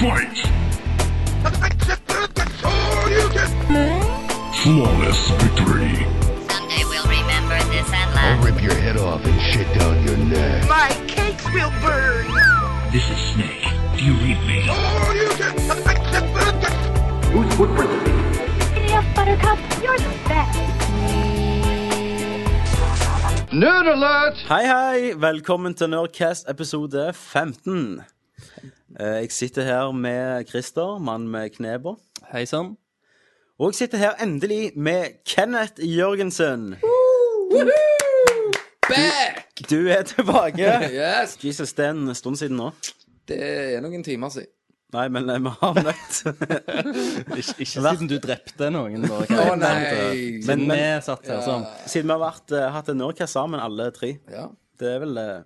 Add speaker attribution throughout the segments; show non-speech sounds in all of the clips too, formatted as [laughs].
Speaker 1: Fight! Flawless victory.
Speaker 2: Someday we'll remember this and laugh.
Speaker 3: I'll rip your head off and shit down your neck.
Speaker 4: My cakes will burn.
Speaker 1: This is Snake. Do you read me?
Speaker 5: Whose footprint is it?
Speaker 6: Up, Buttercup, you're the best.
Speaker 3: Nerd alert!
Speaker 7: Hei, hei! Velkommen til Nerdcast episode 15. Eh, Jeg sitter her med Christer, mann med kneba.
Speaker 8: Hei sann.
Speaker 7: Og jeg sitter her endelig med Kenneth Jørgensen.
Speaker 8: Back!
Speaker 7: Du er tilbake.
Speaker 8: Yes!
Speaker 7: Jesus, det er en stund siden nå.
Speaker 8: Det er noen timer siden.
Speaker 7: Nei, men eh, vi har møtt.
Speaker 9: [laughs] Ikke, ikke siden du drepte noen, da.
Speaker 8: Å
Speaker 9: Kenneth.
Speaker 8: nei!
Speaker 9: Siden
Speaker 7: Men-
Speaker 9: vi satt her sånn.
Speaker 7: Siden vi har vært, eh, hatt en Nordcast sammen, alle tre.
Speaker 8: Ja.
Speaker 7: Det er vel eh,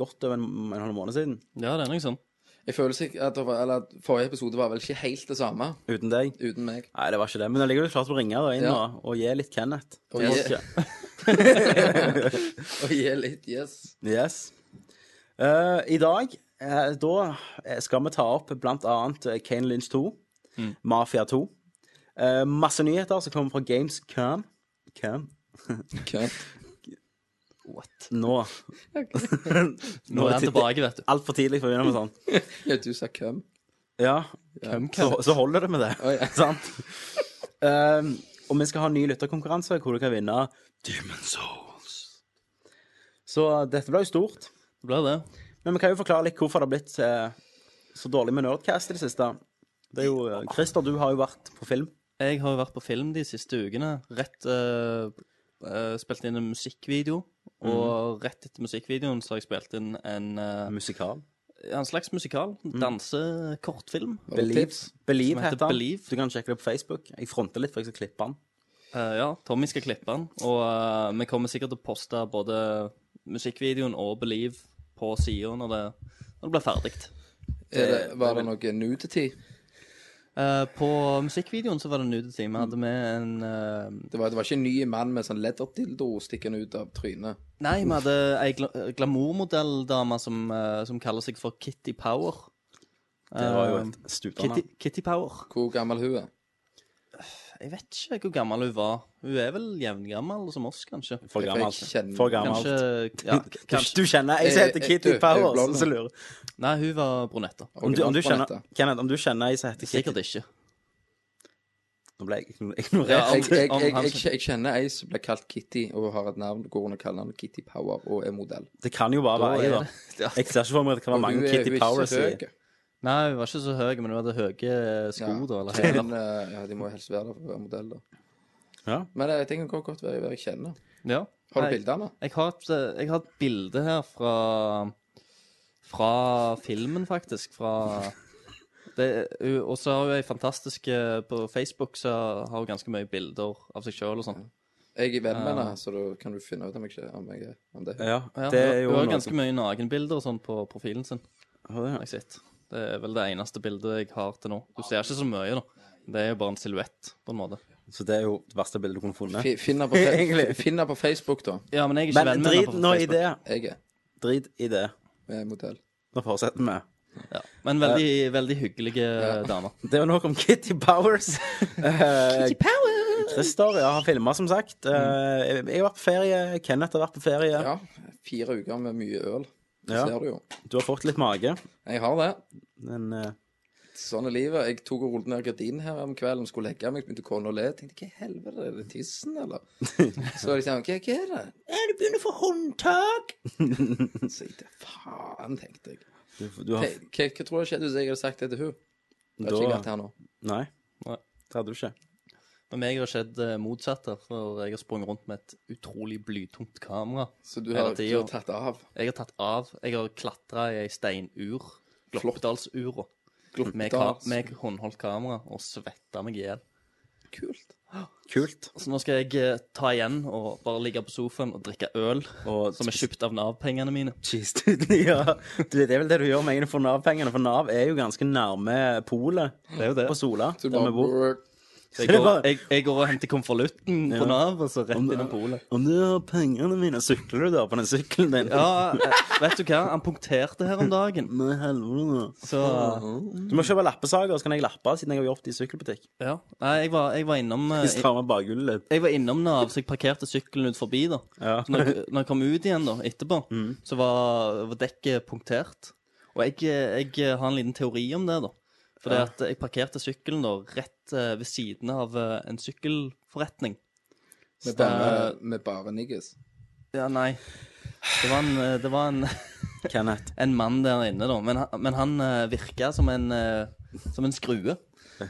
Speaker 7: godt over en, en halv måned siden.
Speaker 9: Ja, det er noe sånn.
Speaker 8: Jeg føler sik- at, det var- eller, at forrige episode var vel ikke helt det samme
Speaker 7: Uten deg.
Speaker 8: uten meg.
Speaker 7: Nei, det var ikke det. Men allikevel klarte du å ringe da inn
Speaker 8: Ja.
Speaker 7: og, og gi litt Kenneth.
Speaker 8: Og
Speaker 7: Til
Speaker 8: gi-
Speaker 7: folket.
Speaker 8: Og gi litt yes.
Speaker 7: Yes. Eh, I dag eh, da skal vi ta opp blant annet eh, Kane Lynch 2,
Speaker 9: Mm.
Speaker 7: Mafia 2. eh, masse nyheter som kommer fra Gamescom. Cam?
Speaker 8: Kødd.
Speaker 7: [laughs] Nå.
Speaker 9: Nå er han tilbake, vet du.
Speaker 7: Altfor tidlig for å begynne med sånn.
Speaker 8: Ja, du sa køm.
Speaker 7: Ja,
Speaker 9: Hvem
Speaker 7: så,
Speaker 9: kan-
Speaker 7: så holder det med det.
Speaker 8: Å, ja.
Speaker 7: Sant? Eh, og vi skal ha en ny lytterkonkurranse hvor du kan vinne Demon Souls. Så eh, dette ble jo stort.
Speaker 9: Det blir det.
Speaker 7: Men vi kan jo forklare litt hvorfor det har blitt eh, så dårlig med Nerdcast i det siste. Det er jo, eh, Christer, du har jo vært på film.
Speaker 9: Jeg har jo vært på film de siste ukene. Rett eh, eh, Spilt inn en musikkvideo. Og rett etter musikkvideoen så har jeg spilt inn en, eh,
Speaker 7: Musikal.
Speaker 9: en slags musikal. Dansekortfilm.
Speaker 8: Har du
Speaker 7: Believe,
Speaker 8: tips?
Speaker 7: Believe
Speaker 9: Som heter
Speaker 7: heter den.
Speaker 9: Believe.
Speaker 7: Du kan sjekke det på Facebook. Jeg fronter litt, for jeg skal klippe den.
Speaker 9: Eh, ja, Tommy skal klippe den. Og eh, vi kommer sikkert til å poste både musikkvideoen og Believe på sida når, det- når det blir ferdig.
Speaker 8: Er det, var det noe nudity?
Speaker 9: Eh, på musikkvideoen så var det nudity. Vi hadde med en eh,
Speaker 8: Det var, det var ikke en ny mann med sånn ledderdildo stikkende ut av trynet.
Speaker 9: Nei, vi hadde ei gla glamourmodelldame som, eh, som kaller seg for Kitty Power.
Speaker 7: Det var jo
Speaker 9: Eh,
Speaker 7: et stupende.
Speaker 9: Kitty, Kitty Power.
Speaker 8: Hvor gammel hun er?
Speaker 9: Jeg vet ikke hvor gammel hun var. Hun er vel jevngammel som oss, kanskje.
Speaker 7: For
Speaker 8: Jeg
Speaker 7: gammelt.
Speaker 8: fikk kjenne-
Speaker 7: For gammelt.
Speaker 9: Kanskje, ja,
Speaker 7: Du-
Speaker 9: kanskje.
Speaker 7: [laughs] Du kjenner ei som heter
Speaker 8: Eh, eh,
Speaker 7: Kitty
Speaker 8: du, er
Speaker 7: Power,
Speaker 8: du blond?
Speaker 7: som lurer.
Speaker 9: Nei, hun var brunette.
Speaker 7: Om du, om du
Speaker 8: Originalt på
Speaker 7: kjenner
Speaker 8: nettet.
Speaker 7: Kenneth, om du kjenner ei som heter Kitty
Speaker 9: Sikkert ikke.
Speaker 7: Nå ble jeg igno- [laughs]
Speaker 9: Ja,
Speaker 7: ignorert.
Speaker 9: om-
Speaker 8: Jeg, jeg,
Speaker 9: om
Speaker 8: jeg,
Speaker 9: han-
Speaker 8: jeg, jeg kjenner ei som ble kalt Kitty, og har et navn hvor hun kaller henne Kitty Power og er modell.
Speaker 7: Det kan jo bare være ei, da. Jeg ser ikke for meg at det kan være
Speaker 8: Og hun
Speaker 7: mange
Speaker 8: er- hun
Speaker 7: Kitty
Speaker 8: er ikke så
Speaker 7: Powers i
Speaker 8: høy.
Speaker 9: Nei, hun var ikke så høy, men hun hadde høye sko,
Speaker 8: Ja.
Speaker 7: [laughs]
Speaker 9: da. Eller hæler.
Speaker 8: Men, eh, ja, de må helst være der for å være modell, da.
Speaker 7: Ja.
Speaker 8: Men jeg tenker godt, godt være være kjennende.
Speaker 9: Ja.
Speaker 8: Har du
Speaker 9: Nei,
Speaker 8: bildene?
Speaker 9: Jeg har, et, eh, jeg har et bilde her fra Fra filmen, faktisk. Fra det, hun- Og så har hun ei fantastisk eh, På Facebook så har hun ganske mye bilder av seg sjøl og sånn.
Speaker 8: Jeg er venn med henne, så da kan du finne ut om jeg, om jeg er om det. er hun.
Speaker 7: ja,
Speaker 9: Ja,
Speaker 7: det er
Speaker 9: hun
Speaker 7: jo
Speaker 9: har
Speaker 7: noe.
Speaker 9: ganske mye nakenbilder og sånn på profilen sin.
Speaker 7: Ja,
Speaker 9: har
Speaker 7: det
Speaker 9: Jeg sett. Det er vel det eneste bildet jeg har til nå. Du ser ikke så mye, da. Det er jo bare en silhuett, på en måte.
Speaker 7: er- Så det er jo det verste bildet du kunne funnet.
Speaker 8: Fi- Finn henne på, fe-
Speaker 7: Egentlig.
Speaker 8: finn henne på Facebook, da.
Speaker 9: Ja, men jeg er ikke
Speaker 7: Men
Speaker 9: venn med henne
Speaker 7: drit
Speaker 9: på
Speaker 7: nå i
Speaker 9: Facebook.
Speaker 7: det.
Speaker 8: Jeg er
Speaker 7: Drit i det.
Speaker 8: jeg er modell.
Speaker 7: Nå fortsetter vi.
Speaker 9: Ja. Men veldig, veldig hyggelige damer.
Speaker 7: Det var nok om Kitty Powers. Eh, Kitty Powers! Christer ja, har filma, som sagt. Eh, jeg har vært på ferie. Kenneth har vært på ferie.
Speaker 8: Ja. Fire uker med mye øl. Det
Speaker 7: Ja.
Speaker 8: ser du jo.
Speaker 7: Du har fått litt mage.
Speaker 8: Jeg har det.
Speaker 7: Men eh,
Speaker 8: Sånn er livet. Jeg tok og rullet ned gardinen her om kvelden, skulle legge meg, begynte kona å le. Jeg tenkte hva i helvete, er det tissen, eller? Så var de sånn, hva, hva er det? Er det begynner å få håndtak? Så jeg tenkte, faen, tenkte jeg.
Speaker 7: du, du har
Speaker 8: Hva, hva, hva tror du skjedde hvis jeg hadde sagt det til hun? Det har
Speaker 7: Da-
Speaker 8: ikke jeg vært her nå.
Speaker 7: Nei.
Speaker 9: Nei.
Speaker 7: Det hadde du ikke.
Speaker 9: Men meg har skjedd eh, motsatt her, for jeg har sprunget rundt med et utrolig blytungt kamera.
Speaker 8: Så du
Speaker 9: Hele
Speaker 8: har, du
Speaker 9: tida.
Speaker 8: har tatt av
Speaker 9: Jeg har tatt av, jeg har klatra i ei steinur, Gloppdalsura, med, ka
Speaker 8: Gloppedans.
Speaker 9: med håndholdt kamera, og svetta meg i hjel.
Speaker 8: Kult.
Speaker 7: Kult.
Speaker 9: Så nå skal jeg eh, ta igjen og bare ligge på sofaen og drikke øl,
Speaker 7: Og-
Speaker 9: som er kjøpt av Nav-pengene mine.
Speaker 7: Cheese doodle, [laughs] ja. Du vet, det er vel det du gjør med egne for Nav-pengene, for Nav er jo ganske nærme polet
Speaker 9: Det er jo det.
Speaker 7: på Sola.
Speaker 8: Så du
Speaker 7: der vi bor.
Speaker 8: bare
Speaker 9: Så jeg går, jeg, jeg går og henter konvolutten på Nav, og så rett innom polet.
Speaker 7: Om du har pengene mine, sykler du der på den sykkelen din?
Speaker 9: Ja, eh, vet du hva? Han punkterte her om dagen.
Speaker 7: Men helvete nå.
Speaker 9: Så
Speaker 7: Du må kjøpe lappesager, så kan jeg lappe, siden jeg har jobbet i sykkelbutikk.
Speaker 9: ja. Nei, jeg var, jeg var innom eh,
Speaker 7: Hvis du tar med bakgullet litt.
Speaker 9: jeg var innom Nav, så jeg parkerte sykkelen ut forbi. da
Speaker 7: Ja.
Speaker 9: Så når, jeg- når jeg kom ut igjen da, etterpå, så var, var dekket punktert. Og jeg, jeg eh, har en liten teori om det. da Fordi at jeg parkerte sykkelen da rett eh, ved siden av eh, en sykkelforretning.
Speaker 8: Med bare, med bare niggas.
Speaker 9: Ja, nei. Det var en, eh, det var en, [laughs]
Speaker 7: Kenneth.
Speaker 9: en mann der inne, da. Men, han- men han eh, virka som en, eh, som en skrue.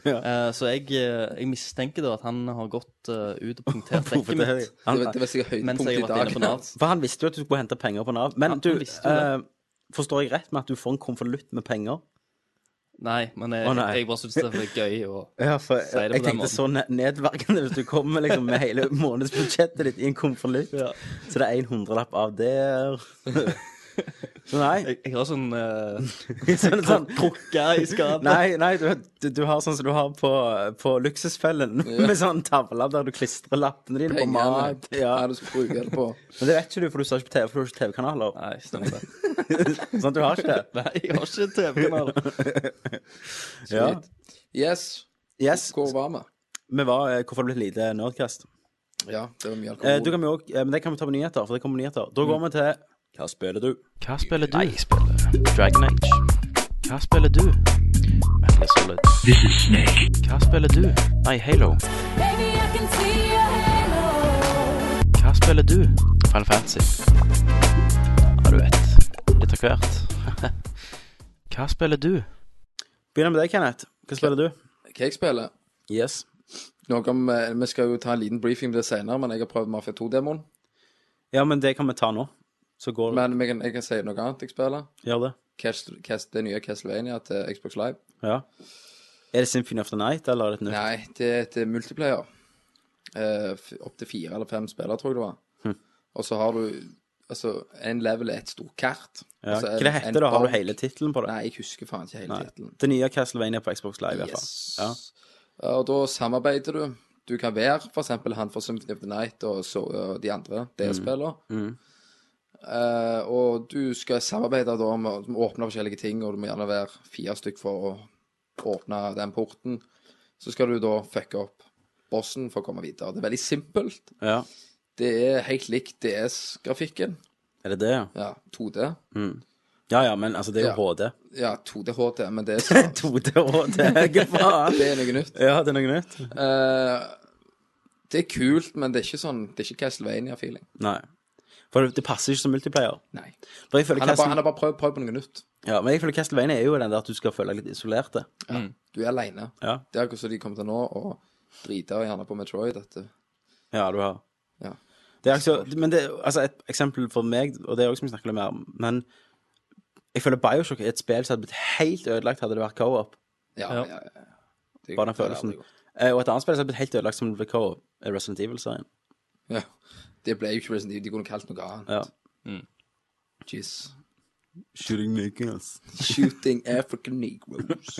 Speaker 7: Ja.
Speaker 9: Eh, Så jeg, eh, jeg mistenker da at han har gått eh, ut og punktert dekket
Speaker 7: Hvorfor det?
Speaker 9: mitt.
Speaker 8: Det
Speaker 7: Han,
Speaker 8: var, det var sikkert
Speaker 9: Mens
Speaker 8: høydepunkt
Speaker 9: jeg
Speaker 8: i
Speaker 9: har vært inne på
Speaker 8: dagen.
Speaker 9: Nav.
Speaker 8: [laughs] hans.
Speaker 7: for han visste jo at du skulle hente penger på Nav. Men
Speaker 9: han
Speaker 7: du,
Speaker 9: visste jo
Speaker 7: eh, forstår jeg rett med at du får en konvolutt med penger?
Speaker 9: Nei, men jeg,
Speaker 7: Å, nei.
Speaker 9: jeg bare syns det var gøy. å...
Speaker 7: Ja, for
Speaker 9: Si det på
Speaker 7: jeg
Speaker 9: den
Speaker 7: tenkte
Speaker 9: måten.
Speaker 7: så ne- nedverdigende hvis du kommer liksom med hele månedsbudsjettet ditt i en konvolutt.
Speaker 9: Ja.
Speaker 7: Så det er en hundrelapp av
Speaker 9: [laughs]
Speaker 7: der. Så nei.
Speaker 9: Jeg, jeg har sånn uh,
Speaker 7: [laughs] Sånn, sånn,
Speaker 9: [laughs] krukke i skapet.
Speaker 7: nei, nei du, du- du har sånn som du har på, på Luksusfellen, [laughs] med sånn tavle der du klistrer lappene dine på
Speaker 8: Pengene.
Speaker 7: mat.
Speaker 8: Ja.
Speaker 7: Ja.
Speaker 8: du skal bruke det på.
Speaker 7: Men det vet ikke du, for du ser ikke på TV, for du har ikke TV-kanaler.
Speaker 9: Nei, stemmer det.
Speaker 7: Sånn, du har ikke
Speaker 9: [laughs]
Speaker 7: det.
Speaker 9: Nei, jeg har ikke TV-kanal.
Speaker 7: Ja.
Speaker 8: Shit. Yes.
Speaker 7: Yes,
Speaker 8: Hvor var vi?
Speaker 7: vi var eh, Hvorfor det ble et lite Nerdcast.
Speaker 8: Ja, det var mye
Speaker 7: Eh, du
Speaker 8: alkohol.
Speaker 7: kan vi også, eh, men det kan vi ta på nyheter, for det kommer nyheter. Da
Speaker 9: Mm.
Speaker 7: går vi til Hva spiller du?
Speaker 10: Hva spiller du? Jeg spiller Dragon Age. Hva spiller du? Metal Solid.
Speaker 1: This is Snake.
Speaker 10: Hva spiller du? Nei, Halo.
Speaker 6: Baby, I can see your halo.
Speaker 10: Hva spiller du? Final Fantasy. Ja, du vet. Litt av hvert. Hva spiller du?
Speaker 7: Begynner med deg, Kenneth. Hva spiller du?
Speaker 8: Hva jeg spiller?
Speaker 7: Yes.
Speaker 8: Noe om, eh, vi skal jo ta en liten briefing på det senere, men jeg har prøvd Mafia 2-demoen.
Speaker 7: Ja, men det kan vi ta nå. Så går
Speaker 8: Men jeg kan, jeg kan si noe annet jeg spiller.
Speaker 7: Gjør det.
Speaker 8: Cast- Cast- det nye Castlevania til Xbox Live.
Speaker 7: Ja. Er det Symphony of the Night, eller er det et nytt?
Speaker 8: Nei, det er et multiplayer. Eh, f- opp Opptil fire eller fem spillere, tror jeg det var.
Speaker 7: Hm.
Speaker 8: Og så har du altså En level er et stort kart.
Speaker 7: Ja.
Speaker 8: Altså, en-
Speaker 7: Hva det
Speaker 8: en
Speaker 7: heter det? Har du
Speaker 8: bank.
Speaker 7: hele tittelen på det?
Speaker 8: Nei, jeg husker faen ikke hele tittelen.
Speaker 7: Det nye Castlevania på Xbox Live, i hvert fall.
Speaker 8: Yes.
Speaker 7: Ja.
Speaker 8: Og da samarbeider du. Du kan være for eksempel han fra Symphony of the Night og, så, og de andre DS-spillene.
Speaker 7: Mm.
Speaker 8: Eh, og du skal samarbeide da om å om å åpne forskjellige ting, og du må gjerne være fire stykk for å åpne den porten. Så skal du da fucke opp bossen for å komme videre. Det er veldig simpelt.
Speaker 7: Ja.
Speaker 8: Det er helt likt DS-grafikken.
Speaker 7: Er det det, ja?
Speaker 8: Ja, 2D.
Speaker 7: Ja ja, men altså, det er jo
Speaker 8: Ja.
Speaker 7: HD.
Speaker 8: [laughs] Ja, 2D HD, men
Speaker 7: [laughs]
Speaker 8: det er, så,
Speaker 7: 2D HD, hva faen?
Speaker 8: det er noe nytt.
Speaker 7: Ja, det er noe nytt?
Speaker 8: Eh, det er kult, men det er ikke sånn Det er ikke Castlevania-feeling.
Speaker 7: Nei. For det- det passer ikke som multiplayer.
Speaker 8: Nei.
Speaker 7: For jeg føler
Speaker 8: Han har bare,
Speaker 7: Castle-
Speaker 8: han har bare prøvd, prøvd på noe nytt.
Speaker 7: Ja, men jeg føler Castlevania er jo den der at du skal føle deg litt isolert. det.
Speaker 8: Du er aleine.
Speaker 7: Ja.
Speaker 8: Det er akkurat som de kommer til nå, og driter gjerne på Metroid. eh, Dette.
Speaker 7: ja, du har.
Speaker 8: Ja.
Speaker 7: Det er altså, men det, altså et eksempel for meg, og det er også som vi snakker litt mer om, men jeg føler Bioshock er et spill som hadde blitt helt ødelagt hadde det vært co-op.
Speaker 8: Ja,
Speaker 9: Ja.
Speaker 8: ja. ja, ja. Det-
Speaker 7: Bare den
Speaker 8: det er
Speaker 7: følelsen.
Speaker 8: aldri godt.
Speaker 7: Eh, Og et annet spill som hadde blitt helt ødelagt som det ble co-op, er Resident Evil-serien.
Speaker 8: Ja. Det ble jo ikke Resident Evil. De kunne kalt noe annet.
Speaker 7: Ja.
Speaker 8: Jeez.
Speaker 7: Shooting Nicholas.
Speaker 8: Shooting African Negroes.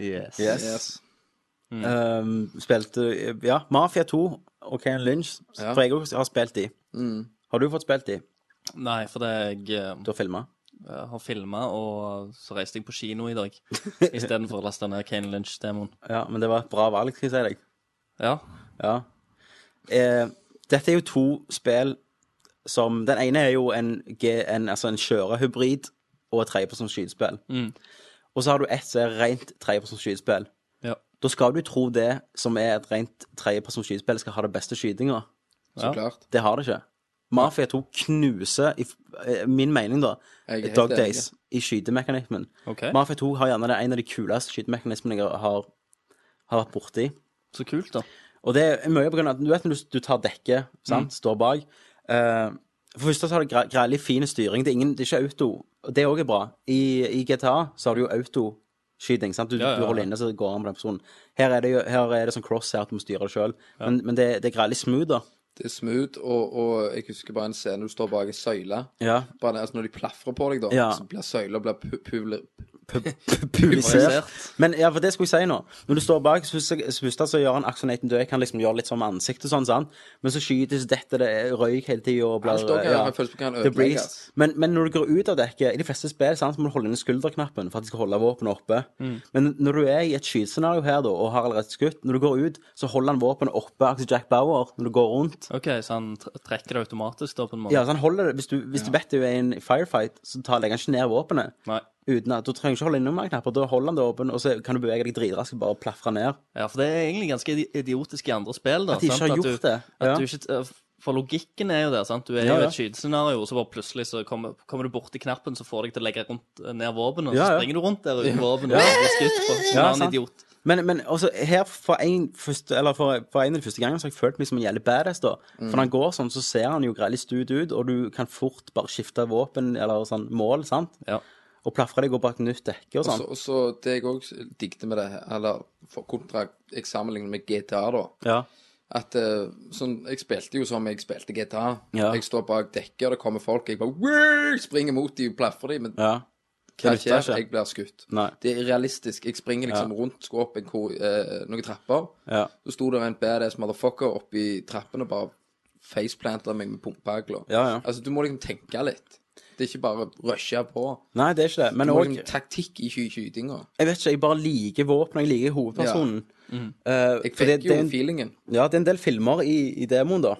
Speaker 9: Yes.
Speaker 7: Yes.
Speaker 8: Yes.
Speaker 7: Um, spilte Ja, Mafia 2 og Kane Lynch,
Speaker 8: Ja. Mm.
Speaker 7: for jeg også har spilt de. Har du fått spilt de?
Speaker 9: Nei, fordi jeg eh,
Speaker 7: Du har filma?
Speaker 9: har filma, og så reiste jeg på kino i
Speaker 7: [laughs]
Speaker 9: dag istedenfor å laste ned Kane Lynch-demoen.
Speaker 7: Ja, men det var et bra valg, skal jeg si deg.
Speaker 9: Ja.
Speaker 7: Ja. Eh, dette er jo to spill som Den ene er jo en, G- en, altså en kjørehybrid og et tredjepersons skytespill.
Speaker 8: Mm.
Speaker 7: Og så har du ett som er rent tredjepersons skytespill.
Speaker 9: Ja.
Speaker 7: Da skal du tro det som er et rent tredjepersons skytespill, skal ha det beste skytinga.
Speaker 8: Så
Speaker 9: Ja.
Speaker 8: klart.
Speaker 7: Det har det ikke. Mafia 2 knuser, i f- eh, min mening, da,
Speaker 8: Jeg er helt
Speaker 7: Dog
Speaker 8: enig.
Speaker 7: Days i skytemekanismen.
Speaker 9: OK.
Speaker 7: Mafia 2 har gjerne det en av de kuleste skytemekanismene jeg har, har vært borti.
Speaker 9: Så kult, da.
Speaker 7: Og det er mye på grunn av at du vet når du, du tar dekket, sant,
Speaker 9: Mm.
Speaker 7: står bak. eh, for det første så har du gre- greit fin styring. Det er, ingen, det er ikke auto. Og det òg er bra. I, I GTA så har du jo autoskyting. sant? Du,
Speaker 9: Ja, ja,
Speaker 7: du
Speaker 9: ja.
Speaker 7: holder inne, så går han på den personen. Her er det, jo, her er det sånn cross her at du må styre det sjøl. Men, men det, det er greit smooth, da.
Speaker 8: Det er smooth, og, og jeg husker bare en scene du står bak ei søyle.
Speaker 7: Ja.
Speaker 8: Bare, altså, når de plafrer på deg, da,
Speaker 7: Ja.
Speaker 8: så blir søyla pu pule- [laughs]
Speaker 7: publisert. Men ja, for det skulle jeg si nå. Når du står bak, så husker jeg- så først så gjør han Axonaten død. Jeg kan liksom gjøre litt sånn med ansiktet og sånn, sant? Men så skytes dette, det er røyk hele tida og blir
Speaker 8: Han står ikke her, jeg føler som kan
Speaker 7: The
Speaker 8: ødelegge,
Speaker 7: breeze.
Speaker 8: ass.
Speaker 7: Men, men når du går ut av dekket, i de fleste spill sant, så må du holde inn skulderknappen for at de skal holde våpenet oppe.
Speaker 8: Mm.
Speaker 7: Men når du er i et skytescenario her da, og har allerede skutt, når du går ut, så holder han våpenet oppe akkurat som Jack Bauer når du går rundt.
Speaker 9: OK, så han tr- trekker det automatisk, da, på en måte?
Speaker 7: Ja, så han holder det. Hvis du, hvis du vet du er i en firefight, så tar, legger han ikke ned våpenet.
Speaker 9: Nei.
Speaker 7: Uten at, du trenger ikke holde innom mange knapper. Da holder han det åpen, og så kan du bevege deg dritraskt og bare plafre ned.
Speaker 9: Ja, for det er egentlig ganske idi- idiotisk i andre spill. da.
Speaker 7: At de ikke
Speaker 9: sant?
Speaker 7: har
Speaker 9: du,
Speaker 7: gjort det.
Speaker 9: At
Speaker 7: Ja.
Speaker 9: du ikke, eh, for logikken er jo der. sant? Du er
Speaker 7: Ja,
Speaker 9: jo i
Speaker 7: ja.
Speaker 9: et skytescenario, og så bare plutselig så kommer, kommer du borti knappen som får deg til å legge rundt, eh, ned våpenet, og så
Speaker 7: Ja, ja.
Speaker 9: springer du
Speaker 7: [laughs]
Speaker 9: rundt der uten våpen og blir skutt på. Som
Speaker 7: Ja,
Speaker 9: en annen
Speaker 7: sant.
Speaker 9: idiot.
Speaker 7: Men, men også her, for en, første, eller for, for en av de første gangene, så har jeg følt meg som en jævlig badass, da. For når han går sånn, så ser han jo grei litt stud ut, og du kan fort bare skifte våpen, eller sånn mål, sant?
Speaker 9: Ja.
Speaker 7: Og plafre deg og bak nytt dekke og
Speaker 8: Og så,
Speaker 7: sånn.
Speaker 8: og så det jeg òg digget med det her, eller for kontra jeg sammenligner med GTA, da.
Speaker 7: Ja.
Speaker 8: At eh, sånn, Jeg spilte jo som jeg spilte GTA.
Speaker 7: Ja.
Speaker 8: Jeg står bak dekket, og det kommer folk, jeg bare «Woo!» springer mot dem, plaffer dem, men
Speaker 7: ja.
Speaker 8: hva
Speaker 7: det nytter
Speaker 8: skjer?
Speaker 7: ikke.
Speaker 8: Jeg blir skutt.
Speaker 7: Nei.
Speaker 8: Det er realistisk. Jeg springer liksom rundt, skal opp en ko, eh, noen trapper.
Speaker 7: Ja.
Speaker 8: Så sto det en badass motherfucker oppi trappen og bare faceplanta meg med pumpehagla.
Speaker 7: Ja, ja.
Speaker 8: Altså, du må liksom tenke litt. Det er ikke bare rushe på.
Speaker 7: Nei, det er ikke det.
Speaker 8: Du
Speaker 7: Men
Speaker 8: må
Speaker 7: òg
Speaker 8: liksom taktikk i sky- skytinga.
Speaker 7: Jeg vet ikke, jeg bare liker våpenet. Jeg liker hovedpersonen. Eh, for
Speaker 8: Jeg fikk
Speaker 7: det- det
Speaker 8: jo
Speaker 7: er en-
Speaker 8: feelingen.
Speaker 7: Ja, det er en del filmer i, i demoen, da.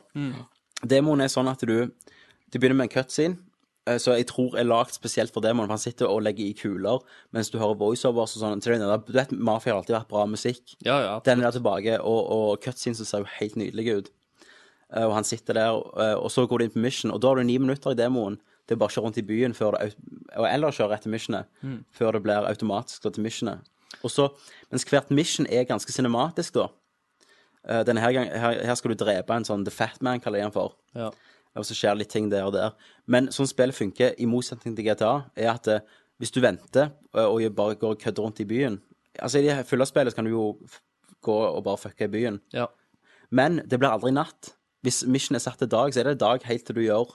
Speaker 7: Demoen er sånn at du Du begynner med en cutscene, eh, så jeg tror er lagd spesielt for demoen. For han sitter og legger i kuler mens du hører voiceovers og sånn. til den der- Du vet, Mafia har alltid vært bra musikk.
Speaker 9: Ja, ja.
Speaker 7: Den er der tilbake, og, og cutscenes ser jo helt nydelige ut. Eh, Og han sitter der, eh, og så går du inn på mission, og da har du ni minutter i demoen. Det er bare å kjøre rundt i byen før det, au- og eller kjøre etter missionet, før det blir automatisk da til missionet. Og så, mens hvert mission er ganske cinematisk, da. Eh, Denne her, gang, her, her skal du drepe en sånn The Fat Man, kaller jeg han for.
Speaker 9: Ja.
Speaker 7: Og så skjer det litt ting der og der. Men sånn spillet funker, i motsetning til GTA, er at eh, hvis du venter eh, og bare går og kødder rundt i byen Altså, i det her fulle spillet så kan du jo f- gå og bare fucke i byen.
Speaker 9: ja.
Speaker 7: Men det blir aldri natt. Hvis mission er satt til dag, så er det dag helt til du gjør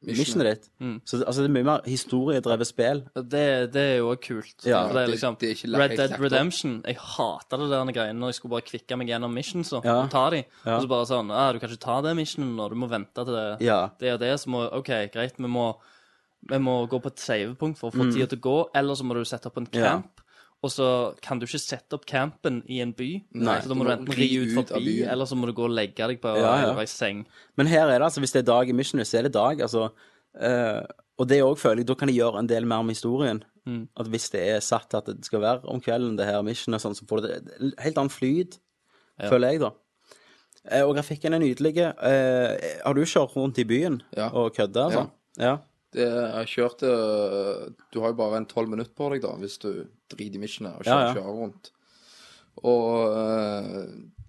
Speaker 7: missionet ditt. Så det- altså, det er mye mer historiedrevet spill.
Speaker 9: Det, det er jo også kult.
Speaker 7: Ja,
Speaker 9: For det er
Speaker 8: det-
Speaker 9: liksom
Speaker 8: det er ikke lagt-
Speaker 9: Red
Speaker 8: helt
Speaker 9: Dead
Speaker 8: lagt opp.
Speaker 9: Redemption. Jeg hata det der greiene når jeg skulle bare kvikke meg gjennom missions og,
Speaker 7: Ja.
Speaker 9: og ta de.
Speaker 7: Ja.
Speaker 9: Og så bare sånn ah, 'Du kan ikke ta det missionen nå, du må vente til det
Speaker 7: Ja.
Speaker 9: det og det, så må OK, greit, vi må, vi må gå på et savepunkt for å få tida til å gå, eller så må du sette opp en
Speaker 7: Mm. Ja.
Speaker 9: camp. Og så kan du ikke sette opp campen i en by,
Speaker 8: Nei,
Speaker 9: så da må du enten ri ut
Speaker 8: av
Speaker 9: forbi,
Speaker 8: byen.
Speaker 9: eller så må du gå og legge deg på
Speaker 7: Ja, ja.
Speaker 9: ei seng.
Speaker 7: Men her er det altså, hvis det er dag i missionet, så er det dag. altså. eh, og det òg føler jeg, da kan de gjøre en del mer med historien.
Speaker 8: Mm.
Speaker 7: At Hvis det er satt at det skal være om kvelden, det her missionet, sånn, så får det en helt annen flyt, føler jeg, da. Eh, og grafikken er nydelig. Eh, har du kjørt rundt i byen
Speaker 8: Ja.
Speaker 7: og kødda? Altså? Ja.
Speaker 8: Det, jeg kjørte Du har jo bare en tolv minutter på deg, da, hvis du driter i missionet og kjører,
Speaker 7: Ja, ja.
Speaker 8: kjører rundt. Og eh,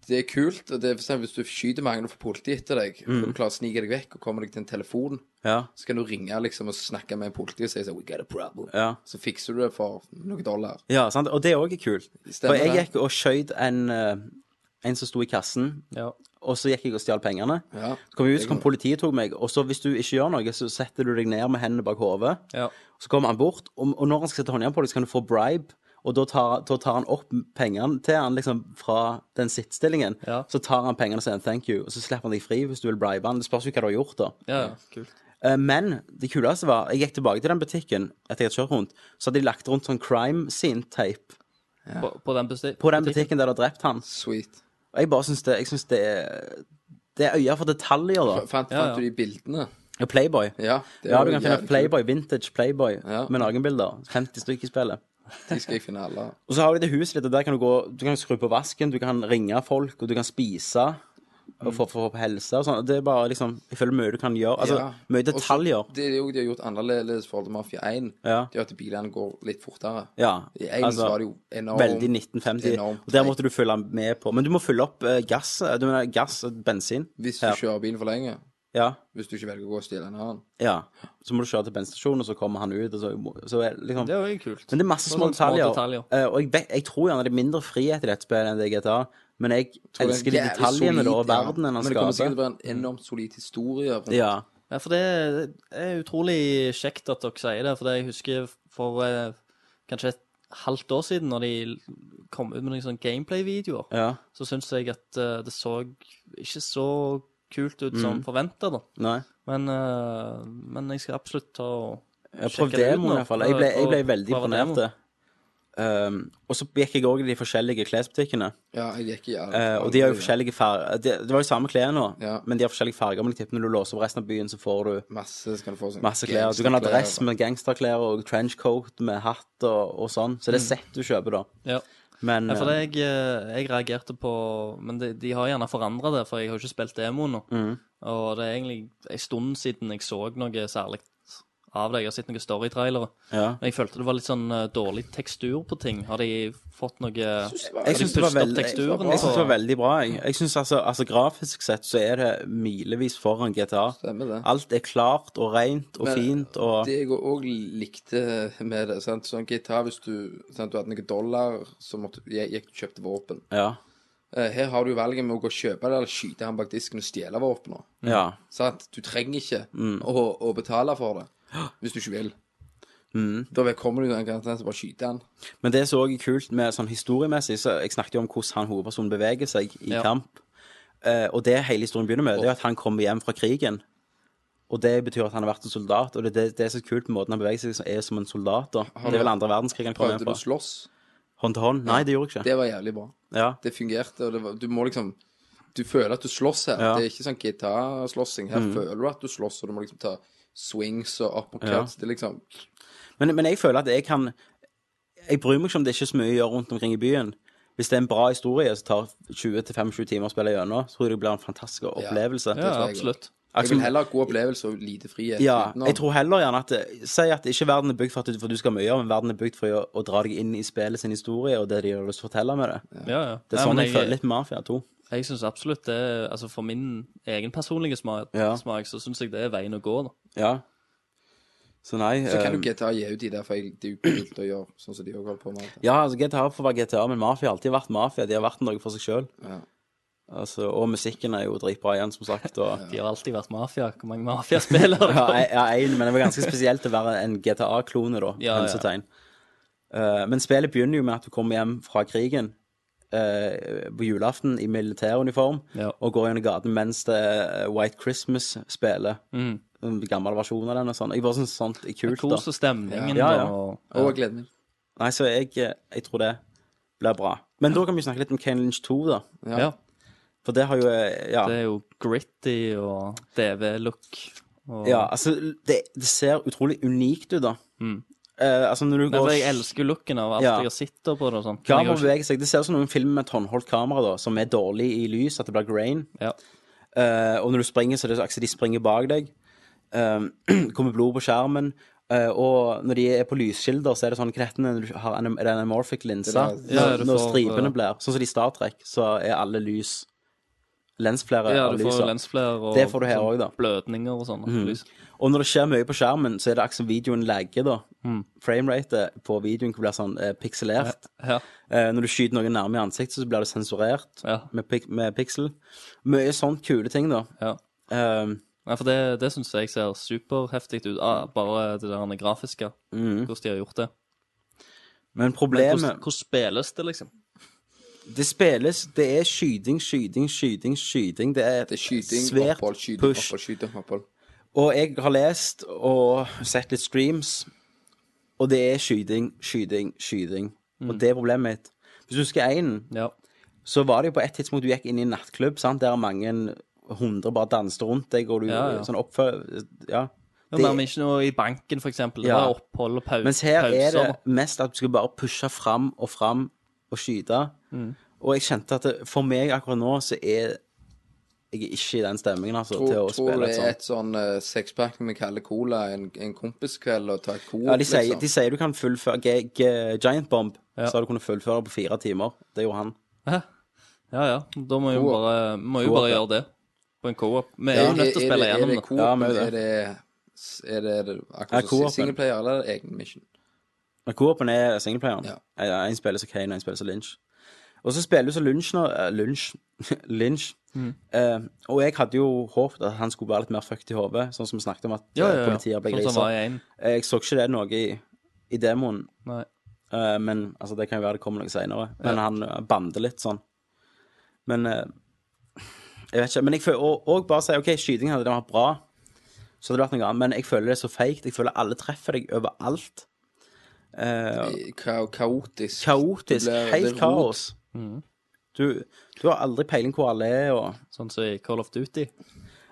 Speaker 8: det er kult. og Det er for eksempel, Hvis du skyter mange og får politi etter deg, og du klarer å snike deg vekk og kommer deg til en telefon,
Speaker 7: Mm. ja.
Speaker 8: så kan du ringe liksom og snakke med en politi og si sånn We got a problem.
Speaker 7: Ja.
Speaker 8: Så fikser du det for noen dollar.
Speaker 7: ja, sant? Og det òg er kult.
Speaker 8: Stemmer
Speaker 7: For jeg
Speaker 8: det.
Speaker 7: gikk og skjøt en, eh, en som sto i kassen,
Speaker 9: Ja.
Speaker 7: og så gikk jeg og stjal pengene.
Speaker 8: Ja.
Speaker 7: Så kom jeg ut, så kom politiet og tok meg, og så hvis du ikke gjør noe, så setter du deg ned med hendene bak hodet.
Speaker 9: Ja.
Speaker 7: Så kommer han bort, og, og når han skal sette håndjern på deg, så kan du få bribe. Og da tar, da tar han opp pengene til han liksom fra den sittstillingen.
Speaker 9: Ja.
Speaker 7: Så tar han pengene og sier en thank you, og så slipper han deg fri hvis du vil bribe han. Det spørs jo hva du har gjort, da.
Speaker 9: ja, kult.
Speaker 7: Eh, Men det kuleste var Jeg gikk tilbake til den butikken etter jeg hadde kjørt rundt. Så hadde de lagt rundt sånn crime scene-tape
Speaker 9: På, på den besti-
Speaker 7: på den butikken der de har drept han.
Speaker 8: Sweet.
Speaker 7: Og jeg bare syns det, jeg synes det er Det er øya for detaljer, da.
Speaker 8: F- Fant,
Speaker 9: Ja, ja.
Speaker 8: fant du de bildene?
Speaker 7: Og Playboy.
Speaker 8: Ja. det
Speaker 7: Ja,
Speaker 8: var
Speaker 7: du
Speaker 8: jo
Speaker 7: kan finne
Speaker 8: jævlig
Speaker 7: Playboy, vintage Playboy
Speaker 8: Ja.
Speaker 7: med nakenbilder. 50 stykker i spillet.
Speaker 8: kult. De skal jeg finne alle.
Speaker 7: Og så har du det huset ditt, og der kan du gå Du kan skru på vasken, du kan ringe folk, og du kan spise. Og få, få, få helse og sånn. Det er bare liksom Jeg føler mye du kan gjøre. [laughs] Altså,
Speaker 8: Ja.
Speaker 7: mye detaljer.
Speaker 8: Også, det er jo de har gjort annerledes i forhold til Mafia 1.
Speaker 7: Ja.
Speaker 8: Det er at bilene går litt fortere.
Speaker 7: Ja.
Speaker 8: I 1
Speaker 7: altså,
Speaker 8: så var det jo enormt
Speaker 7: Veldig 1950.
Speaker 8: enormt
Speaker 7: og der
Speaker 8: treigt.
Speaker 7: måtte du følge med på. Men du må fylle opp eh, gass, eh, du mener gass og bensin.
Speaker 8: Hvis du
Speaker 7: Ja.
Speaker 8: kjører bilen for lenge.
Speaker 7: Ja.
Speaker 8: Hvis du ikke velger å gå og stjele en annen.
Speaker 7: ja. Så må du kjøre til bensinstasjonen, og så kommer han ut, og så, så er det liksom
Speaker 9: Det er jo kult.
Speaker 7: Men det er masse
Speaker 9: Det er
Speaker 7: små
Speaker 9: sånne små
Speaker 7: detaljer.
Speaker 9: detaljer.
Speaker 7: Eh, og jeg, vet, jeg tror gjerne det er mindre frihet i dette spillet enn det er i GTA, men jeg
Speaker 8: Tror det er
Speaker 7: elsker de
Speaker 8: jævlig
Speaker 7: detaljene da,
Speaker 8: solid,
Speaker 7: og verdenen han
Speaker 8: Men det kommer sikkert
Speaker 7: skaper.
Speaker 8: til å være en enormt solid historie. rundt-
Speaker 7: Ja.
Speaker 9: Ja, for det er utrolig kjekt at dere sier det, for det jeg husker for eh, kanskje et halvt år siden, når de kom ut med noen sånne gameplay-videoer,
Speaker 7: Ja.
Speaker 9: så syns jeg at eh, det så ikke så kult ut som forventa, da.
Speaker 7: Nei.
Speaker 9: Men, eh, men jeg skal absolutt ta og
Speaker 7: Jeg
Speaker 9: Sjekke
Speaker 7: prøvde
Speaker 9: det ut
Speaker 7: demoen
Speaker 9: nå.
Speaker 7: i hvert fall. Jeg ble, jeg ble
Speaker 9: Prøv-
Speaker 7: veldig
Speaker 9: prøv demoen.
Speaker 7: imponert. Um, og så gikk jeg òg i de forskjellige klesbutikkene.
Speaker 8: Ja, jeg gikk i
Speaker 7: eh, og de har jo forskjellige farger Det det var jo samme klær nå,
Speaker 8: Ja.
Speaker 7: men de har forskjellige farger. Men jeg tipper når du låser opp resten av byen, så får du
Speaker 8: Masse skal du få sånn
Speaker 7: masse klær. Du kan ha
Speaker 8: gangsterklær,
Speaker 7: dress
Speaker 8: da.
Speaker 7: med gangsterklær og trenchcoat med hatt og, og sånn. Så det er sett du kjøper, da.
Speaker 9: Ja.
Speaker 7: Men
Speaker 9: Ja, for
Speaker 7: eh,
Speaker 9: det jeg, eh, jeg reagerte på Men de, de har gjerne forandra det, for jeg har jo ikke spilt demoen nå. Og det er egentlig en stund siden jeg så noe særlig av det. Jeg har sett noen storytrailere.
Speaker 7: Ja.
Speaker 9: Men jeg følte det var litt sånn eh, dårlig tekstur på ting. Har de fått noe Har
Speaker 7: Jeg
Speaker 9: de
Speaker 7: syns det, var
Speaker 9: pustet opp
Speaker 7: veldig- jeg
Speaker 9: teksturen
Speaker 7: synes det
Speaker 9: på-
Speaker 7: var veldig bra. Jeg, jeg synes altså, altså Grafisk sett så er det milevis foran GTA.
Speaker 8: Stemmer det.
Speaker 7: Alt er klart og rent og
Speaker 8: Men
Speaker 7: fint og
Speaker 8: Det jeg òg likte med det sant? Sånn gitar, hvis du, sant? du hadde noen dollar, så måtte, jeg, jeg kjøpte våpen.
Speaker 7: Ja.
Speaker 8: Eh, Her har du valget med å gå og kjøpe det, eller skyte han bak disken og stjele våpenet.
Speaker 9: Mm.
Speaker 7: ja.
Speaker 8: Sant? Du trenger ikke
Speaker 7: Mm.
Speaker 8: å, å betale for det, hvis du ikke vil.
Speaker 7: Mm.
Speaker 8: Da vel kommer du i den garantien, så bare skyter han.
Speaker 7: Men det som òg er kult med sånn historiemessig, så jeg snakket jo om hvordan han hovedpersonen beveger seg i
Speaker 9: Ja.
Speaker 7: kamp. Eh, og det hele historien begynner med, det er jo at han kommer hjem fra krigen. Og det betyr at han har vært en soldat, og det, det, det er så kult med måten han beveger seg som er som en soldat. da. Det er vel andre verdenskrig han kom hjem
Speaker 8: Prøvde du
Speaker 7: fra.
Speaker 8: å slåss?
Speaker 7: Hånd til hånd? Nei, det gjorde jeg ikke.
Speaker 8: Det var jævlig bra.
Speaker 7: Ja.
Speaker 8: Det fungerte, og det var, du må liksom Du føler at du slåss her.
Speaker 7: Ja. Mm.
Speaker 8: Det er ikke sånn gitarslåssing. Her føler du at du slåss, og du må liksom ta swings og uppercuts. Det er liksom
Speaker 7: Men, men jeg føler at jeg kan Jeg bryr meg ikke om det er ikke er så mye å gjøre rundt omkring i byen. Hvis det er en bra historie som tar 20-25 timer å spille gjennom, så tror jeg det blir en fantastisk opplevelse.
Speaker 9: Ja,
Speaker 8: tror jeg
Speaker 9: absolutt.
Speaker 8: Jeg vil heller ha god opplevelse og lite frihet.
Speaker 7: Ja,
Speaker 8: utenom.
Speaker 7: jeg tror heller gjerne at det- Si at ikke verden er bygd for at du, for du skal mye, men verden er bygd for å, å dra deg inn i spillet sin historie og det de har lyst til å fortelle med det.
Speaker 9: Ja, ja.
Speaker 7: Det er
Speaker 9: Nei,
Speaker 7: sånn
Speaker 9: men
Speaker 7: jeg, føler litt Mafia 2.
Speaker 9: Jeg syns absolutt det Altså for min egen personlige smak,
Speaker 7: Ja.
Speaker 9: smak så syns jeg det er veien å gå, da.
Speaker 7: Ja. Så nei
Speaker 8: Så kan
Speaker 7: eh,
Speaker 8: jo GTA gi ut de der, for jeg- det er jo kult å gjøre sånn som de også holder på med.
Speaker 7: Ja, altså GTA får være GTA, men Mafia har alltid vært Mafia. De har vært noe for seg sjøl.
Speaker 8: Ja.
Speaker 7: Altså, og musikken er jo dritbra igjen, som sagt. Og,
Speaker 9: De har alltid vært mafia. Hvor mange mafiaspillere?
Speaker 7: [laughs] Ja, jeg- ja, en, men det var ganske spesielt å være en GTA-klone, da.
Speaker 9: Ja, ja.
Speaker 7: Hønsetegn. Eh, men spillet begynner jo med at du kommer hjem fra krigen eh, på julaften i militæruniform
Speaker 9: Ja.
Speaker 7: og går gjennom gaten mens det er White Christmas spiller.
Speaker 9: Mm.
Speaker 7: En gammel versjon av den og sånn. Jeg bare syns sånt er kult, da.
Speaker 9: Kos og stemningen
Speaker 7: Ja, ja.
Speaker 9: og
Speaker 8: Og jeg gleder meg.
Speaker 7: Nei, så jeg, eh, jeg tror det blir bra. Men da kan vi snakke litt om Kane Lynch 2, da.
Speaker 8: Ja.
Speaker 9: ja.
Speaker 7: For det har jo eh, Ja.
Speaker 9: Det er jo gritty og DV-look. Og...
Speaker 7: ja altså, det, det ser utrolig unikt ut, da. Eh, altså, når du
Speaker 9: Nei,
Speaker 7: går
Speaker 9: Mm. for jeg elsker looken av alt
Speaker 7: Ja.
Speaker 9: jeg sitter på det og sånn. Men jeg
Speaker 7: Kamera
Speaker 9: har ikke-
Speaker 7: beveger seg. Det ser ut som noen film med et håndholdt kamera da, som er dårlig i lys, at det blir grain.
Speaker 9: Ja.
Speaker 7: Eh, og når du springer, så er det så akkurat de springer bak deg. Um, [clears throat] kommer blod på skjermen. Eh, og når de er på lyskilder, så er det sånn hva heter det når du har anim- er det anamorphic linse.
Speaker 8: Det
Speaker 9: Ja,
Speaker 7: Når,
Speaker 9: du
Speaker 7: når
Speaker 9: får,
Speaker 7: stripene
Speaker 9: eh,
Speaker 7: blir Sånn som i Star Trek, så er alle lys lensflere
Speaker 9: Ja,
Speaker 7: av
Speaker 9: du får
Speaker 7: lyset.
Speaker 9: lensflare og
Speaker 7: Det får du her
Speaker 9: sånn
Speaker 7: også, da. Mhm.
Speaker 9: blødninger og sånn. lys.
Speaker 7: Og når det skjer mye på skjermen, så er det akkurat som videoen lagger, da. Frameratet på videoen blir sånn eh, pikselert.
Speaker 9: Mm. Ja.
Speaker 7: Eh, når du skyter noen nærme i ansiktet, så blir det sensurert
Speaker 9: Ja.
Speaker 7: med, pik med pixel. Mye sånt kule ting, da.
Speaker 9: ja.
Speaker 7: Eh,
Speaker 9: Nei, for det, det syns jeg ser superheftig ut. Ah, bare det der grafiske.
Speaker 7: Mhm.
Speaker 9: Hvordan de har gjort det.
Speaker 7: men
Speaker 9: Men
Speaker 7: problemet
Speaker 9: hvordan, hvordan spilles det, liksom?
Speaker 7: Det spilles Det er skyting, skyting, skyting, skyting. Det er,
Speaker 8: Det er skyting,
Speaker 7: svært
Speaker 8: opphold, skyting,
Speaker 7: push.
Speaker 8: opphold, skyting, opphold.
Speaker 7: Og jeg har lest og sett litt streams, og det er skyting, skyting, skyting.
Speaker 9: Mm.
Speaker 7: Og det er problemet mitt. Hvis du husker én,
Speaker 9: Ja.
Speaker 7: så var det jo på et tidspunkt du gikk inn i en nattklubb, sant, der mange hundre bare danset rundt deg, og du
Speaker 9: Ja, ja.
Speaker 7: sånn oppfølger Ja.
Speaker 9: Det... Men ikke noe i banken, for eksempel. Det
Speaker 7: Ja.
Speaker 9: var opphold og pau- pauser.
Speaker 7: Mens her er det mest at du skal bare pushe fram og fram og skyte.
Speaker 9: Mm.
Speaker 7: Og jeg kjente at det, for meg akkurat nå så er jeg er ikke i den stemningen altså, til
Speaker 8: Tror,
Speaker 7: å
Speaker 8: tror
Speaker 7: spille et
Speaker 8: det er
Speaker 7: sånt.
Speaker 8: et sånn eh, sexpack med kalde cola en, en kompiskveld og ta et coop,
Speaker 7: Ja, de sier,
Speaker 8: liksom.
Speaker 7: de sier du kan fullføre G G Giant Bomb
Speaker 9: Ja.
Speaker 7: sa du kunne fullføre på fire timer. Det gjorde han.
Speaker 9: Ja, ja. Da må jo
Speaker 8: Co-op.
Speaker 9: bare, må jo
Speaker 7: Co-op,
Speaker 9: bare
Speaker 7: ja.
Speaker 9: gjøre det. På en co-op. Vi
Speaker 8: Ja,
Speaker 9: er jo nødt til å spille
Speaker 8: er
Speaker 9: gjennom
Speaker 8: det
Speaker 9: det.
Speaker 8: coop,
Speaker 7: Ja, men det.
Speaker 8: er det Er det, er det
Speaker 7: Ja,
Speaker 8: akkurat som
Speaker 7: co-open.
Speaker 8: singleplayer eller er det egen mission?
Speaker 7: Men Co-open er singleplayeren.
Speaker 8: Ja.
Speaker 7: Ja. En spiller som Kane, og en spiller som Lynch. Og så spiller du som Lynch nå. eh, Lynch. [laughs] Lynch.
Speaker 9: Mm.
Speaker 7: Eh, og jeg hadde jo håpet at han skulle være litt mer fucked i hodet, sånn som vi snakket om at
Speaker 9: Ja, Sånn ja,
Speaker 7: eh,
Speaker 9: ja.
Speaker 7: politiet ble
Speaker 9: Sånn som
Speaker 7: grisa.
Speaker 9: var i en.
Speaker 7: Jeg så ikke det noe i, i demoen.
Speaker 9: Nei.
Speaker 7: Eh, men altså, det kan jo være det kommer noe senere. Men han eh, bander litt sånn. Men eh, Jeg vet ikke. Men jeg føler og, og bare si OK, skytingen hadde det vært bra, så hadde det vært noe annet. Men jeg føler det er så feigt. Jeg føler alle treffer deg overalt.
Speaker 8: Ka kaotisk.
Speaker 7: Kaotisk.
Speaker 8: Det blir- Mm. det
Speaker 7: Helt
Speaker 8: er rot.
Speaker 7: kaos. Du, du har aldri peiling hvor alle er og
Speaker 9: Sånn som i Call of Duty.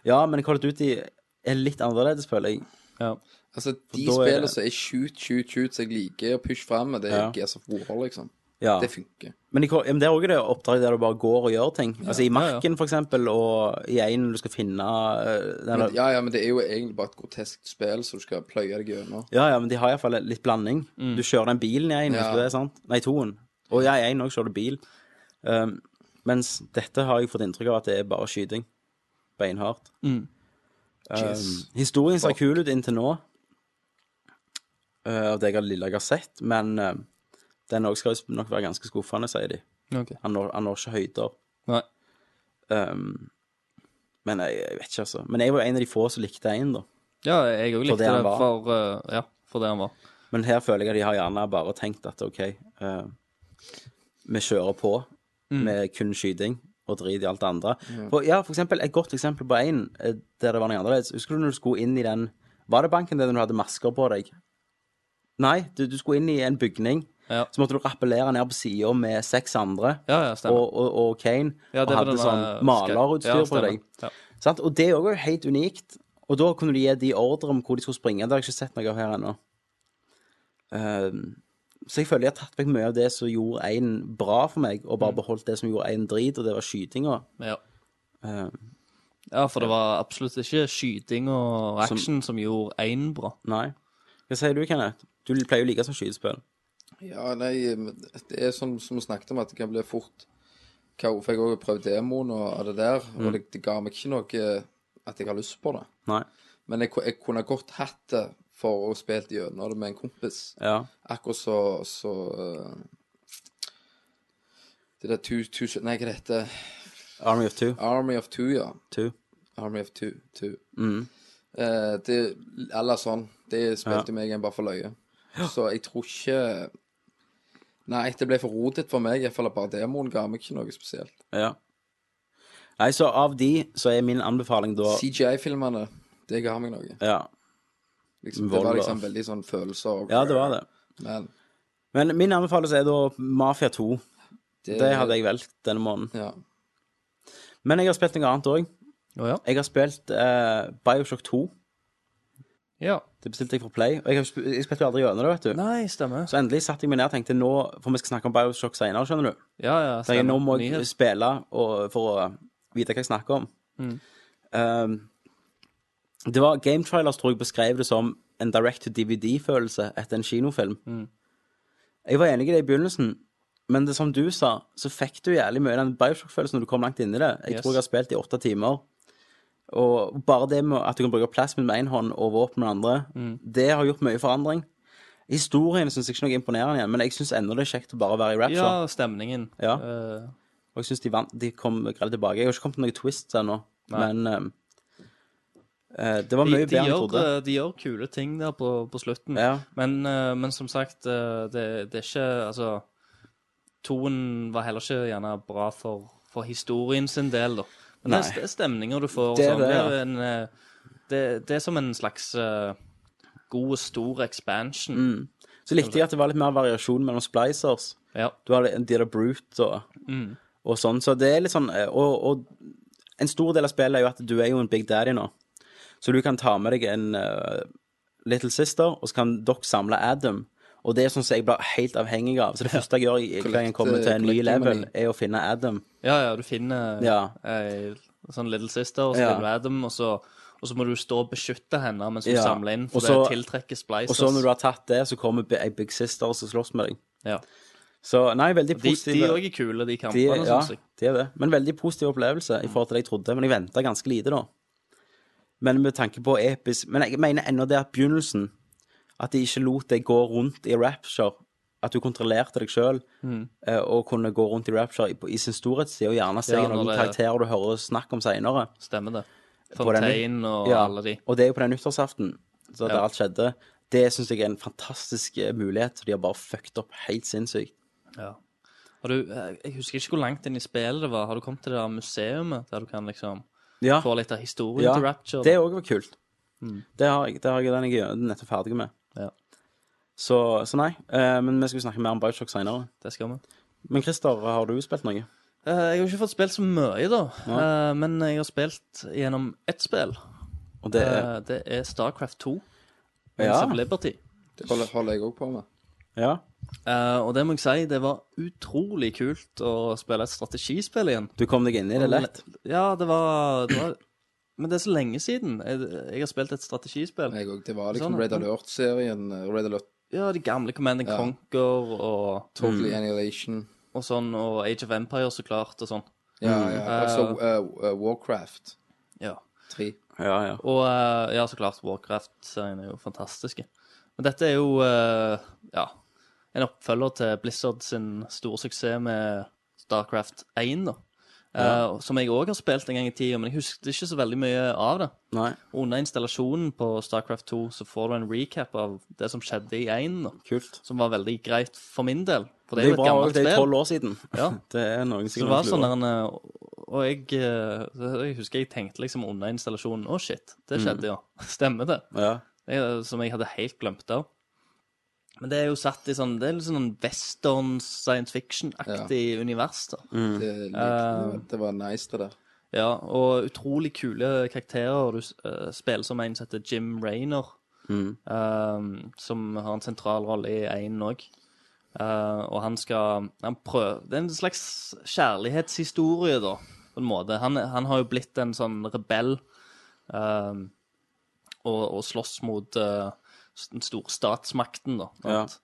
Speaker 7: Ja, men Call of Duty er litt annerledes, føler jeg.
Speaker 9: Ja.
Speaker 8: Altså, de
Speaker 7: da er
Speaker 8: spillene
Speaker 7: det-
Speaker 8: som er shoot, shoot, shoot, som jeg liker å pushe fram med, det er
Speaker 7: Ja.
Speaker 8: Gears of War, liksom.
Speaker 7: Ja.
Speaker 8: Det funker.
Speaker 7: Men, i, Call- ja, men det er også det oppdraget der du bare går og gjør ting. altså I
Speaker 9: ja, ja.
Speaker 7: marken, for eksempel, og i einen du skal finne eh, den,
Speaker 8: Men, ja, ja, men det er jo egentlig bare et grotesk spill som du skal pløye deg gjennom.
Speaker 7: Ja, ja, men de har iallfall litt blanding.
Speaker 9: Mm.
Speaker 7: Du kjører den bilen i én,
Speaker 8: Ja.
Speaker 7: husker du det? sant? Nei, toen. Og ja, i én òg kjører du bil. Um, mens dette har jeg fått inntrykk av at det er bare skyting. Beinhardt. Um,
Speaker 9: Mm.
Speaker 8: Jeez.
Speaker 7: historien ser kul ut inntil nå, uh, av det jeg har lille jeg har sett, men uh, den òg skal jo nok være ganske skuffende, sier de.
Speaker 9: Ok.
Speaker 7: Han når, han når ikke høyder.
Speaker 9: Nei.
Speaker 7: Um, men jeg, jeg vet ikke, altså. Men jeg var en av de få som likte én, da.
Speaker 9: Ja, jeg òg likte
Speaker 7: det han
Speaker 9: det
Speaker 7: var.
Speaker 9: for, eh, ja, for det han var.
Speaker 7: Men her føler jeg at de har gjerne bare tenkt at OK, eh, vi kjører på
Speaker 9: Mm.
Speaker 7: med kun skyting og drit i alt det andre. For, ja, for eksempel, et godt eksempel på en eh, der det var noe annerledes. Husker du når du skulle inn i den Var det banken der du hadde masker på deg? Nei, du, du skulle inn i en bygning.
Speaker 9: Ja.
Speaker 7: Så måtte du rappellere ned på sida med seks andre
Speaker 9: Ja, ja,
Speaker 7: og,
Speaker 9: stemmer.
Speaker 7: og, og Kane.
Speaker 9: ja,
Speaker 7: og hadde sånn malerutstyr på deg.
Speaker 9: Ja.
Speaker 7: Sant? Og det òg er jo helt unikt. Og da kunne de gi de ordre om hvor de skulle springe. Det har jeg ikke sett noe av her ennå. Ehm, så jeg føler jeg har tatt vekk mye av det som gjorde én bra for meg, og bare beholdt det som gjorde én drit, og det var skytinga.
Speaker 9: Ja.
Speaker 7: Eh,
Speaker 9: ja, for det var absolutt ikke skyting og
Speaker 7: Som-
Speaker 9: action som, gjorde én bra.
Speaker 7: nei. Hva sier du, Kenneth? Du pleier jo å like sånn skytespill.
Speaker 8: Ja, nei, men det er som, som vi snakket om, at det kan bli fort kao- For jeg har jo prøvd demoen og av det der, og det, det ga meg ikke noe eh, at jeg har lyst på det.
Speaker 7: Nei.
Speaker 8: Men jeg, ku- jeg kunne godt hatt det for å spille gjennom det med en kompis.
Speaker 7: Ja.
Speaker 8: Akkurat så, så eh, Det der tu, tu, Nei, hva det heter
Speaker 7: Army of Two.
Speaker 8: Army of Two, ja.
Speaker 7: Two.
Speaker 8: Army of Two. two.
Speaker 7: Mm.
Speaker 8: Eh, det, eller sånn. Det spilte meg en bare for løye. Så jeg tror ikke Nei, det ble for rotet for meg. Iallfall bare demoen ga meg ikke noe spesielt.
Speaker 7: Ja. Nei, så av de så er min anbefaling da
Speaker 8: CGI-filmene, det ga meg noe.
Speaker 7: Ja,
Speaker 8: Liksom, det var
Speaker 7: Vold og-
Speaker 8: liksom veldig sånn følelser. og-
Speaker 7: ja det var det.
Speaker 8: Men
Speaker 7: Men min anbefaling er da Mafia 2.
Speaker 8: det,
Speaker 7: Det hadde jeg valgt denne måneden.
Speaker 8: Ja.
Speaker 7: Men jeg har spilt noe annet òg.
Speaker 9: Å ja.
Speaker 7: Jeg har spilt eh, Bioshock 2.
Speaker 9: ja.
Speaker 7: Det bestilte jeg fra Play. Og jeg, har sp- jeg spilte jo aldri gjennom det, vet du.
Speaker 9: Nei, stemmer.
Speaker 7: Så endelig satte jeg meg ned og tenkte nå For vi skal snakke om Bioshock senere, skjønner du.
Speaker 9: Ja, ja,
Speaker 7: Så jeg,
Speaker 9: stemmer.
Speaker 7: nå må jeg
Speaker 9: Nyhet.
Speaker 7: spille og, for å vite hva jeg snakker om.
Speaker 9: Mm.
Speaker 7: Um, det var Game Trailers tror jeg beskrev det som en direct to DVD-følelse etter en kinofilm.
Speaker 9: Mm.
Speaker 7: Jeg var enig i det i begynnelsen, men det som du sa, så fikk du jævlig mye av den Bioshock-følelsen når du kom langt inn i det. Jeg
Speaker 9: Yes.
Speaker 7: tror jeg har spilt i åtte timer. Og bare det med at du kan bruke plasmen med én hånd og våpen med den andre,
Speaker 9: Mm.
Speaker 7: det har gjort mye forandring. Historien syns jeg ikke er noe imponerende igjen, men jeg syns ennå det er kjekt å bare være i rapture.
Speaker 9: Ja, stemningen.
Speaker 7: Ja.
Speaker 9: Eh,
Speaker 7: Og jeg syns de, vant- de kom greit tilbake. Jeg har ikke kommet med noen twists ennå, men ehm, eh, det var
Speaker 9: de,
Speaker 7: mye
Speaker 9: de,
Speaker 7: bedre enn jeg
Speaker 9: gjør,
Speaker 7: trodde.
Speaker 9: eh, de gjør kule ting der på, på slutten.
Speaker 7: Ja.
Speaker 9: Men, eh, men som sagt, eh, det, det er ikke Altså, toen var heller ikke gjerne bra for, for historien sin del, da. Men det er,
Speaker 7: Nei.
Speaker 9: st- det er stemninger du får.
Speaker 7: Det er
Speaker 9: sånn.
Speaker 7: det,
Speaker 9: det,
Speaker 7: ja.
Speaker 9: er en, eh, det, det er som en slags eh, god, stor expansion.
Speaker 7: Mm. Så likte jeg at det var litt mer variasjon mellom splicers.
Speaker 9: Ja.
Speaker 7: Du har litt- de der brute og,
Speaker 9: Mm.
Speaker 7: og sånn, så det er litt sånn eh, og, og en stor del av spillet er jo at du er jo en big daddy nå, så du kan ta med deg en eh, little sister, og så kan dere samle Adam. Og det er sånn som jeg blir helt avhengig av. Så det første jeg gjør i- hver gang jeg kommer til en ny
Speaker 8: Collect-
Speaker 7: level,
Speaker 8: collecting
Speaker 7: er å finne Adam.
Speaker 9: Ja, ja, du finner
Speaker 7: Ja.
Speaker 9: ei sånn Little Sister, og så
Speaker 7: Ja.
Speaker 9: finner du Adam, og så, og så må du stå og beskytte henne mens du
Speaker 7: Ja.
Speaker 9: samler inn,
Speaker 7: Og
Speaker 9: for
Speaker 7: så-
Speaker 9: det tiltrekker splicers.
Speaker 7: Og så når du har tatt det, så kommer ei big sister og så slåss med deg.
Speaker 9: ja.
Speaker 7: Så nei, veldig
Speaker 9: De, de
Speaker 7: positive.
Speaker 9: òg er kule, de
Speaker 7: De,
Speaker 9: kampene,
Speaker 7: ja,
Speaker 9: syns jeg.
Speaker 7: de er det. Men veldig positiv opplevelse i forhold til det jeg trodde. Men jeg venta ganske lite, da. Men med tanke på episk Men jeg mener ennå det at begynnelsen At de ikke lot deg gå rundt i rapture. At du kontrollerte deg sjøl
Speaker 9: Mm.
Speaker 7: og kunne gå rundt i rapture i, i sin storhetstid, og gjerne se
Speaker 9: Ja, når
Speaker 7: noen
Speaker 9: det-
Speaker 7: karakterer du hører snakk om seinere.
Speaker 9: Stemmer det.
Speaker 7: På den-
Speaker 9: Fontaine og alle de.
Speaker 7: Og det er jo på den nyttårsaften, så at
Speaker 9: Ja.
Speaker 7: alt skjedde. Det syns jeg er en fantastisk eh, mulighet. De har bare fucked opp helt sinnssykt.
Speaker 9: Har du, eh, jeg husker ikke hvor langt inn i spillet det var. Har du kommet til det der museet der du kan liksom
Speaker 7: Ja,
Speaker 9: få litt av historien
Speaker 7: ja
Speaker 9: til Rapture? Mm.
Speaker 7: det òg var kult. Det har jeg, det har jeg den jeg er nettopp ferdig med.
Speaker 9: Ja.
Speaker 7: Så, så nei. eh, men vi skal jo snakke mer om Bioshock seinere.
Speaker 9: Det skal vi.
Speaker 7: Men Christer, har du spilt noe?
Speaker 9: Eh, jeg har ikke fått spilt så mye, da. Eh, men jeg har spilt gjennom ett spill.
Speaker 7: Og det er
Speaker 9: Eh, det er Starcraft 2.
Speaker 7: Ja.
Speaker 9: Ja. Of Liberty.
Speaker 8: Det holder, holder jeg òg på med.
Speaker 7: Ja.
Speaker 9: Eh, og det må jeg si, det var utrolig kult å spille et strategispill igjen.
Speaker 7: Du kom deg inn i det lett?
Speaker 9: Ja, det var, det var Men det er så lenge siden jeg, jeg har spilt et strategispill.
Speaker 8: Jeg òg. Det var liksom
Speaker 9: Sånn,
Speaker 8: Red
Speaker 9: ja.
Speaker 8: Alert-serien. eh, Red Alert
Speaker 9: Ja, de gamle Command and
Speaker 8: Ja.
Speaker 9: Conquer og,
Speaker 7: Mm.
Speaker 8: Totally Annihilation.
Speaker 9: og sånn, og Age of Empire så klart, og sånn.
Speaker 8: Ja,
Speaker 7: Mm.
Speaker 8: ja. Altså eh, eh, Warcraft
Speaker 9: Ja.
Speaker 8: 3.
Speaker 7: Ja, ja.
Speaker 9: Og eh, ja, så klart, Warcraft-serien er jo fantastiske. Men dette er jo eh, ja, en oppfølger til Blizzard sin store suksess med Starcraft 1, da. Eh, Som jeg òg har spilt en gang i tida, men jeg husket ikke så veldig mye av det.
Speaker 7: Nei.
Speaker 9: Under installasjonen på Starcraft 2 så får du en recap av det som skjedde i 1, da.
Speaker 7: Kult.
Speaker 9: som var veldig greit for min del. For
Speaker 7: Det
Speaker 9: det
Speaker 7: er
Speaker 9: er jo et
Speaker 7: bra òg.
Speaker 9: gammelt
Speaker 7: Det er
Speaker 9: spill.
Speaker 7: tolv år siden. [laughs]
Speaker 9: Ja.
Speaker 7: Det er noen
Speaker 9: Så det
Speaker 7: sikkert
Speaker 9: var
Speaker 7: noen
Speaker 9: sånn
Speaker 7: som lurer.
Speaker 9: der eh, Og jeg, eh, jeg husker jeg tenkte liksom under installasjonen Å, shit,
Speaker 7: Mm.
Speaker 9: det skjedde, ja. [laughs] Stemmer det?
Speaker 7: Ja.
Speaker 9: det er- som jeg hadde helt glemt av. Men det er jo satt i sånn Det er litt sånn western science fiction-aktig univers, da.
Speaker 7: Mm. Eh.
Speaker 8: Det, likte- det var nice, det der.
Speaker 9: Ja, og utrolig kule karakterer. Du eh, spiller som en som heter Jim Raynor, eh, som har en sentral rolle i Einen òg. og han skal han prøver, Det er en slags kjærlighetshistorie, da, på en måte. Han, han har jo blitt en sånn rebell eh, og, og slåss mot eh, s- den store statsmakten, da. sant?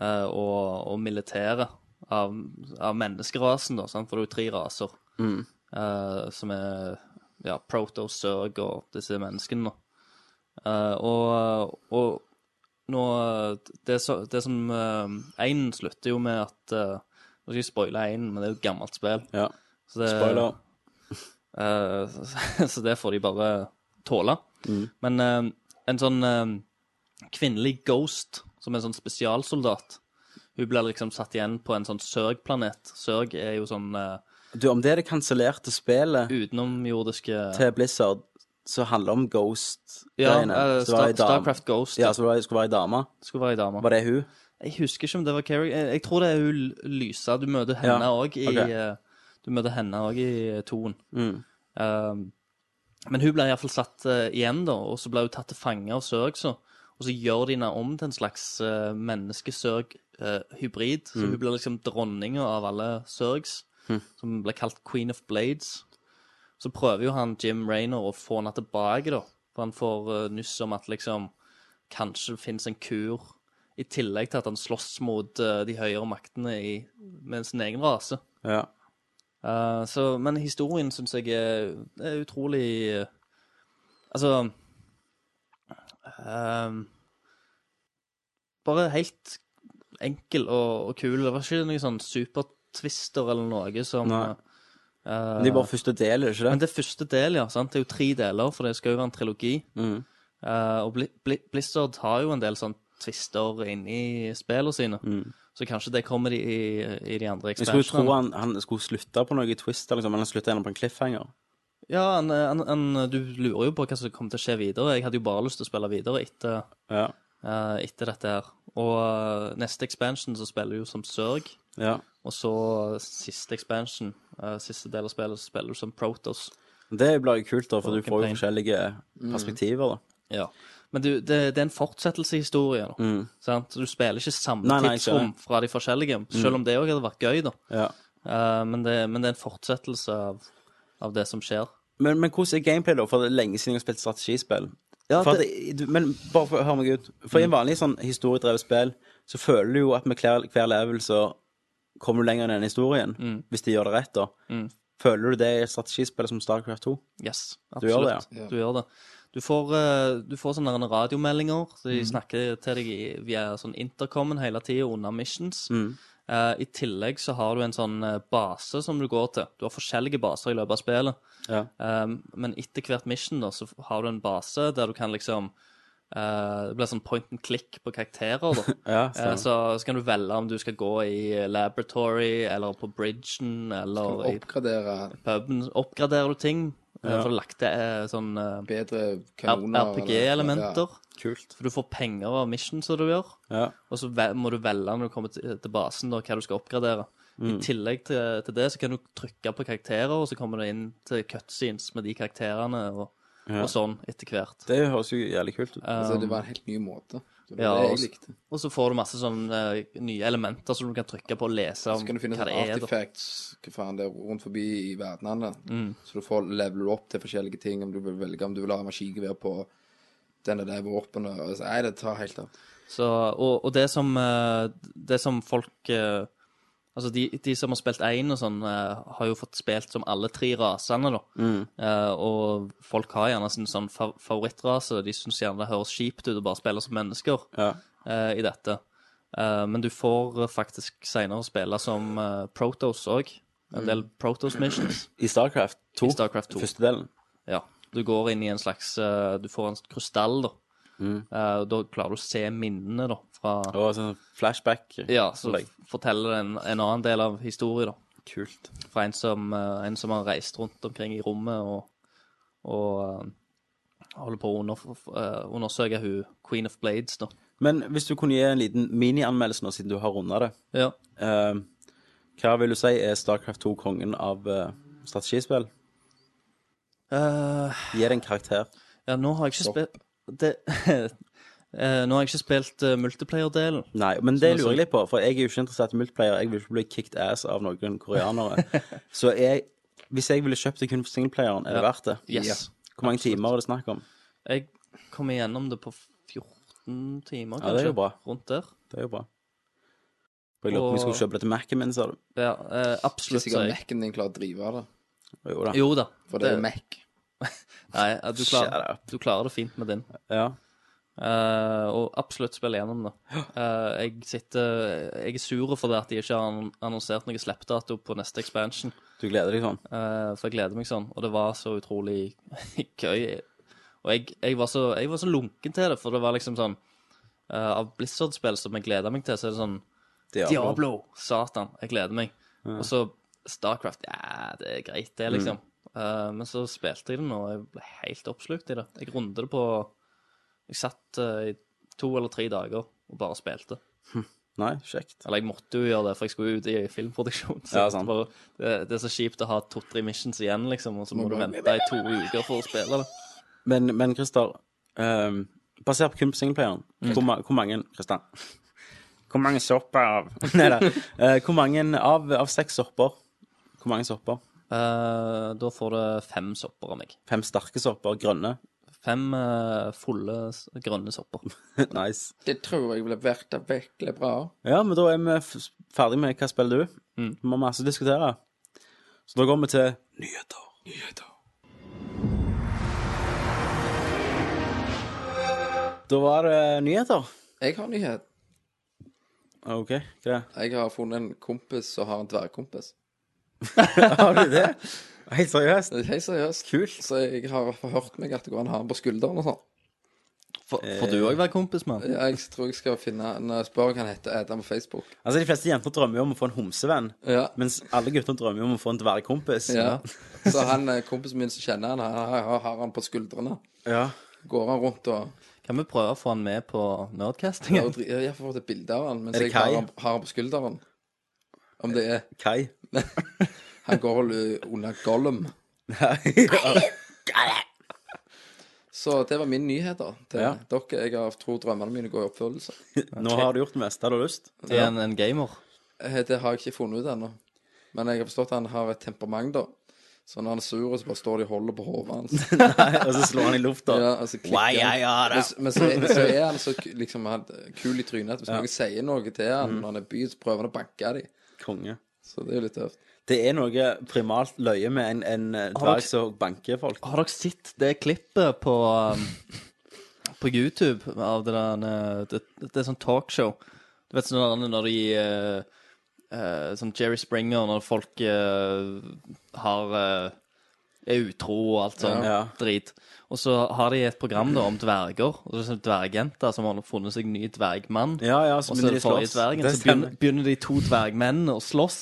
Speaker 9: eh, og, og militæret av, av menneskerasen, da, sant? for det er jo tre raser. eh, som er ja, proto-zerg og disse menneskene. da. Eh, og, og nå eh, Det, er så, det er som eh, Einen slutter jo med at eh, Nå skal jeg spoile Einen, men det er jo et gammelt spill.
Speaker 7: ja.
Speaker 9: Så det,
Speaker 7: Spoiler.
Speaker 9: Eh, [laughs] så- så det får de bare tåle.
Speaker 7: Mm.
Speaker 9: Men eh, en sånn eh, kvinnelig ghost, som er en sånn spesialsoldat, hun blir liksom satt igjen på en sånn Sørg-planet. Sørg er jo sånn uh,
Speaker 7: Du, om det er det kansellerte spillet
Speaker 9: utenomjordiske
Speaker 7: til Blizzard som handler om
Speaker 9: Ja,
Speaker 7: Ghost-greiene
Speaker 9: eh,
Speaker 7: så det var
Speaker 9: Star,
Speaker 7: ei dame-
Speaker 9: Starcraft Ghost
Speaker 7: Ja, så det var- skulle være ei dame.
Speaker 9: skulle være ei dame.
Speaker 7: Var det hun?
Speaker 9: Jeg husker ikke om det var Keri. Jeg, jeg tror det er hun Lysa. Du møter henne
Speaker 7: Ja,
Speaker 9: òg i
Speaker 7: ok. Mm.
Speaker 9: eh, Du møter henne også i toen. Um, men hun ble iallfall satt eh, igjen, da, og så ble hun tatt til fange av Sørg. Så, og så gjør de henne om til en slags eh, menneske-Sørg-hybrid.
Speaker 7: Mm.
Speaker 9: så hun blir liksom dronninga av alle Sørgs, som blir kalt Queen of Blades. Så prøver jo han Jim Raynor å få henne tilbake, da. For han får eh, nyss om at liksom kanskje det finnes en kur, i tillegg til at han slåss mot eh, de høyere maktene i, med sin egen rase.
Speaker 7: Ja.
Speaker 9: Eh, så, men historien syns jeg er, er utrolig eh, Altså ehm, Bare helt enkel og, og kul. Det var ikke noen sånn supertwister eller noe som
Speaker 7: Nei.
Speaker 9: eh,
Speaker 7: Men det er bare første del, er det ikke
Speaker 9: men
Speaker 7: det?
Speaker 9: det er første del, ja. sant? Det er jo tre deler, for det skal jo være en trilogi.
Speaker 7: Mhm.
Speaker 9: Eh, og Bli- Bli- Blizzard har jo en del sånn twister inni spillene sine, så kanskje det kommer de i, i de andre
Speaker 7: Mm. Jeg skulle tro
Speaker 9: ekspansjonene.
Speaker 7: han, han skulle slutte på noe twist, liksom, men han slutta gjennom på en cliffhanger.
Speaker 9: Ja, han, han, han, du lurer jo på hva som kommer til å skje videre. Jeg hadde jo bare lyst til å spille videre etter,
Speaker 7: Ja.
Speaker 9: eh, etter dette her. Og eh, neste expansion så spiller du jo som Sørg,
Speaker 7: ja.
Speaker 9: og så siste expansion, eh, siste del av spillet, så spiller du som Protos.
Speaker 7: Det blir jo kult, da, for
Speaker 9: Og
Speaker 7: du får jo
Speaker 9: campaign.
Speaker 7: forskjellige perspektiver, da.
Speaker 9: Ja. Men du, det, det er en fortsettelse i historien. da. Sant? Du spiller ikke samme
Speaker 7: Mm. Nei, nei, jeg Mm.
Speaker 9: tidsrom fra de forskjellige, selv om det òg hadde vært gøy. da.
Speaker 7: Ja.
Speaker 9: Eh, men, det, men det er en fortsettelse av, av det som skjer.
Speaker 7: Men, men hvordan er gameplay, da? For det er lenge siden jeg har spilt strategispill. for at det... du- men bare for, hør meg ut. For i en vanlig sånn historiedrevet spill, så føler du jo at med hver, hver level så kommer du lenger enn den historien. Hvis de gjør det rett, da. Føler du det i et strategispill som Starcraft 2?
Speaker 9: Yes,
Speaker 7: Du gjør det,
Speaker 9: absolutt. Du gjør det. Du får, eh, du får sånne der radiomeldinger. så
Speaker 7: Mm.
Speaker 9: De snakker til deg i- via sånn intercomen hele tida under missions.
Speaker 7: Mm.
Speaker 9: Eh, I tillegg så har du en sånn eh, base som du går til. Du har forskjellige baser i løpet av spillet. Eh,
Speaker 7: Ja.
Speaker 9: Um, men etter hvert mission da, så har du en base der du kan liksom eh, Det blir sånn point and click på karakterer,
Speaker 7: [laughs]
Speaker 9: da.
Speaker 7: Ja,
Speaker 9: Eh,
Speaker 7: stemmer.
Speaker 9: Så, så kan du velge om du skal gå i laboratory eller på bridgen eller i
Speaker 8: Oppgradere
Speaker 9: puben. Oppgraderer du ting? eh, Så har du lagt til eh, sånn eh,
Speaker 8: bedre kanoner. eller-
Speaker 9: RPG-elementer.
Speaker 7: Kult.
Speaker 9: For du får penger av missions som du gjør.
Speaker 7: Ja.
Speaker 9: Og så ve- må du velge når du kommer til, til basen da, hva du skal oppgradere. I tillegg til, til det så kan du trykke på karakterer, og så kommer du inn til cutscenes med de karakterene og, og sånn etter hvert.
Speaker 7: Det høres jo jævlig kult ut.
Speaker 8: Ja. Så Altså, det var en helt ny måte. Det var
Speaker 9: Um, Ja, altså,
Speaker 8: det
Speaker 9: og
Speaker 8: jeg
Speaker 9: så-
Speaker 8: likte.
Speaker 9: Og så får du masse sånne eh, nye elementer som du kan trykke på og lese om
Speaker 8: Så kan du finne sånn
Speaker 9: hva det
Speaker 8: sånne
Speaker 9: er. da.
Speaker 8: artifacts hva faen det er, rundt forbi i verdenene.
Speaker 9: Mm.
Speaker 8: Så du får level opp til forskjellige ting, om du vil velge om du vil ha maskingevær på denne der våpenet. Altså, nei, det tar helt av.
Speaker 9: Så, og, og det som eh, Det som folk eh, Altså de, de som har spilt én og sånn, eh, har jo fått spilt som alle tre rasene, da. Eh, og folk har gjerne sin sånn fa favorittrase. De syns gjerne det høres kjipt ut å bare spille som mennesker
Speaker 7: Ja.
Speaker 9: eh, i dette. Eh, men du får eh, faktisk seinere spille som eh, Protos òg. En del Protos missions.
Speaker 7: I Starcraft 2,
Speaker 9: I Starcraft 2.
Speaker 7: første delen.
Speaker 9: Ja. Du går inn i en slags eh, Du får en krystall, da. Eh, og da klarer du å se minnene da, fra
Speaker 7: Og sånn flashback.
Speaker 9: Ja, så
Speaker 7: Opplegg.
Speaker 9: f- forteller det en, en annen del av historien, da.
Speaker 7: Kult.
Speaker 9: Fra en som, eh, en som har reist rundt omkring i rommet og, og eh, holder på å under, eh, undersøke hun Queen of Blades, da.
Speaker 7: Men hvis du kunne gi en liten mini-anmeldelse nå, siden du har runda det.
Speaker 9: Ja.
Speaker 7: eh, hva vil du si er Starcraft 2 kongen av eh, strategispill?
Speaker 9: Eh,
Speaker 7: Gi det en karakter.
Speaker 9: ja, nå har jeg ikke spilt det, Eh, Nå har jeg ikke spilt eh, multiplayer-delen.
Speaker 7: Nei, men det
Speaker 9: Som jeg
Speaker 7: lurer
Speaker 9: sa-
Speaker 7: jeg litt på, for jeg er jo ikke interessert i multiplayer. Jeg vil ikke bli kicked ass av noen
Speaker 9: [laughs]
Speaker 7: koreanere. så jeg, hvis jeg ville kjøpt det kun for singleplayeren, er det
Speaker 9: Ja.
Speaker 7: verdt det?
Speaker 9: Yes.
Speaker 7: Hvor mange timer er det snakk om?
Speaker 9: Jeg kom igjennom det på 14 timer, kanskje.
Speaker 7: Ja, det er jo bra.
Speaker 9: Rundt der.
Speaker 7: Det er jo bra. For jeg lurer på om jeg
Speaker 9: Og-
Speaker 7: skulle kjøpe det til Mac-en min, sa du.
Speaker 9: Ja, eh,
Speaker 8: Ikke
Speaker 9: absolutt. sa
Speaker 8: sikkert
Speaker 9: jeg.
Speaker 8: Mac-en din klarer å drive det,
Speaker 7: Jo da.
Speaker 9: Jo da.
Speaker 8: for det er jo Mac.
Speaker 9: Nei, eh, du
Speaker 7: Shut
Speaker 9: klarer,
Speaker 7: up.
Speaker 9: du klarer det fint med din.
Speaker 7: Ja.
Speaker 9: Eh, og absolutt spille gjennom det. Eh, jeg, sitter, jeg er sur for det at de ikke har annon- annonsert noen slippdato på neste expansion.
Speaker 7: Du gleder deg sånn?
Speaker 9: Eh, for jeg gleder meg sånn. Og det var så utrolig [laughs] gøy. Og jeg, jeg, var så, jeg var så lunken til det, for det var liksom sånn eh, Av Blizzard-spill som jeg gleder meg til, så er det sånn Diablo! Satan, jeg gleder meg. Og så Starcraft. Ja, det er greit, det, liksom. Eh, men så spilte jeg den, og jeg ble helt oppslukt i det. Jeg rundet det på Jeg satt eh, i to eller tre dager og bare spilte.
Speaker 7: Nei, kjekt.
Speaker 9: Eller jeg måtte jo gjøre det, for jeg skulle jo ut i filmproduksjon. Så
Speaker 7: Ja, sant.
Speaker 9: det, var- det, det er så kjipt å ha to-tre missions igjen, liksom, og så må du vente i to uker for å spille det.
Speaker 7: Men, men Christer, ehm, basert på kun på singleplayeren, hvor, ma hvor mange Christer? Mm. Hvor mange sopper av [laughs] Nei da. Eh, hvor mange av, av seks sopper? Hvor mange sopper?
Speaker 9: Eh, da får det fem sopper av meg.
Speaker 7: Fem sterke sopper, grønne. [laughs]
Speaker 9: Fem eh, fulle s- grønne sopper.
Speaker 7: nice.
Speaker 8: Det tror jeg ville vært det virkelig bra.
Speaker 7: Ja, men da er vi f- ferdig med hva spiller du? Vi må masse diskutere. Så da går vi til nyheter. Da var det nyheter.
Speaker 8: Jeg har en nyhet.
Speaker 7: Ah, OK, hva
Speaker 8: Jeg har funnet en kompis som har en dvergkompis.
Speaker 7: Har du det? Helt seriøst?
Speaker 8: Det er Helt seriøst.
Speaker 7: Kult.
Speaker 8: Så jeg har hørt meg at det går an å ha den på skulderen og sånn.
Speaker 9: Får får du òg være kompis med han?
Speaker 8: Jeg tror jeg skal finne en Spør hva han heter. Er han på Facebook?
Speaker 7: Altså, De fleste jenter drømmer jo om å få en homsevenn,
Speaker 8: Ja.
Speaker 7: mens alle gutter drømmer jo om å få en dvergkompis.
Speaker 8: Ja. [laughs] Så han eh, kompisen min som kjenner han, han har, har han på skuldrene.
Speaker 7: [laughs] ja.
Speaker 8: Går han rundt og
Speaker 9: Kan vi prøve å få han med på
Speaker 8: Jeg
Speaker 9: nerdcastingen?
Speaker 8: har dri- jeg har fått et bilde av han, mens
Speaker 7: Er det
Speaker 8: jeg har
Speaker 7: Kai?
Speaker 8: han, har han på skulderen. Om det er
Speaker 7: Kai.
Speaker 8: Han går vel eh, under Gollum.
Speaker 7: [laughs]
Speaker 8: Så det var min nyhet, da. Til
Speaker 7: Ja.
Speaker 8: dere. Jeg har, tror drømmene mine går
Speaker 7: [laughs]
Speaker 8: i oppfyllelse.
Speaker 7: Nå har du gjort det meste du har lyst.
Speaker 9: Er
Speaker 7: [laughs]
Speaker 9: han en gamer?
Speaker 8: Eh, Det har jeg ikke funnet ut ennå. Men jeg har forstått at han har et temperament, da. Så når han er sur, så bare står de og holder på hodet hans.
Speaker 7: [laughs] Og så slår han i lufta.
Speaker 8: Ja, altså klikker
Speaker 7: Why I are
Speaker 8: Men, men så, er- så er
Speaker 7: [laughs]
Speaker 8: han så ku- liksom han, kul i trynet at hvis noen sier noe til han
Speaker 7: Mm.
Speaker 8: når han er by, så prøver han å banke dem.
Speaker 7: Konge.
Speaker 8: Så det er jo litt tøft.
Speaker 7: Det er noe primalt løye med en, en eh,
Speaker 9: dere-
Speaker 7: dverg som banker folk.
Speaker 9: Har dere sett det klippet på um, På YouTube av det der eh, Det, det er sånn talkshow. Du vet sånn der når de uh, eh, eh, Sånn Jerry Springer, når folk eh, har eh, uh, er utro og alt sånn
Speaker 7: Ja.
Speaker 9: drit. Og så har de et program da om dverger. Og det er sånn dvergjenter som har funnet seg ny dvergmann.
Speaker 7: Ja, ja, så
Speaker 9: Og så
Speaker 7: begynner de å
Speaker 9: er det forrige
Speaker 7: slåss.
Speaker 9: dvergen,
Speaker 7: Det
Speaker 9: så begynner,
Speaker 7: stemmer.
Speaker 9: begynner de to dvergmennene å slåss.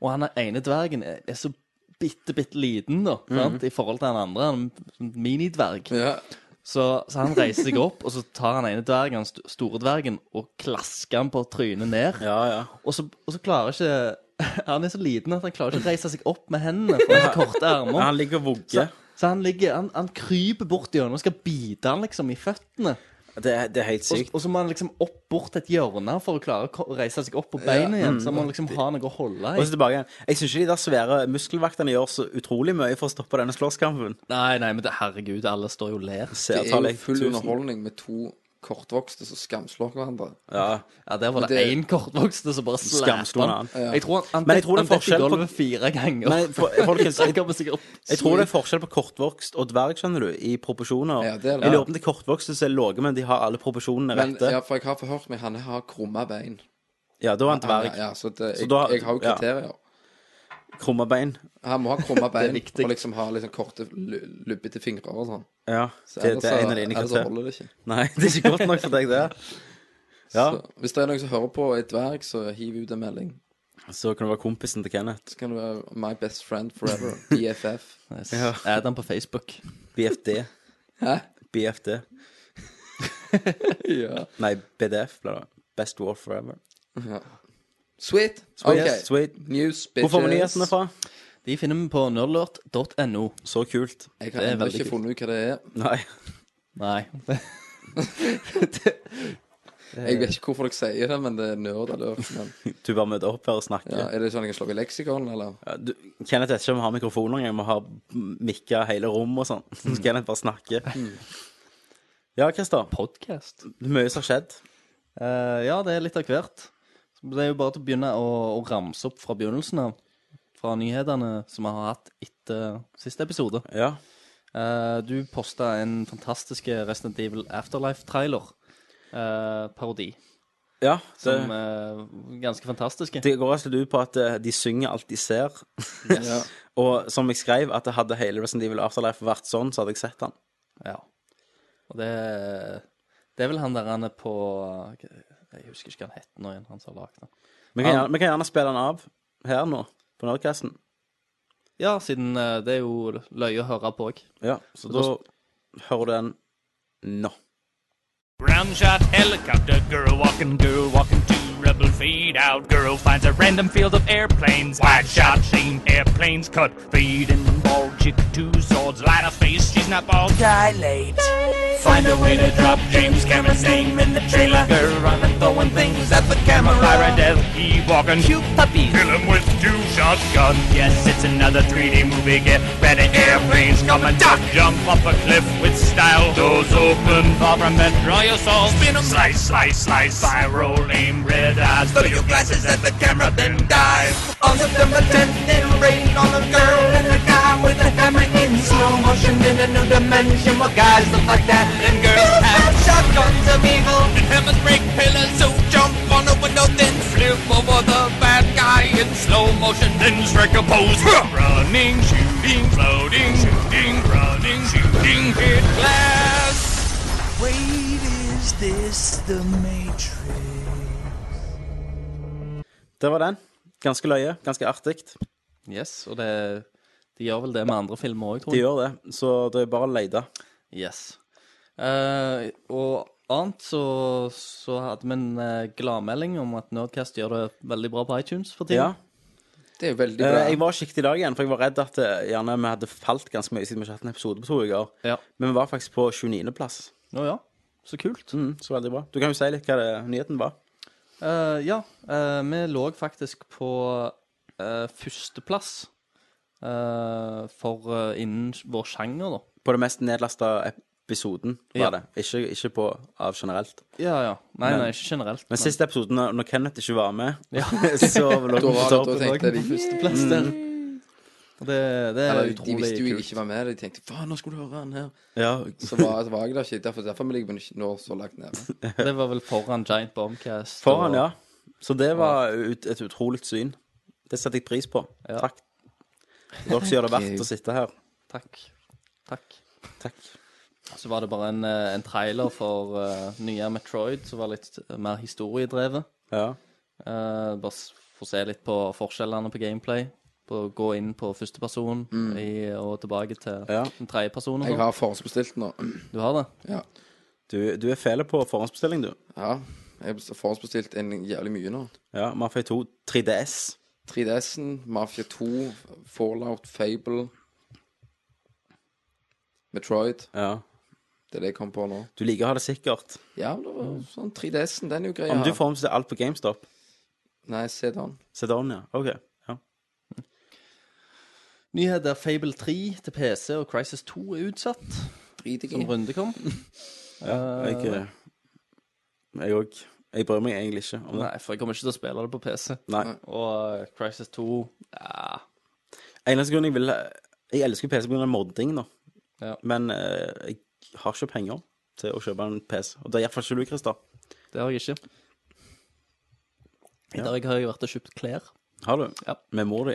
Speaker 9: Og han er ene dvergen er, er så bitte, bitte liten da,
Speaker 7: Mhm.
Speaker 9: sant? i forhold til han andre. Han er en minidverg.
Speaker 8: Ja.
Speaker 9: Så, så han reiser seg opp, og så tar han ene dvergen, han st- store dvergen, og klasker han på trynet ned.
Speaker 7: Ja, ja.
Speaker 9: Og, så, og så klarer ikke [laughs] Han er så liten at han klarer ikke å reise seg opp med hendene. For han har korte
Speaker 7: Ja,
Speaker 9: armer
Speaker 7: Han ligger og
Speaker 9: Så,
Speaker 7: vugger.
Speaker 9: så han ligger Han, han kryper bort gjennom og skal bite han liksom i føttene.
Speaker 7: Det, er- det er helt
Speaker 9: Og,
Speaker 7: sykt.
Speaker 9: og så må han liksom opp bort til et hjørne for å klare å ko- reise seg opp på beina igjen. Så han må liksom ha noe å holde
Speaker 7: mm, Og
Speaker 9: i.
Speaker 7: så tilbake igjen. Jeg syns ikke de der svære muskelvaktene gjør så utrolig mye for å stoppe denne slåsskampen.
Speaker 9: Nei, nei, men det, herregud, alle står jo og ler.
Speaker 8: Det
Speaker 7: Ser
Speaker 8: er jo full underholdning med to kortvokste som skamslår hverandre.
Speaker 7: Ja.
Speaker 9: Ja, Der var det
Speaker 8: det-
Speaker 9: én kortvokste som bare
Speaker 7: Skamslo
Speaker 9: slæpte han.
Speaker 7: han.
Speaker 9: Jeg tror han, han,
Speaker 7: Men jeg tror det er
Speaker 9: han detter i
Speaker 7: forskjell på-
Speaker 9: gulvet fire ganger.
Speaker 7: Men for- folkens,
Speaker 9: [laughs] han
Speaker 7: jeg-
Speaker 9: kommer sikkert opp.
Speaker 7: Jeg tror det er forskjell på kortvokst og dverg, skjønner du, i proporsjoner.
Speaker 8: Ja, det er det.
Speaker 7: Jeg lurer på om de kortvokste som er lave, men de har alle proporsjonene
Speaker 8: Men,
Speaker 7: rette.
Speaker 8: ja,
Speaker 7: Ja,
Speaker 8: for jeg har forhørt meg, han har krumma bein.
Speaker 7: da er han
Speaker 8: Han,
Speaker 7: dverg.
Speaker 8: ja, så det, jeg,
Speaker 7: da-
Speaker 8: jeg har jo
Speaker 7: ja.
Speaker 8: kriterier.
Speaker 7: Krumma bein.
Speaker 8: Han må ha
Speaker 7: [laughs]
Speaker 8: krumma bein
Speaker 9: viktig.
Speaker 8: og liksom ha liksom korte, lu- lubbete fingre og sånn.
Speaker 7: Ja,
Speaker 8: Så
Speaker 7: det,
Speaker 8: ellers
Speaker 7: det
Speaker 8: så-
Speaker 7: er en av dine
Speaker 8: ellers så
Speaker 7: kriterier.
Speaker 8: holder det ikke.
Speaker 7: Nei, det er ikke godt nok for deg, det. Ja,
Speaker 8: [laughs] Så, hvis det er noen som hører på et dverg, så hiv ut en melding.
Speaker 7: så kan du være kompisen til Kenneth.
Speaker 8: Så kan du være uh, my best friend forever. BFF.
Speaker 9: Yes.
Speaker 7: Ja.
Speaker 9: Add han på Facebook.
Speaker 7: BFD.
Speaker 8: Hæ?
Speaker 7: BFD.
Speaker 8: Ja.
Speaker 7: Nei, BDF ble det. Best War Forever.
Speaker 8: Sweet.
Speaker 7: Sweet,
Speaker 8: Ok.
Speaker 7: sweet.
Speaker 8: News, bitches.
Speaker 7: Hvor får vi nyhetene fra?
Speaker 9: De finner vi på nerdlert.no.
Speaker 7: Så kult.
Speaker 8: Jeg har
Speaker 9: Det er
Speaker 8: ennå
Speaker 9: veldig
Speaker 8: ikke
Speaker 9: kult.
Speaker 8: funnet ut hva det er.
Speaker 7: Nei.
Speaker 9: Nei.
Speaker 8: Jeg vet ikke hvorfor dere sier det, men det er nerdalert. Men,
Speaker 7: Du bare møter opp her og snakker.
Speaker 8: ja, er det sånn jeg kan slå i leksikon, eller?
Speaker 7: Ja, du, Kenneth vet ikke om vi har mikrofoner engang. Vi har mikka hele rommet og sånn. [laughs] Så Kenneth bare snakker. Ja, Christer.
Speaker 9: Podcast.
Speaker 7: Mye som har skjedd.
Speaker 9: Eh, ja, det er litt av hvert. Det er jo bare til å begynne å, å ramse opp fra begynnelsen av. Fra nyhetene som vi har hatt etter siste episode.
Speaker 7: Ja.
Speaker 9: Eh, du posta en fantastisk Resident Evil Afterlife-trailer. eh, parodi.
Speaker 7: ja det,
Speaker 9: Som er ganske fantastiske.
Speaker 7: det går altså ut på at eh, de synger alt de ser.
Speaker 8: Ja.
Speaker 7: Og som jeg skrev, at det hadde hele Resident Evil Afterlife vært sånn, så hadde jeg sett den.
Speaker 9: Ja. Og det Det er vel han der han er på eh, Jeg husker ikke hva han het nå igjen, han som har lagd den.
Speaker 7: Vi kan,
Speaker 9: Ja.
Speaker 7: gjerne, vi kan gjerne spille den av her nå, på Nerdcasten.
Speaker 9: Ja, siden eh, det er jo løye å høre på òg.
Speaker 7: Ja, så da hører du den nå.
Speaker 11: Round shot helicopter, girl walking, girl walking to rubble feed out. Girl finds a random field of airplanes. Wide shot, seen airplanes cut. Feeding ball chick, two swords, light of face. She's not bald, dilate. Find a way to drop James Cameron's name in the trailer. Girl running, throwing things at the camera. Lyra Death, he walking, shoot puppies. Kill him with two shotgun. Yes, it's another 3D movie. Get ready, airplanes coming. Duck, jump off a cliff with style. Doors open, far from that. Draw your sword, spin 'em. Slice, slice, slice. Spiral aim, red eyes. Throw your glasses at the camera, then dive. On September 10th, it'll rain on a girl and a guy with a hammer in slow motion in a new dimension where guys look like that and girls have shotguns of evil and hammers break pillars. So jump on a window, then flip over the bad guy in slow motion, then strike a pose. running, shooting, floating, shooting, running, shooting, hit glass.
Speaker 7: Der var den. Ganske løye. Ganske artig.
Speaker 9: Yes, og det De gjør vel det med andre filmer òg, tror
Speaker 7: De
Speaker 9: jeg.
Speaker 7: gjør det, så det er bare å lete.
Speaker 9: Yes. Eh, og annet så, så hadde vi en eh, gladmelding om at Nerdcast gjør det veldig bra på iTunes for
Speaker 7: Ja.
Speaker 9: tiden.
Speaker 8: Det er jo veldig bra.
Speaker 7: Eh, jeg var skikkelig i dag igjen, for jeg var redd at eh, gjerne vi hadde falt ganske mye siden vi ikke hadde en episode på to uker.
Speaker 9: Ja.
Speaker 7: Men vi var faktisk på 29.-plass.
Speaker 9: Å ja. Så kult.
Speaker 7: Mm, så veldig bra. Du kan jo si litt hva det, nyheten var.
Speaker 9: Eh, ja, eh, vi lå faktisk på eh, førsteplass eh, for eh, innen vår sjanger, da.
Speaker 7: På den mest nedlasta episoden, var
Speaker 9: Ja.
Speaker 7: det. Ikke, ikke på av generelt.
Speaker 9: Ja, ja. Nei,
Speaker 7: Men-
Speaker 9: nei, ikke generelt.
Speaker 7: Men siste episoden, når- når Kenneth ikke var med, [laughs] så lå
Speaker 8: Da
Speaker 7: vi på
Speaker 8: var det, da
Speaker 7: topp.
Speaker 8: tenkte jeg de første
Speaker 9: førsteplass der. Og det, det er
Speaker 8: Eller, de
Speaker 9: utrolig
Speaker 8: visste jo jeg
Speaker 9: kult.
Speaker 8: ikke var med. De tenkte 'faen, nå skulle du høre han her'.
Speaker 7: Ja,
Speaker 8: Så var, så var jeg der ikke. Derfor, derfor ligger vi ikke nå så langt nede.
Speaker 9: Det var vel foran Giant Bombcast.
Speaker 7: foran,
Speaker 9: og-
Speaker 7: ja. Så det var ut, et utrolig syn. Det setter jeg pris på.
Speaker 9: Ja.
Speaker 7: Takk. Dere som gjør det verdt å sitte her.
Speaker 9: Takk. Takk. Så var det bare en, eh, en trailer for eh, nye Metroid som var litt eh, mer historiedrevet.
Speaker 7: Ja.
Speaker 9: Eh, bare s- få se litt på forskjellene på gameplay. På å gå inn på første person i, og tilbake til den tredje personen.
Speaker 8: Mm. Jeg har forhåndsbestilt nå. [clears throat]
Speaker 9: Du har det?
Speaker 8: Ja.
Speaker 7: Du, du er fæl på forhåndsbestilling, du.
Speaker 8: ja. Jeg har best- forhåndsbestilt en jævlig mye nå.
Speaker 7: Ja, Mafia 2 3DS.
Speaker 8: 3DS-en, Mafia 2, Fallout, Fable Metroid.
Speaker 7: Ja.
Speaker 8: Det er det jeg kom på nå.
Speaker 7: Du liker å ha det sikkert.
Speaker 8: Ja, det var sånn 3DS-en, den er jo grei. å
Speaker 7: Om
Speaker 8: ha.
Speaker 7: du forhåndsbestiller alt på GameStop,
Speaker 8: Nei, se den.
Speaker 7: se det an, ja. OK. Ja.
Speaker 9: Nyheter Fable 3 til PC og Crisis 2 er utsatt.
Speaker 8: Drit jeg
Speaker 9: Som
Speaker 8: i.
Speaker 9: runde kom.
Speaker 7: Jeg eh, Jeg òg. Jeg bryr meg egentlig ikke om det.
Speaker 9: Nei, for jeg kommer ikke til å spille det på PC.
Speaker 7: Nei.
Speaker 9: Og eh, Crisis 2 ja.
Speaker 7: Eneste grunn jeg vil Jeg elsker PC pga. modding, da.
Speaker 9: Ja.
Speaker 7: Men eh, jeg har ikke penger til å kjøpe en PC. Og det er iallfall ikke du, Christer.
Speaker 9: Det har jeg ikke. I
Speaker 7: Ja.
Speaker 9: dag har jeg vært og kjøpt klær
Speaker 7: Har du?
Speaker 9: Ja.
Speaker 7: Med mor di.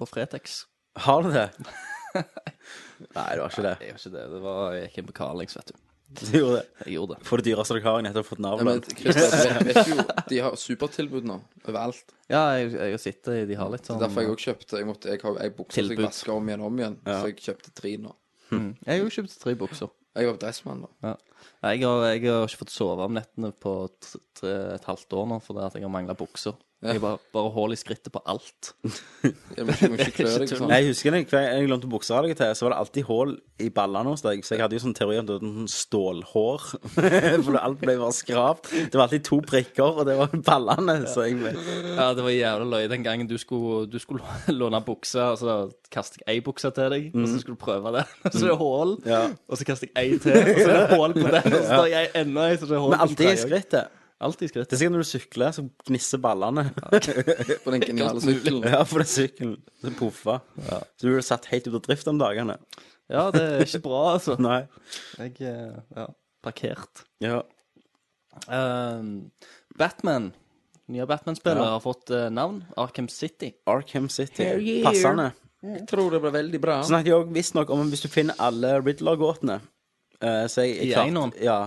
Speaker 9: på Fretex.
Speaker 7: Har du det? [laughs] Nei, du har ikke det.
Speaker 9: Jeg gjør ikke det. Det var, jeg gikk inn på Carlings, vet du.
Speaker 7: Du gjorde det.
Speaker 9: Jeg gjorde det.
Speaker 7: For det dyreste dere har, jeg nettopp fått
Speaker 8: Ja, men
Speaker 7: navlen.
Speaker 8: Christer, du vet- vet jo, de har supertilbud nå, overalt.
Speaker 9: Ja, jeg, jeg har sittet i De har litt sånn
Speaker 8: Derfor jeg også kjøpte, jeg måtte, jeg har ei bukse som jeg
Speaker 9: Tilbud.
Speaker 8: vasker om igjen og om igjen, så jeg kjøpte tre nå.
Speaker 9: eh, Jeg har jo kjøpt tre bukser.
Speaker 8: Jeg var dressmann da.
Speaker 9: Ja. Nei, Jeg, har, jeg har ikke fått sove om nettene på t- tre, et halvt år nå fordi at jeg har mangla bukser. Jeg bare, bare hull i skrittet på alt.
Speaker 8: Jeg må ikke, må ikke klø deg og sånn.
Speaker 7: Nei, jeg husker det, hver gang jeg lånte bukser av deg til, så var det alltid hull i ballene hos deg. Så jeg hadde jo sånn teori om det var sånn stålhår. [laughs] For det- alt ble bare skrapt. Det var alltid to prikker, og det var ballene. Så jeg
Speaker 9: Ja, det var jævla løye den gangen du skulle, du skulle [laughs] låne bukse, og så kastet jeg ei bukse til deg, [laughs] og så skulle du prøve det. Så det er hull,
Speaker 7: Mhm. Ja.
Speaker 9: og så kastet jeg ei til, og så er det hull på den, og så tar jeg enda ei, så det er hull
Speaker 7: Men alltid i skrittet. Det
Speaker 9: Alltid i
Speaker 7: er
Speaker 9: skrittet.
Speaker 7: sikkert når du sykler, så gnisser ballene.
Speaker 8: På den geniale sykkelen.
Speaker 7: Ja, for det er sykkelen. Det puffer. Så du ble satt helt ut av drift om dagene.
Speaker 9: Ja, det er ikke bra, altså.
Speaker 7: Nei.
Speaker 9: Jeg eh, Ja, parkert.
Speaker 7: Ja.
Speaker 9: Ehm, Batman, nye Batman-spillet,
Speaker 7: Ja.
Speaker 9: har fått eh, navn. Arkham City.
Speaker 7: Arkham City.
Speaker 8: Hell yeah. Mm.
Speaker 7: Passende.
Speaker 8: Jeg tror det ble veldig bra.
Speaker 7: Så snakket jeg òg visstnok om hvis du finner alle Riddler-gåtene. Eh, så jeg, jeg
Speaker 9: I
Speaker 7: klarte-
Speaker 9: eneren?
Speaker 7: Ja.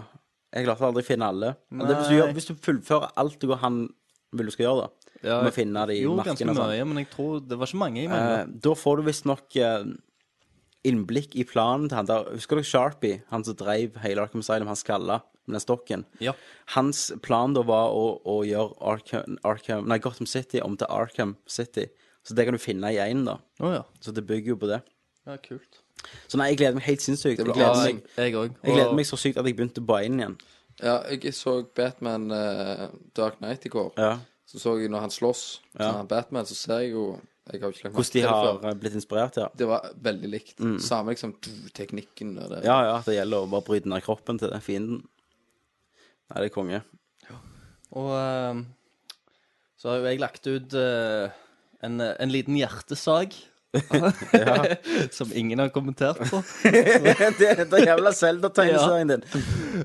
Speaker 7: Jeg klarte aldri å finne alle. Men det, hvis, du gjør, hvis du fullfører alt du går han vil du skal gjøre, da,
Speaker 9: Ja,
Speaker 7: med å finne de
Speaker 9: Jo, ganske
Speaker 7: markene og sånn,
Speaker 9: mye, men jeg tror det var ikke mange i
Speaker 7: eh,
Speaker 9: mangla.
Speaker 7: da får du visstnok eh, innblikk i planen til han der Husker du Sharpie, han som drev hele Arkham Asylum, han skalla med den stokken?
Speaker 9: Ja.
Speaker 7: Hans plan da var å, å gjøre Arkham, Arkham Nei, Gotham City om til Arkham City. Så det kan du finne i én, da.
Speaker 9: Å ja.
Speaker 7: Så det bygger jo på det.
Speaker 9: ja. Kult.
Speaker 7: Så nei, jeg gleder meg helt sinnssykt. Jeg
Speaker 8: blir
Speaker 7: gleder
Speaker 8: awesome.
Speaker 7: meg
Speaker 9: Jeg òg.
Speaker 7: Jeg gleder meg så sykt at jeg begynte å buy inn igjen.
Speaker 8: Ja, jeg så Batman eh, Dark Knight i går.
Speaker 7: Ja.
Speaker 8: Så så jeg når han slåss, så han Batman, så ser jeg jo Jeg har jo ikke lagt merke
Speaker 7: Hvordan de
Speaker 8: til det
Speaker 7: har
Speaker 8: før.
Speaker 7: eh, blitt inspirert, ja.
Speaker 8: Det var veldig likt. Samme liksom du, teknikken og det.
Speaker 7: Mm. Ja, ja, det gjelder å bare bryte ned kroppen til den fienden. Nei, det er konge.
Speaker 9: Og ehm, så har jo jeg lagt ut eh, en, en liten hjertesag. [laughs] Som ingen har kommentert på.
Speaker 7: [laughs] det er den jævla Zelda-tegneserien din.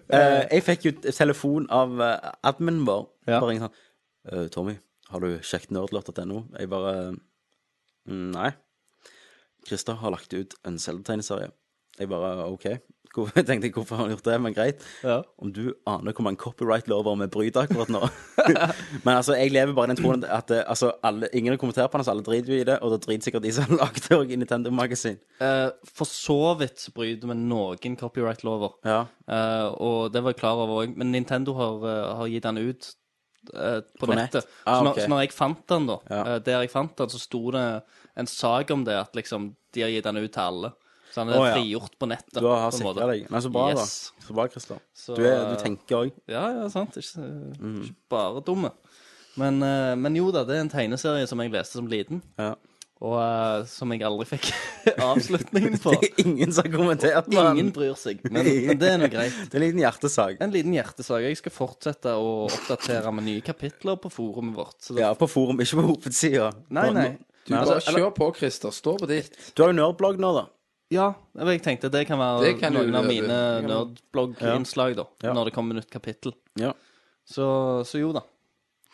Speaker 7: Eh, jeg fikk jo t- telefon av eh, adminen vår.
Speaker 9: Ja.
Speaker 7: Bare en sånn «Eh, Tommy, har du sjekket nerdlot.no? Jeg bare «Mm, Nei. Christer har lagt ut en Zelda-tegneserie. Jeg bare OK. Hvor, [laughs] tenkte jeg, hvorfor har han gjort det? Men greit.
Speaker 9: Ja.
Speaker 7: Om du aner hvor mange copyright-lover vi bryter akkurat nå. [laughs] Men altså, jeg lever bare i den troen at eh, altså, alle, ingen har kommentert på den, så alle driter jo i det. Og da driter sikkert de som har lagd det òg i Nintendo Magasin.
Speaker 9: Eh, for så vidt så bryter vi noen copyright-lover.
Speaker 7: Ja.
Speaker 9: Eh, og det var jeg klar over òg, men Nintendo har, eh, har gitt den ut eh, på,
Speaker 7: På nett.
Speaker 9: nettet.
Speaker 7: Ah,
Speaker 9: så, når,
Speaker 7: ok.
Speaker 9: så når jeg fant den, da,
Speaker 7: Ja.
Speaker 9: eh, der jeg fant den, så sto det en sak om det, at liksom de har gitt den ut til alle. Så den er
Speaker 7: Å, ja.
Speaker 9: frigjort på nettet.
Speaker 7: Du har
Speaker 9: på en måte.
Speaker 7: sikra deg. Nei, så bra,
Speaker 9: Yes.
Speaker 7: da. Så bra, Christer.
Speaker 9: Så,
Speaker 7: Du, er- du
Speaker 9: eh,
Speaker 7: tenker òg.
Speaker 9: Ja, ja, sant. Ikke, eh,
Speaker 7: Mm.
Speaker 9: ikke bare dumme. Men, eh, men jo da, det er en tegneserie som jeg leste som liten,
Speaker 7: Ja.
Speaker 9: og eh, som jeg aldri fikk [laughs] avslutningen på.
Speaker 7: [laughs] Det er ingen som har kommentert på den.
Speaker 9: Ingen bryr seg, men, men det er nå greit.
Speaker 7: [laughs] Det er en liten hjertesak.
Speaker 9: En liten hjertesak. Jeg skal fortsette å oppdatere med nye kapitler på forumet vårt. Så det...
Speaker 7: Ja, på forum, ikke på hovedsida.
Speaker 9: Nei, nei.
Speaker 8: Du, bare kjør på, Christer. Stå på ditt.
Speaker 7: altså, Du har jo nerdblogg nå, da.
Speaker 9: Ja, men jeg tenkte det kan være
Speaker 8: Det kan du-
Speaker 9: noen av
Speaker 8: det-
Speaker 9: mine nerdblogg-innslag, da.
Speaker 7: Ja.
Speaker 9: Når det kommer nytt kapittel.
Speaker 7: Ja.
Speaker 9: [laughs] Så, så jo da.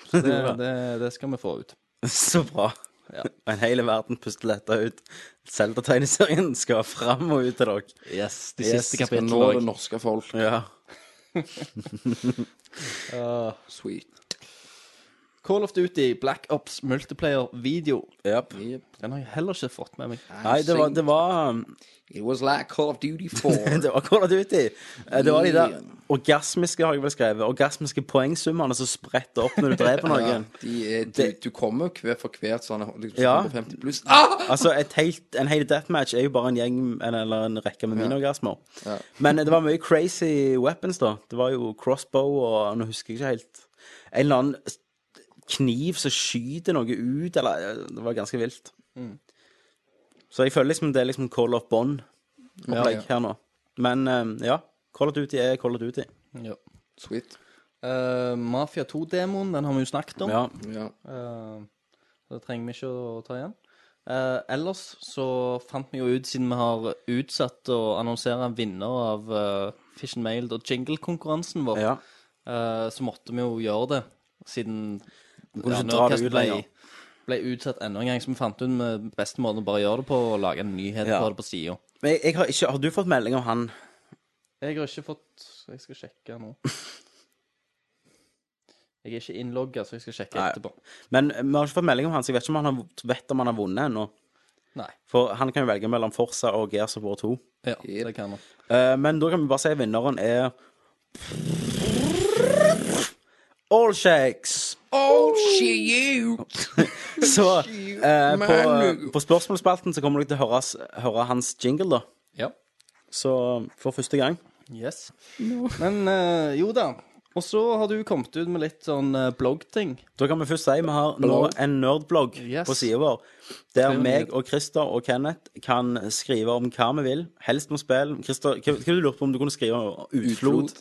Speaker 9: Så det,
Speaker 7: Jo da.
Speaker 9: det, det skal vi få ut.
Speaker 7: [laughs] Så bra. [laughs] En hele verden puster letta ut. Zelda-tegneserien skal fram og ut til dere.
Speaker 9: Yes, de
Speaker 7: Yes, skal
Speaker 9: siste
Speaker 8: Skal
Speaker 9: kapitlene.
Speaker 8: nå
Speaker 9: også.
Speaker 8: det norske folk.
Speaker 7: Ja.
Speaker 8: Sweet.
Speaker 9: Call of Duty Black Ops multiplayer-video.
Speaker 7: Yep.
Speaker 8: Yep.
Speaker 9: Den har jeg heller ikke fått med meg.
Speaker 7: Nei, det var, det var um,
Speaker 8: It was like Call of
Speaker 7: [laughs]
Speaker 8: Duty 4.
Speaker 7: Det var Call of Duty. Eh, Det var de der
Speaker 8: Yeah.
Speaker 7: orgasmiske, har jeg vel skrevet. Orgasmiske poengsummene som spretter opp når du dreper
Speaker 8: [laughs] Ja,
Speaker 7: noen.
Speaker 8: de er, du,
Speaker 7: Det-
Speaker 8: du kommer hver for hvert sånn liksom,
Speaker 7: Ja.
Speaker 8: 150 pluss. Ah!
Speaker 7: Altså, et helt, En hel deathmatch er jo bare en gjeng en- eller en rekke med miniorgasmer. Men eh, det var mye crazy weapons, da. Det var jo crossbow og Nå husker jeg ikke helt. En eller annen s- kniv som skyter noe ut, eller eh, Det var ganske vilt.
Speaker 8: Mm.
Speaker 7: Så jeg føler liksom det er liksom Call of Bond-opplegg her nå. Men eh, ja, Call of Duty er Call of Duty.
Speaker 9: Ja.
Speaker 8: Sweet.
Speaker 9: Eh, Mafia 2-demoen, den har vi jo snakket om.
Speaker 7: Ja.
Speaker 8: Ja.
Speaker 9: Eh, så det trenger vi ikke å ta igjen. Eh, ellers så fant vi jo ut, siden vi har utsatt å annonsere en vinner av eh, Fish and Mailed og Jingle-konkurransen vår,
Speaker 7: ja.
Speaker 9: eh, så måtte vi jo gjøre det, siden
Speaker 7: kunne ikke dra
Speaker 9: Nerdcast
Speaker 7: det ut
Speaker 9: ble,
Speaker 7: lenger.
Speaker 9: ble utsatt enda en gang, så vi fant ut med beste måten å bare gjøre det på, å lage en nyhet
Speaker 7: Ja.
Speaker 9: på det på sida.
Speaker 7: Men jeg, jeg har ikke Har du fått melding om han?
Speaker 9: Jeg har ikke fått Jeg skal sjekke
Speaker 7: [laughs]
Speaker 9: nå. Jeg er ikke innlogga, så jeg skal sjekke
Speaker 7: Nei.
Speaker 9: etterpå.
Speaker 7: Men vi har ikke fått melding om han, så jeg vet ikke om han har, vet om han har vunnet ennå.
Speaker 9: Nei.
Speaker 7: For han kan jo velge mellom Forsa og Gears of War 2.
Speaker 9: Ja, det kan man.
Speaker 7: Eh, men da kan vi bare si at vinneren er Allshakes!
Speaker 8: Oh, she you!
Speaker 7: Så eh, på, på spørsmålsspalten så kommer dere til å høre, s- høre hans jingle, da.
Speaker 9: Ja.
Speaker 7: Så for første gang.
Speaker 9: Yes. Men eh, jo da. Og så har du kommet ut med litt sånn eh, bloggting.
Speaker 7: Da kan vi først si vi har nå
Speaker 8: Blogg.
Speaker 7: en nerdblogg
Speaker 9: Yes.
Speaker 7: på sida vår. Der
Speaker 9: Skriv
Speaker 7: meg
Speaker 9: ned.
Speaker 7: og Christer og Kenneth kan skrive om hva vi vil. Helst om spill. Christer, hva, hva du lurte på om du kunne skrive om utflod?
Speaker 8: Utflod.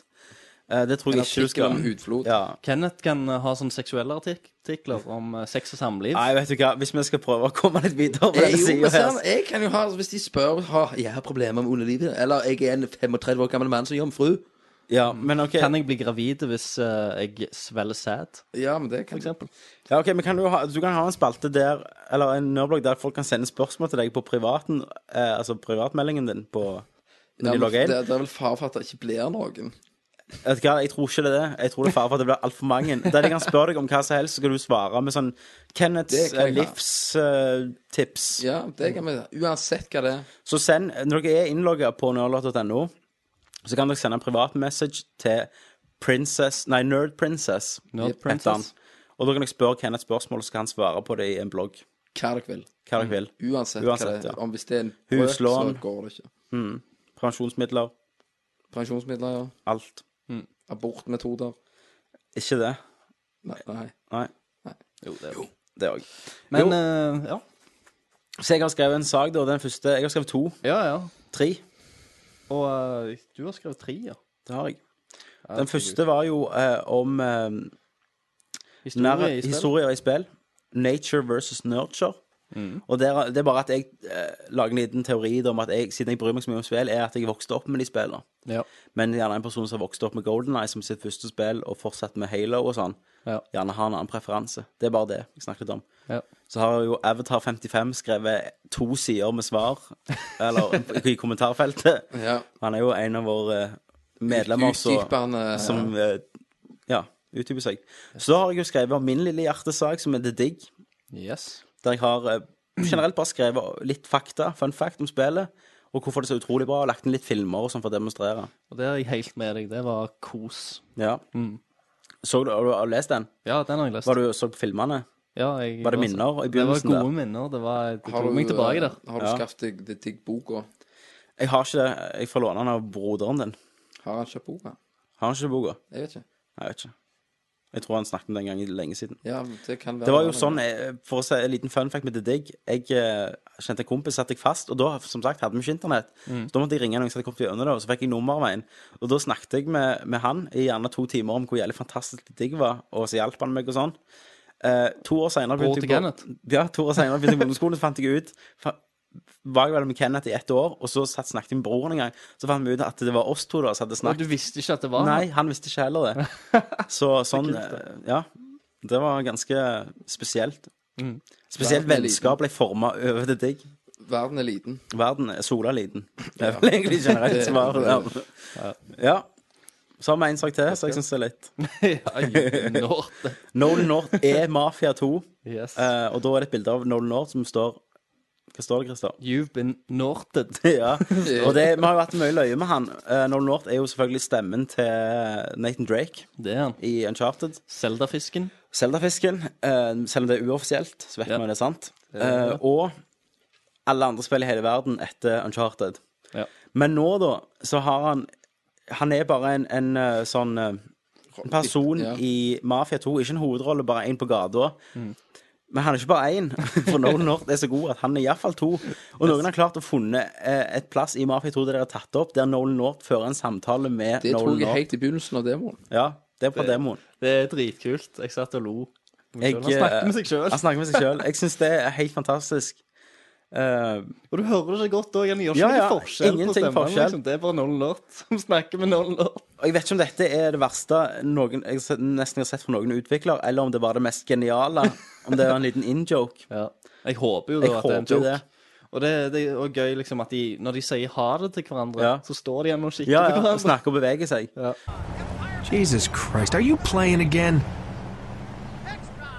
Speaker 7: Eh, det tror
Speaker 8: En
Speaker 7: jeg ikke du
Speaker 8: artikkel
Speaker 7: skal.
Speaker 8: om utflod.
Speaker 7: Ja.
Speaker 9: Kenneth kan eh, ha sånne seksuelle artik- artikler om eh, sex og samliv.
Speaker 7: Nei, vet du hva, hvis vi skal prøve å komme litt videre på
Speaker 8: Jeg,
Speaker 7: denne
Speaker 8: jo, men
Speaker 7: sida
Speaker 8: sånn,
Speaker 7: her
Speaker 8: jeg kan jo ha, Hvis de spør har jeg har problemer med underlivet, eller jeg er en 35 år gammel mann som jomfru
Speaker 7: ja, men ok,
Speaker 9: Kan jeg bli gravid hvis eh, jeg svelger sæd,
Speaker 8: Ja, men det kan
Speaker 9: for eksempel?
Speaker 7: ja, ok, men kan du, ha, du kan ha en spalte der Eller en nerdblogg der folk kan sende spørsmål til deg på privaten eh, Altså privatmeldingen din på, Når
Speaker 8: Ja,
Speaker 7: de
Speaker 8: men
Speaker 7: logger inn
Speaker 8: det, det er vel far for at det ikke blir noen.
Speaker 7: Vet du hva, jeg tror ikke det er det. Jeg tror det er fare for at det blir altfor mange. Der de kan spørre deg om hva som helst, så skal du svare med sånn
Speaker 8: Det
Speaker 7: Kenneths eh,
Speaker 8: kan jeg ha.
Speaker 7: livstips.
Speaker 8: Ja, det kan vi Uansett hva det er.
Speaker 7: Så send, når dere er innlogga på nerdlot.no, så kan dere sende en privat message til princess, nei, Nerd Princess.
Speaker 9: Nerd
Speaker 7: heter
Speaker 9: Princess.
Speaker 7: han. Og da kan dere spørre Kenneth spørsmål, så skal han svare på det i en blogg.
Speaker 8: Hva dere vil.
Speaker 7: Hva dere vil.
Speaker 8: Uansett, hva
Speaker 7: Uansett,
Speaker 8: det
Speaker 7: ja.
Speaker 8: er. Om hvis det er en
Speaker 7: Huslån.
Speaker 8: brøk, så går det ikke.
Speaker 7: Prevensjonsmidler.
Speaker 8: Pensjonsmidler, ja.
Speaker 7: Alt.
Speaker 8: Abortmetoder.
Speaker 7: Ikke det.
Speaker 8: Nei. nei.
Speaker 7: Nei.
Speaker 9: Jo, det er jo.
Speaker 7: Det òg.
Speaker 9: Men
Speaker 7: Jo.
Speaker 9: eh, ja.
Speaker 7: Så jeg har skrevet en sak, da. Den første Jeg har skrevet to.
Speaker 9: ja, ja.
Speaker 7: Tre.
Speaker 9: Og eh, du har skrevet tre, ja.
Speaker 7: Det har jeg. Den første var jo eh, om eh,
Speaker 9: Historie
Speaker 7: Nær,
Speaker 9: i spill.
Speaker 7: historier i spill. Nature versus nurture.
Speaker 9: Mm.
Speaker 7: Og der, det er bare at jeg eh, lager en liten teori da om at jeg, siden jeg bryr meg så mye om spill, er at jeg vokste opp med de spillene.
Speaker 9: Ja.
Speaker 7: Men gjerne en person som har vokst opp med Golden Eye som sitt første spill, og fortsatt med Halo og sånn,
Speaker 9: Ja.
Speaker 7: gjerne har en annen preferanse. Det er bare det jeg snakket om.
Speaker 9: Ja.
Speaker 7: Så har jo Avatar55 skrevet to sider med svar,
Speaker 9: [laughs]
Speaker 7: eller i kommentarfeltet.
Speaker 8: Ja.
Speaker 7: Han er jo en av våre eh, medlemmer så-
Speaker 8: Utdypende,
Speaker 7: som eh, Ja, utdyper seg. Så har jeg jo skrevet om min lille hjertesak, som er The Digg.
Speaker 9: Yes.
Speaker 7: Der jeg har eh, generelt bare skrevet litt fakta, fun fact, om spillet. Og hvorfor det er så utrolig bra, og lagt inn litt filmer og sånn for å demonstrere.
Speaker 9: Og det er jeg helt med deg. Det var kos.
Speaker 7: Ja. Så du, har du har du lest den?
Speaker 9: Ja, den har jeg lest.
Speaker 7: Var du så på filmene?
Speaker 9: ja, jeg,
Speaker 7: var det minner i begynnelsen
Speaker 9: Det var
Speaker 7: der? eh,
Speaker 9: gode minner. Det var, det
Speaker 8: Har
Speaker 9: tok meg
Speaker 8: du,
Speaker 9: tilbake der.
Speaker 8: har du
Speaker 7: Ja.
Speaker 8: skaffet deg det digg boka?
Speaker 7: Jeg har ikke det. Jeg får låne den av broderen din.
Speaker 8: Har han kjøpt boka?
Speaker 7: Har han ikke boka?
Speaker 8: Jeg vet ikke.
Speaker 7: Jeg vet ikke. Jeg tror han snakket om den gangen lenge siden.
Speaker 8: Ja, men det kan være
Speaker 7: Det var jo sånn, eh, for å si en liten fun fact med The Digg Jeg eh, kjente en kompis, satte jeg fast, og da, som sagt, hadde vi ikke internett.
Speaker 9: Mm.
Speaker 7: Så da måtte jeg ringe noen som hadde kommet gjennom det, og så fikk jeg nummerveien. Og da snakket jeg med, med han i gjerne to timer om hvor jævlig fantastisk The Digg var, og så hjalp han meg og sånn. Eh, to år senere
Speaker 9: Bror
Speaker 7: begynte
Speaker 9: til
Speaker 7: jeg
Speaker 9: Kenneth?
Speaker 7: på, ja, to år senere begynte jeg på ungdomsskolen, så fant jeg ut fa var jeg vel med Kenneth i ett år, og så satt, snakket jeg med broren en gang. Så fant vi ut at det var oss to da som hadde
Speaker 9: Og
Speaker 7: snakket.
Speaker 9: du visste ikke at det var
Speaker 7: Nei, han visste [laughs] ikke heller det. Så sånn eh, Ja. Det var ganske spesielt. Spesielt
Speaker 8: Verden er
Speaker 7: vennskap ble forma over til deg.
Speaker 8: Verden er liten.
Speaker 7: Verden er sola liten. Det er vel egentlig generelt svar. Ja. ja. Så har vi en sak til, så jeg syns det er lett.
Speaker 9: [laughs] ja, North.
Speaker 7: [laughs] Nolan North er Mafia 2,
Speaker 9: Yes.
Speaker 7: eh, og da er det et bilde av Nolan North som står Hva står det, [laughs] Christer?
Speaker 9: You've been norted.
Speaker 7: ja. Og det, vi har jo hatt mye løye med han. Eh, Nolan North er jo selvfølgelig stemmen til Nathan Drake
Speaker 9: Det er han.
Speaker 7: i Uncharted.
Speaker 9: Zelda-fisken.
Speaker 7: Zelda-fisken, eh, selv om det er uoffisielt, så vet
Speaker 9: Ja.
Speaker 7: man det er sant. Eh, og alle andre spill i hele verden etter Uncharted.
Speaker 9: Ja.
Speaker 7: Men nå, da, så har han Han er bare en, en eh, sånn eh, person
Speaker 8: Ja.
Speaker 7: i Mafia 2. Ikke en hovedrolle, bare én på gata. Men han er ikke bare én, [laughs] for Nolan North er så god at han er iallfall to. Og noen har klart å funne eh, et plass i Mafia 2 der de har tatt opp, der Nolan North fører en samtale med
Speaker 8: Det
Speaker 7: Nolan
Speaker 8: tok jeg
Speaker 7: North.
Speaker 8: helt i begynnelsen av demoen.
Speaker 7: Ja, det er på demoen.
Speaker 9: Det er dritkult. Jeg satt og lo.
Speaker 7: Jeg,
Speaker 9: Han snakker med seg
Speaker 7: eh,
Speaker 9: sjøl.
Speaker 7: Han snakker med seg selv. Jeg syns det er helt fantastisk. Eh,
Speaker 9: Og du hører det så godt òg. Han gjør ikke
Speaker 7: Ja,
Speaker 9: noe
Speaker 7: ja.
Speaker 9: forskjell på
Speaker 7: Ingenting
Speaker 9: stemmen.
Speaker 7: forskjell.
Speaker 9: Liksom. Det er bare Nolan North [laughs] som snakker med Nolan North.
Speaker 7: og jeg vet ikke om dette er det verste noen, jeg s- nesten har sett fra noen utvikler, eller om det var det mest geniale. Om det var en liten
Speaker 9: [laughs]
Speaker 7: in-joke.
Speaker 9: Ja. Jeg håper jo da
Speaker 7: Jeg
Speaker 9: at det er en
Speaker 7: håper jo
Speaker 9: joke.
Speaker 7: det.
Speaker 9: Og det, det er også gøy liksom at de, når de sier ha det til hverandre,
Speaker 7: Ja.
Speaker 9: så står de igjen og kikker
Speaker 7: Ja,
Speaker 9: på
Speaker 7: ja. og
Speaker 9: hverandre.
Speaker 7: Snakke og bevege seg.
Speaker 12: Jesus Christ, are you playing again?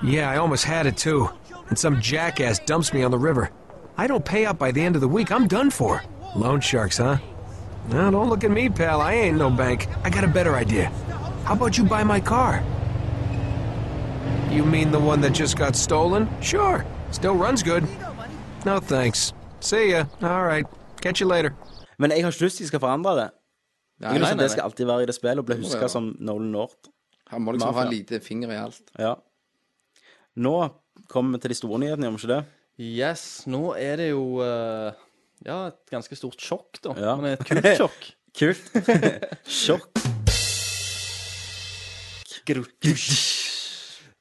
Speaker 12: Yeah, I almost had it too. And some jackass dumps me on the river. I don't pay up by the end of the week. I'm done for. Loan sharks, huh? No, don't look at me, pal. I ain't no bank. I got a better idea. How about you buy my car? You mean the one that just got stolen? Sure. Still runs good. No thanks. See ya. All right. Catch you later.
Speaker 7: Men jeg har ikke lyst til de skal forandre det.
Speaker 8: Nei,
Speaker 7: Jeg
Speaker 8: nei,
Speaker 7: synes
Speaker 8: nei,
Speaker 7: Det skal
Speaker 8: nei.
Speaker 7: alltid være i det spillet og bli huska
Speaker 8: være.
Speaker 7: som Nolan North.
Speaker 8: Han må liksom ha
Speaker 7: Mafia.
Speaker 8: en lite finger i alt.
Speaker 7: Ja. Nå kommer vi til de store nyhetene, gjør vi ikke det?
Speaker 9: Yes, nå er det jo eh, ja, et ganske stort sjokk, da.
Speaker 7: Ja.
Speaker 9: Men
Speaker 7: [laughs]
Speaker 9: et kult sjokk.
Speaker 7: Kult. [laughs] Sjokk.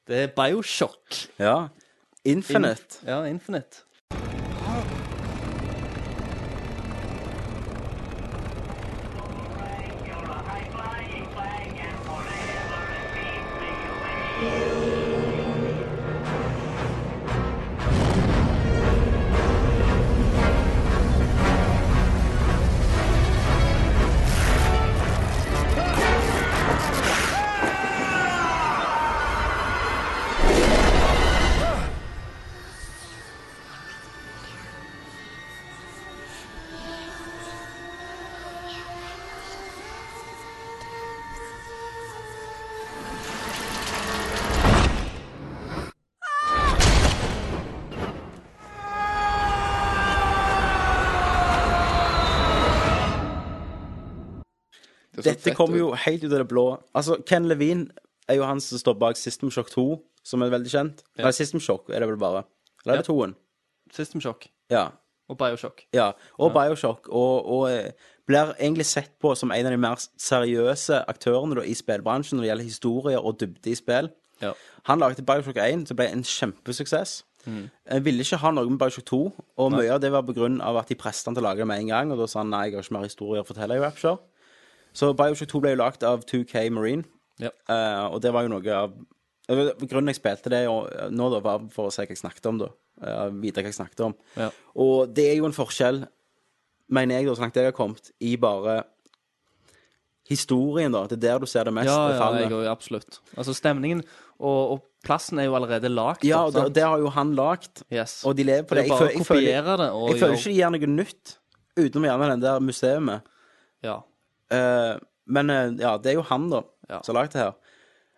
Speaker 9: Det er Bioshock.
Speaker 7: Ja. Infinite.
Speaker 9: Ja, Infinite.
Speaker 8: Det er så
Speaker 7: Dette
Speaker 8: fett eh,
Speaker 7: kommer
Speaker 8: ut.
Speaker 7: jo helt ut av det blå. Altså, Ken Levine er jo han som står bak System Shock 2, som er veldig kjent. Nei, System Shock er det vel bare. Eller er det
Speaker 9: Ja.
Speaker 7: toen?
Speaker 9: System Shock
Speaker 7: Ja.
Speaker 9: og Bioshock.
Speaker 7: ja. Og Bioshock. Og, og eh, blir egentlig sett på som en av de mer seriøse aktørene da, i spillbransjen når det gjelder historier og dybde i spill.
Speaker 9: Ja.
Speaker 7: Han lagde Bioshock 1, som ble en kjempesuksess.
Speaker 9: Mm.
Speaker 7: Jeg ville ikke ha noe med Bioshock 2, og mye av det var på grunn av at de presset han til å lage det med en gang, og da sa han nei, jeg har ikke mer historier å fortelle i Rapture. Så Bioshock 2 ble jo lagd av 2K Marine,
Speaker 9: Ja.
Speaker 7: eh, og det var jo noe av eh, Grunnen jeg spilte det og, eh, nå, da, var for å se hva jeg snakket om, da. Eh, vite hva jeg snakket om.
Speaker 9: Ja.
Speaker 7: Og det er jo en forskjell, mener jeg, da, så langt jeg har kommet, i bare historien, da. Det er der du ser det mest.
Speaker 9: Ja,
Speaker 7: det
Speaker 9: ja,
Speaker 7: fallet.
Speaker 9: jeg òg, absolutt. Altså, stemningen og, og plassen er jo allerede lagd.
Speaker 7: Ja, og
Speaker 9: opp,
Speaker 7: det,
Speaker 9: sant?
Speaker 7: det har jo han lagd.
Speaker 9: Yes.
Speaker 7: Og de lever på det.
Speaker 9: er
Speaker 7: Jeg
Speaker 9: bare
Speaker 7: føler-
Speaker 9: å
Speaker 7: jeg føler-
Speaker 9: kopiere det og
Speaker 7: Jeg føler
Speaker 9: gjøre-
Speaker 7: ikke de gjør noe nytt utenom gjerne den der museet.
Speaker 9: Ja.
Speaker 7: Eh, men eh, ja, det er jo han, da,
Speaker 9: Ja.
Speaker 7: som har lagd det her.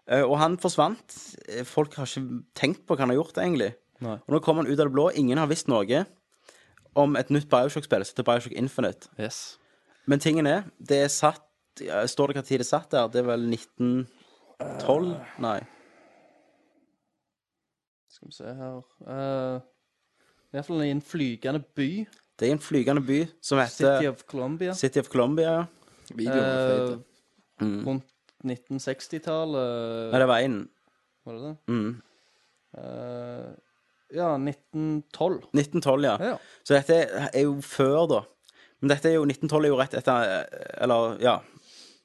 Speaker 7: Eh, og han forsvant. Eh, Folk har ikke tenkt på hva han har gjort, egentlig.
Speaker 9: Nei.
Speaker 7: Og nå kommer han ut av det blå. Ingen har visst noe om et nytt Bioshock-spill som heter Bioshock Infinite.
Speaker 9: Yes.
Speaker 7: Men tingen er, det er satt ja, Står det hva tid det satt der? Det er vel 1912?
Speaker 9: Eh.
Speaker 7: Nei.
Speaker 9: Skal vi se her uh, I hvert fall i en flygende by.
Speaker 7: Det er en flygende by som heter
Speaker 9: City of Colombia.
Speaker 7: City of Colombia. ja.
Speaker 8: Videoen er
Speaker 9: Eh,
Speaker 8: feit.
Speaker 9: Rundt 1960-tallet.
Speaker 7: Nei, det var én.
Speaker 9: Var det det?
Speaker 7: Mm.
Speaker 9: Eh, ja, 1912.
Speaker 7: 1912, ja.
Speaker 9: Ja.
Speaker 7: Så dette er jo før, da. Men dette er jo 1912 er jo rett etter Eller, ja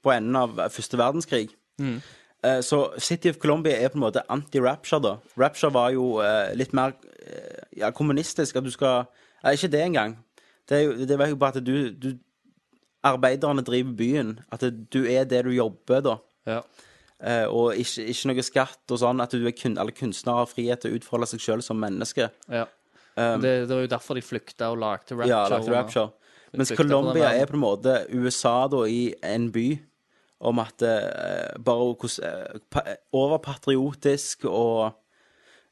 Speaker 7: På enden av første verdenskrig. Eh, Så City of Colombia er på en måte anti-Rapture, da. Rapture var jo eh, litt mer eh, ja, kommunistisk, at du skal Nei, ikke det engang. Det, er jo- det var jo bare at du, du Arbeiderne driver byen. At du er det du jobber, da. Eh, og ikke, ikke noe skatt og sånn. At du er kun, alle kunstnere har frihet til å utfolde seg sjøl som menneske.
Speaker 9: Ja.
Speaker 7: Um,
Speaker 9: det, det var jo derfor de flykta og lagde Rapture.
Speaker 7: ja, lagt Rapture. Mens Colombia er på en måte USA da i en by. Om at eh, bare hvordan eh, pa- Overpatriotisk og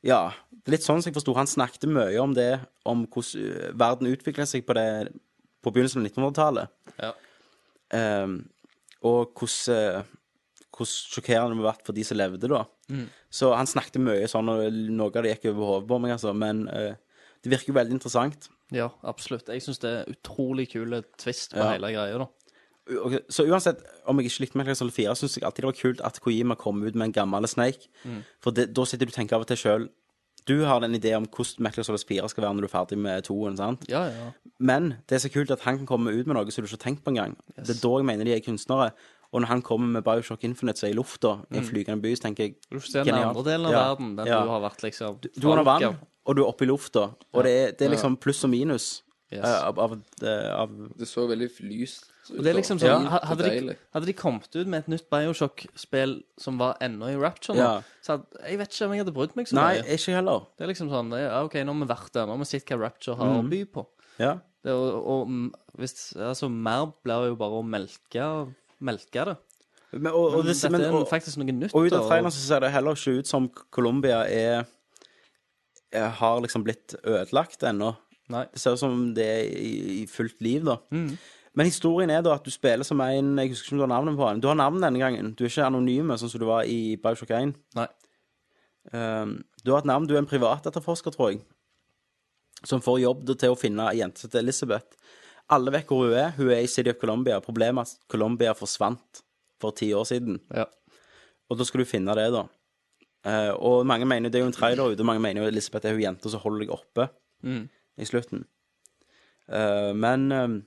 Speaker 7: Ja. Det er litt sånn som jeg forsto. Han snakket mye om det, om hvordan eh, verden utvikla seg på, det, på begynnelsen av 1900-tallet.
Speaker 9: Ja.
Speaker 7: Ehm, og hvordan, eh, hvordan sjokkerende det har vært for de som levde, da.
Speaker 9: Mm.
Speaker 7: Så han snakket mye sånn, og noe av det gikk over hodet på meg, altså. Men eh, det virker jo veldig interessant.
Speaker 9: Ja, absolutt. Jeg syns det er utrolig kule twist på
Speaker 7: Ja.
Speaker 9: hele greia, da.
Speaker 7: U- ok, Så uansett, om jeg ikke likte Metal Gear Solid 4, syns jeg alltid det var kult at Kojima kom ut med en gammel Snake.
Speaker 9: Mm.
Speaker 7: For det, da sitter du og tenker av og til sjøl Du har den ideen om hvordan Metal Gear Solid 4 skal være når du er ferdig med toen, sant?
Speaker 9: Ja, ja.
Speaker 7: Men det er så kult at han kan komme ut med noe som du ikke har tenkt på engang. Det er da jeg mener de er kunstnere. Og når han kommer med Bioshock Infinite, så er i lufta, i en
Speaker 9: Mm.
Speaker 7: flygende by, så tenker jeg
Speaker 9: Du får se den
Speaker 7: genialt.
Speaker 9: andre delen av
Speaker 7: Ja,
Speaker 9: verden, den
Speaker 7: ja.
Speaker 9: du har vært liksom
Speaker 7: Du er under
Speaker 9: Ja.
Speaker 7: vann, og du er oppe i lufta, og det, er, det er
Speaker 8: Ja.
Speaker 7: liksom pluss og minus
Speaker 9: Yes.
Speaker 7: eh, av, av, eh, av
Speaker 8: Det så veldig lyst ut.
Speaker 9: Og det er liksom
Speaker 8: og
Speaker 9: sånn,
Speaker 8: fint
Speaker 9: ha-
Speaker 8: og
Speaker 9: hadde, de,
Speaker 8: deilig.
Speaker 9: hadde de kommet ut med et nytt Bioshock-spill som var ennå i Rapture, nå,
Speaker 7: Ja.
Speaker 9: så hadde, jeg vet ikke om jeg hadde brydd meg så
Speaker 7: Nei,
Speaker 9: mye.
Speaker 7: ikke heller.
Speaker 9: Det er liksom sånn ja, OK, nå har vi vært der. Nå har vi sett hva Rapture har å
Speaker 7: Mhm.
Speaker 9: by på.
Speaker 7: Ja.
Speaker 9: Det, og, og mm, hvis Altså, mer blir jo bare å melke, melke det.
Speaker 7: Men, og, og
Speaker 9: Men
Speaker 7: det,
Speaker 9: dette
Speaker 7: men,
Speaker 9: er
Speaker 7: og,
Speaker 9: faktisk noe nytt.
Speaker 7: og ut av
Speaker 9: og-
Speaker 7: traileren så ser det heller ikke ut som Colombia er, er Har liksom blitt ødelagt ennå.
Speaker 9: Nei.
Speaker 7: Det ser ut som det er i, i fullt liv, da.
Speaker 9: Mhm.
Speaker 7: Men historien er da at du spiller som en Jeg husker ikke om du har navnet på han. Du har navn denne gangen. Du er ikke anonym, sånn som du var i Bioshock 1.
Speaker 9: Nei.
Speaker 7: Um, du har et navn. Du er en privatetterforsker, tror jeg, som får jobb til å finne ei jente som heter Elizabeth. Alle vet hvor hun er. Hun er i City of Colombia. Problemet er at Colombia forsvant for ti år siden. Og da skal du finne det, da. Eh, og mange mener det er jo en trailer ute, og mange mener jo Elisabeth er hun jenta som holder deg oppe
Speaker 9: Mm.
Speaker 7: i slutten. Eh, men eh,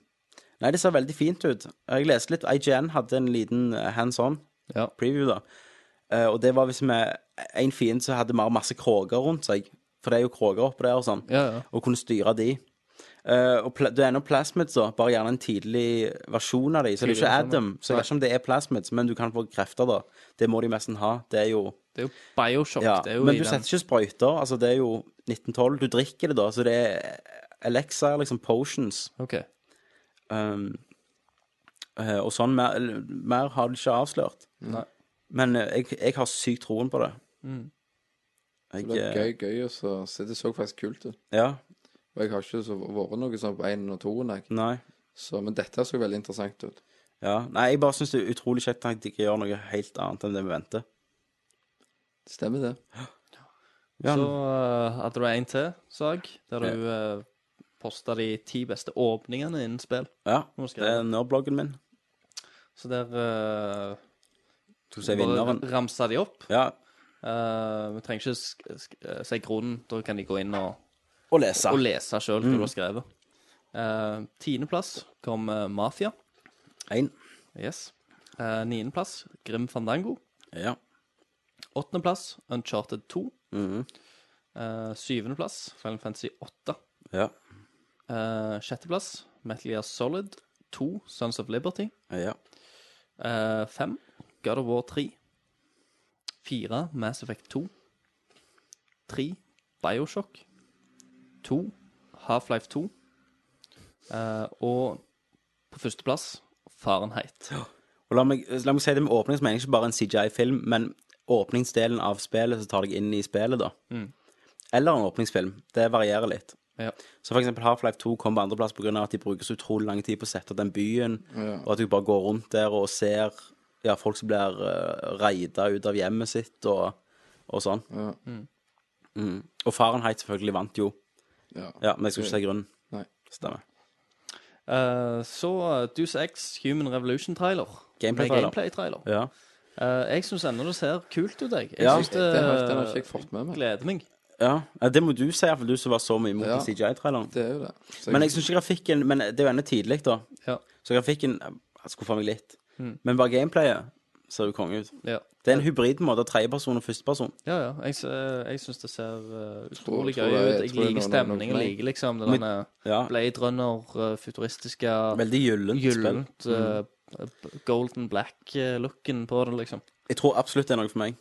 Speaker 7: Nei, det ser veldig fint ut. Jeg leste litt. IGN hadde en liten eh, hands on
Speaker 9: Ja.
Speaker 7: preview, da. Eh, og det var hvis med en fiende som hadde mer masse kråker rundt seg. For det er jo kråker oppå der og sånn.
Speaker 9: Ja, ja.
Speaker 7: Og kunne styre de. Eh, og pla- det er noe plasmids, da. Bare gjerne en tidlig versjon av de. Så det er jo ikke
Speaker 9: Tidlig versjon, ja.
Speaker 7: Adam. Så jeg vet ikke om det er plasmids, men du kan få krefter, da. Det må de nesten ha. Det er jo
Speaker 9: Det er jo Bioshock.
Speaker 7: ja,
Speaker 9: det er jo
Speaker 7: men
Speaker 9: i
Speaker 7: du
Speaker 9: den-
Speaker 7: setter ikke sprøyter. Altså, det er jo 1912. Du drikker det, da. Så det er Alexa, liksom potions.
Speaker 9: OK.
Speaker 7: Um, eh, og sånn mer, mer har de ikke avslørt.
Speaker 9: Nei.
Speaker 7: Men eh, jeg, jeg har sykt troen på det.
Speaker 9: Mm.
Speaker 7: Jeg,
Speaker 8: Det
Speaker 7: eh,
Speaker 8: var gøy, gøy, og så, så det så faktisk kult ut.
Speaker 7: Ja.
Speaker 8: Og jeg har ikke så vært noe sånn på 1 og 2, nei.
Speaker 7: Nei.
Speaker 8: Så, men dette så veldig interessant ut.
Speaker 7: Ja. Nei, jeg bare syns det er utrolig kjekt at de gjør noe helt annet enn det vi venter.
Speaker 8: Stemmer det.
Speaker 7: Ja.
Speaker 9: Så eh, hadde du en til sag, der du uh, posta de ti beste åpningene innen spill.
Speaker 7: Ja.
Speaker 9: Nå skal
Speaker 7: Det er nerdbloggen min.
Speaker 9: Så der eh,
Speaker 7: Skal vi se
Speaker 9: bare
Speaker 7: vinneren.
Speaker 9: ramsa de opp.
Speaker 7: Ja.
Speaker 9: Eh, vi trenger ikke sk sk eh, si grunnen, da kan de gå inn og,
Speaker 7: Og lese.
Speaker 9: og lese sjøl hva
Speaker 7: Mm.
Speaker 9: du har skrevet. Eh, Tiendeplass kom eh, Mafia.
Speaker 7: Én.
Speaker 9: Yes. Eh, Niendeplass Grim Fandango.
Speaker 7: Ja.
Speaker 9: Åttendeplass Uncharted 2.
Speaker 7: Mhm.
Speaker 9: Eh, Syvendeplass Final Fantasy 8.
Speaker 7: Ja.
Speaker 9: Eh, Sjetteplass Metal Gear Solid 2 Sons of Liberty.
Speaker 7: Ja.
Speaker 9: Eh, Fem God of War 3. Fire Mass Effect 2. Tre Bioshock. To Half-Life 2. Eh, og på førsteplass Fahrenheit.
Speaker 7: Og la meg, la meg si det med åpning, så mener jeg ikke bare en CGI-film, men åpningsdelen av spillet som tar deg inn i spillet, da.
Speaker 9: Mm.
Speaker 7: Eller en åpningsfilm. Det varierer litt.
Speaker 9: Ja.
Speaker 7: Så for eksempel Half-Life 2 kom på andreplass pga. at de bruker så utrolig lang tid på å sette opp den byen, og at du bare går rundt der og ser ja, folk som blir uh, raida ut av hjemmet sitt og, og sånn.
Speaker 8: Ja.
Speaker 7: Mm. Og Fahrenheit selvfølgelig vant jo.
Speaker 8: Ja.
Speaker 7: Ja, men jeg skal ikke si grunnen.
Speaker 8: Nei.
Speaker 7: Stemmer.
Speaker 9: Eh, så eh, Deus Ex Human Revolution-trailer.
Speaker 7: Gameplay-trailer.
Speaker 9: Gameplay Eh,
Speaker 7: Ja.
Speaker 9: jeg syns ennå det ser kult ut, jeg. Jeg
Speaker 7: Ja.
Speaker 9: synes det,
Speaker 8: Den har, den har ikke jeg fått med meg.
Speaker 9: gleder meg.
Speaker 7: ja. ja. Det må du si, iallfall du som var så mye imot
Speaker 8: Ja.
Speaker 7: den CGI-traileren.
Speaker 8: Det er jo det. Så
Speaker 7: Men jeg synes ikke grafikken Men det er jo ennå tidlig, da.
Speaker 9: Ja.
Speaker 7: Så grafikken eh, skuffer meg litt.
Speaker 9: Mm.
Speaker 7: Men bare gameplayet Ser jo konge ut.
Speaker 9: Ja.
Speaker 7: Det er en hybrid på en måte. Tredjeperson og førsteperson.
Speaker 9: Ja, ja. Jeg, s- eh, jeg syns det ser eh, utrolig
Speaker 7: tror jeg-
Speaker 9: gøy ut.
Speaker 7: jeg
Speaker 9: Jeg
Speaker 7: tror det er noe-
Speaker 9: liker stemningen.
Speaker 7: noe-
Speaker 9: Jeg liker liksom
Speaker 7: Men-
Speaker 9: den
Speaker 7: ja.
Speaker 9: Blade Runner-futuristiske
Speaker 7: Veldig gyllent spill. Mm.
Speaker 9: Gyllent eh, b- Golden Black-looken på det, liksom.
Speaker 7: Jeg tror absolutt det er noe for meg.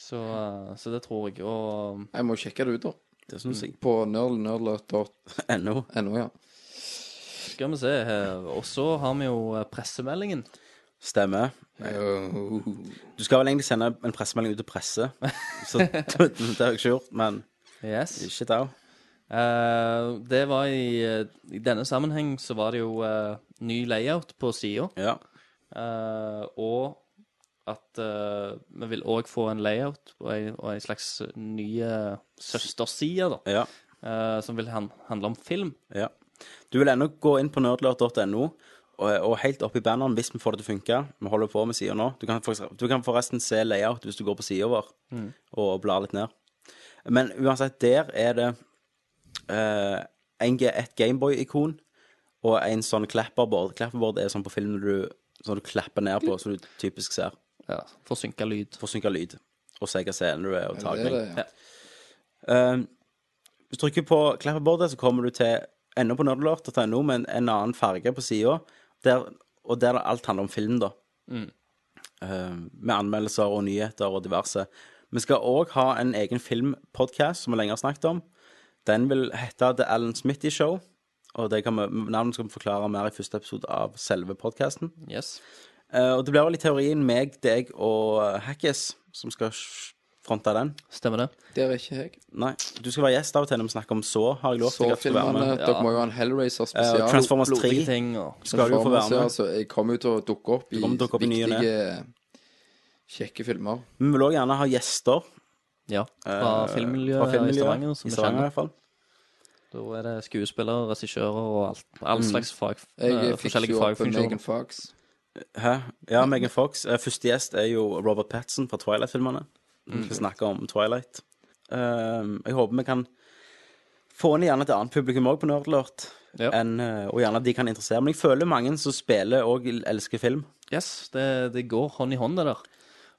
Speaker 9: Så, eh, så det tror jeg. Og eh,
Speaker 8: Jeg må sjekke det ut, da.
Speaker 7: Det sånn synes jeg.
Speaker 8: På
Speaker 7: [laughs]
Speaker 8: nerdlert.no. ja.
Speaker 9: skal vi se her Og så har vi jo eh, pressemeldingen.
Speaker 7: Stemmer. Du skal vel egentlig sende en pressemelding ut til presse, så [laughs] det har jeg ikke gjort, men
Speaker 9: Yes.
Speaker 7: ikke da.
Speaker 9: Eh, det var i, eh, I denne sammenheng så var det jo eh, ny layout på sida.
Speaker 7: Ja.
Speaker 9: Eh, og at eh, vi vil òg få en layout og ei, og ei slags nye søsterside, da.
Speaker 7: Ja.
Speaker 9: eh, som vil han, handle om film.
Speaker 7: Ja. Du vil ennå gå inn på nerdlert.no, og, og helt opp i banneren hvis vi får det til å funke. Vi holder på med sida nå. Du kan, forresten, du kan forresten se layout hvis du går på sida vår
Speaker 9: Mm.
Speaker 7: og blar litt ned. Men uansett, der er det eh, en, ga- et Gameboy-ikon og en sånn clapperboard. Clapperboard er sånn på film når du, sånn du klapper ned på, som du typisk ser.
Speaker 9: Ja, Forsynka lyd.
Speaker 7: Forsynka lyd. Og se hva scenen du er, og
Speaker 9: Ja, det er
Speaker 7: tagning.
Speaker 9: det, ja.
Speaker 7: Eh, hvis du trykker på clapperboardet, så kommer du til ennå på nerdlort.no med en, en annen farge på sida, og der alt handler om film, da.
Speaker 9: Mm.
Speaker 7: Eh, med anmeldelser og nyheter og diverse. Vi skal òg ha en egen filmpodkast som vi lenge har snakket om. Den vil hete The Alan Smitty Show, og det kan vi, navnet skal vi forklare mer i første episode av selve podkasten.
Speaker 9: Yes.
Speaker 7: Eh, og det blir vel i teorien meg, deg og eh, Hackis som skal sj- fronte den.
Speaker 9: Stemmer det.
Speaker 8: Der er ikke jeg.
Speaker 7: Nei, du skal være gjest av og til når vi snakker om så, har jeg lovt. deg at du skal være
Speaker 8: Så-filmene.
Speaker 7: med.
Speaker 8: Dere må jo ha en
Speaker 7: Eh,
Speaker 8: Hellraiser-spesial.
Speaker 7: og Transformers 3
Speaker 8: Blodige
Speaker 7: skal du få være
Speaker 8: Transformers, ja,
Speaker 7: med.
Speaker 8: Altså, jeg kommer jo til å dukke opp i
Speaker 7: kommer til å dukke opp i ny og ne.
Speaker 8: viktige, kjekke filmer.
Speaker 7: Vi vil òg gjerne ha gjester.
Speaker 9: Ja, fra
Speaker 7: eh,
Speaker 9: filmmiljøet
Speaker 7: fra filmmiljøet
Speaker 9: i Stavanger, som
Speaker 7: i
Speaker 9: vi
Speaker 7: Stavanger
Speaker 9: kjenner.
Speaker 7: i hvert fall.
Speaker 9: Da er det skuespillere, regissører og alt, all
Speaker 7: Mm.
Speaker 9: slags fag, eh,
Speaker 8: Jeg fikk
Speaker 9: forskjellige
Speaker 8: jo opp en
Speaker 9: fagfunksjoner.
Speaker 8: Megan Fox.
Speaker 7: Hæ? Ja, Megan Fox. Eh, Første gjest er jo Robert Patson fra Twilight-filmene. Vi
Speaker 9: Mhm.
Speaker 7: skal snakke om Twilight. Ehm, jeg håper vi kan få inn gjerne et annet publikum òg på Nerdlert. enn, eh, og gjerne at de kan interessere. Men jeg føler mange som spiller og elsker film.
Speaker 9: Yes, det, det går hånd i hånd, det der.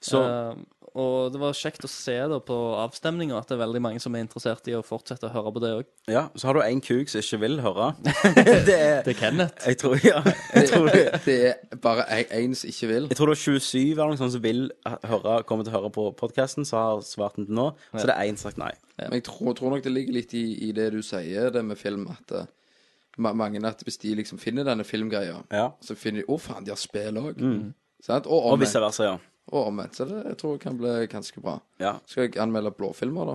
Speaker 7: Så-
Speaker 9: Eh, og det var kjekt å se da på avstemninga at det er veldig mange som er interessert i å fortsette å høre på det òg.
Speaker 7: Ja, Så har du en kuk som ikke vil høre. det, er,
Speaker 9: det er Kenneth.
Speaker 7: Jeg tror, ja, [laughs] jeg tror
Speaker 8: [laughs]
Speaker 7: det.
Speaker 8: Det er bare én som ikke vil.
Speaker 7: Jeg tror det er 27 eller noe sånt som vil høre, komme til å høre på podkasten, som har svart den til nå. Så det er én som har sagt nei.
Speaker 8: Men jeg tror, tror nok det ligger litt i, i det du sier, det med film, at eh, ma mange at hvis de liksom finner denne filmgreia, så finner de Å, faen, de har spill òg.
Speaker 7: Mm.
Speaker 8: Sant? Og
Speaker 7: Og vice
Speaker 8: omvendt.
Speaker 7: versa, ja.
Speaker 8: Og omvendt. Så det jeg tror jeg kan bli ganske bra.
Speaker 7: Ja.
Speaker 8: Skal jeg anmelde blåfilmer,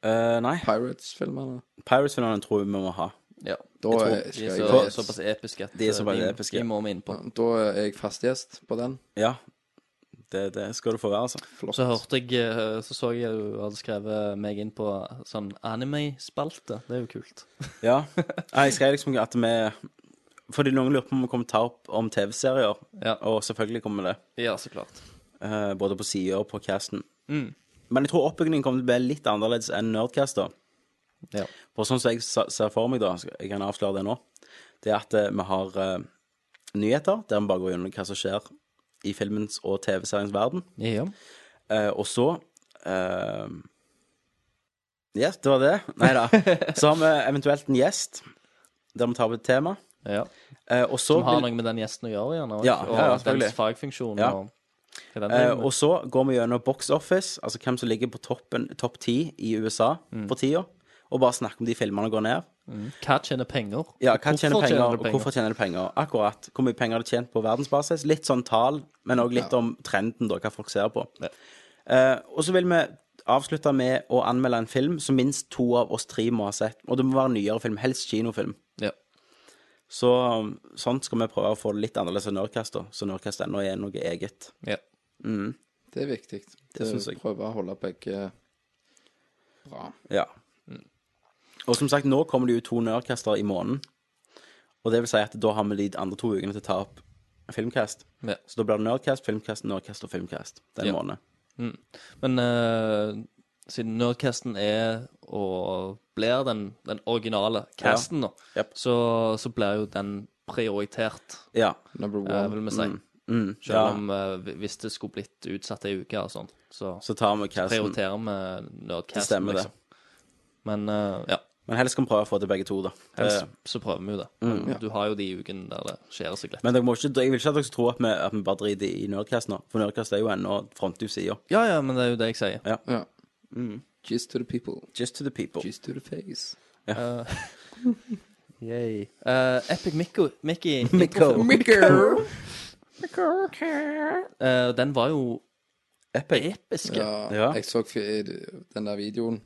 Speaker 8: da?
Speaker 7: Eh, nei.
Speaker 8: Pirates-filmene?
Speaker 7: Pirates-finalen tror jeg vi må ha.
Speaker 9: Ja,
Speaker 8: Da
Speaker 9: jeg tror
Speaker 8: er- skal
Speaker 9: de er
Speaker 8: jeg-
Speaker 9: så, såpass episke at eh,
Speaker 7: De er såpass
Speaker 9: de,
Speaker 7: episke. Mm.
Speaker 9: de må vi inn på.
Speaker 8: Da er jeg fast gjest på den.
Speaker 7: Ja. Det, det skal du få være, altså.
Speaker 9: Så hørte jeg, eh, så så jeg du hadde skrevet meg inn på sånn anime-spalte. Det er jo kult.
Speaker 7: Ja. Nei, Jeg skrev liksom at vi Fordi noen lurer på om vi kommer til å ta opp om TV-serier. Og selvfølgelig kommer det.
Speaker 9: Ja, så klart.
Speaker 7: Eh, både på sida og på casten.
Speaker 9: Mm.
Speaker 7: Men jeg tror oppbyggingen kommer til å bli litt annerledes enn Nerdcast, da.
Speaker 9: Ja.
Speaker 7: For sånn som jeg sa- ser for meg, da, skal- jeg kan avsløre det nå, det er at eh, vi har eh, nyheter der vi bare går gjennom hva som skjer i filmens og TV-seriens verden.
Speaker 9: Ja.
Speaker 7: Eh, og så eh, Ja, det var det. Nei
Speaker 9: [laughs]
Speaker 7: da. Så har vi eventuelt en gjest der vi tar opp et tema. Eh, og så
Speaker 9: Som har
Speaker 7: vil-
Speaker 9: noe med den gjesten å gjøre, gjerne.
Speaker 7: Ja,
Speaker 9: og
Speaker 7: ja, ja, selvfølgelig.
Speaker 9: dens fagfunksjon.
Speaker 7: Ja.
Speaker 9: Og, hva den driver
Speaker 7: Eh,
Speaker 9: med.
Speaker 7: og så går vi gjennom Box Office, altså hvem som ligger på toppen, topp ti i USA for tida, og bare snakker om de filmene går ned.
Speaker 9: Mm. Hva tjener penger?
Speaker 7: Ja, hva
Speaker 9: Hvorfor
Speaker 7: tjener penger,
Speaker 9: du
Speaker 7: og hvorfor tjener de penger? Akkurat. Hvor mye penger har de tjent på verdensbasis? Litt sånn tall, men òg litt om trenden, da, hva folk ser på. Eh, og så vil vi avslutte med å anmelde en film som minst to av oss tre må ha sett. Og det må være en nyere film, helst kinofilm.
Speaker 9: Ja.
Speaker 7: Så um, sånn skal vi prøve å få det litt annerledes enn Nerdcast, da. Så Nerdcast ennå er noe eget.
Speaker 9: Ja.
Speaker 7: Mm.
Speaker 8: Det er viktig.
Speaker 7: Det synes jeg.
Speaker 8: Prøve å holde begge eh, bra.
Speaker 7: Ja. Og som sagt, nå kommer det jo to Nerdcaster i måneden. Og det vil si at da har vi de andre to ukene til å ta opp Filmcast.
Speaker 9: Ja.
Speaker 7: Så da blir det Nerdcast, Filmcast, Nerdcast og Filmcast den
Speaker 9: Ja.
Speaker 7: måneden.
Speaker 9: Mm. Men eh, siden Nerdcasten er og blir den, den originale casten, nå, så, så blir jo den prioritert,
Speaker 7: Ja.
Speaker 9: eh, vil vi si.
Speaker 7: Mm. Mm,
Speaker 9: Selv
Speaker 7: ja.
Speaker 9: om eh, hvi- hvis det skulle blitt utsatt ei uke og sånn, så,
Speaker 7: Så tar vi casten.
Speaker 9: prioriterer vi
Speaker 7: Det
Speaker 9: nerdcasten,
Speaker 7: stemmer, det.
Speaker 9: liksom. Men eh, ja.
Speaker 7: Men helst kan vi prøve å få til begge to, da. Eh,
Speaker 9: Helst
Speaker 7: Det-
Speaker 9: så prøver vi jo det.
Speaker 7: Mm.
Speaker 9: Men Du har jo de ukene der det skjer seg litt.
Speaker 7: Men dere må ikke, jeg vil ikke at dere skal tro at vi, at vi bare driter i Nerdcast nå, for Nerdcast er jo ennå fronter sida.
Speaker 9: Ja, ja, men det er jo det jeg sier.
Speaker 7: Ja.
Speaker 8: Ja.
Speaker 7: Mm.
Speaker 8: Just to the people.
Speaker 7: Just to the people.
Speaker 8: Just to the face.
Speaker 9: Eh, Yay. Eh, Epic Mikko, Mickey
Speaker 7: Mikko.
Speaker 8: Mikko.
Speaker 9: Eh, den var jo
Speaker 7: Epic.
Speaker 9: episk.
Speaker 8: Ja,
Speaker 7: Ja.
Speaker 8: jeg så fi- den der videoen,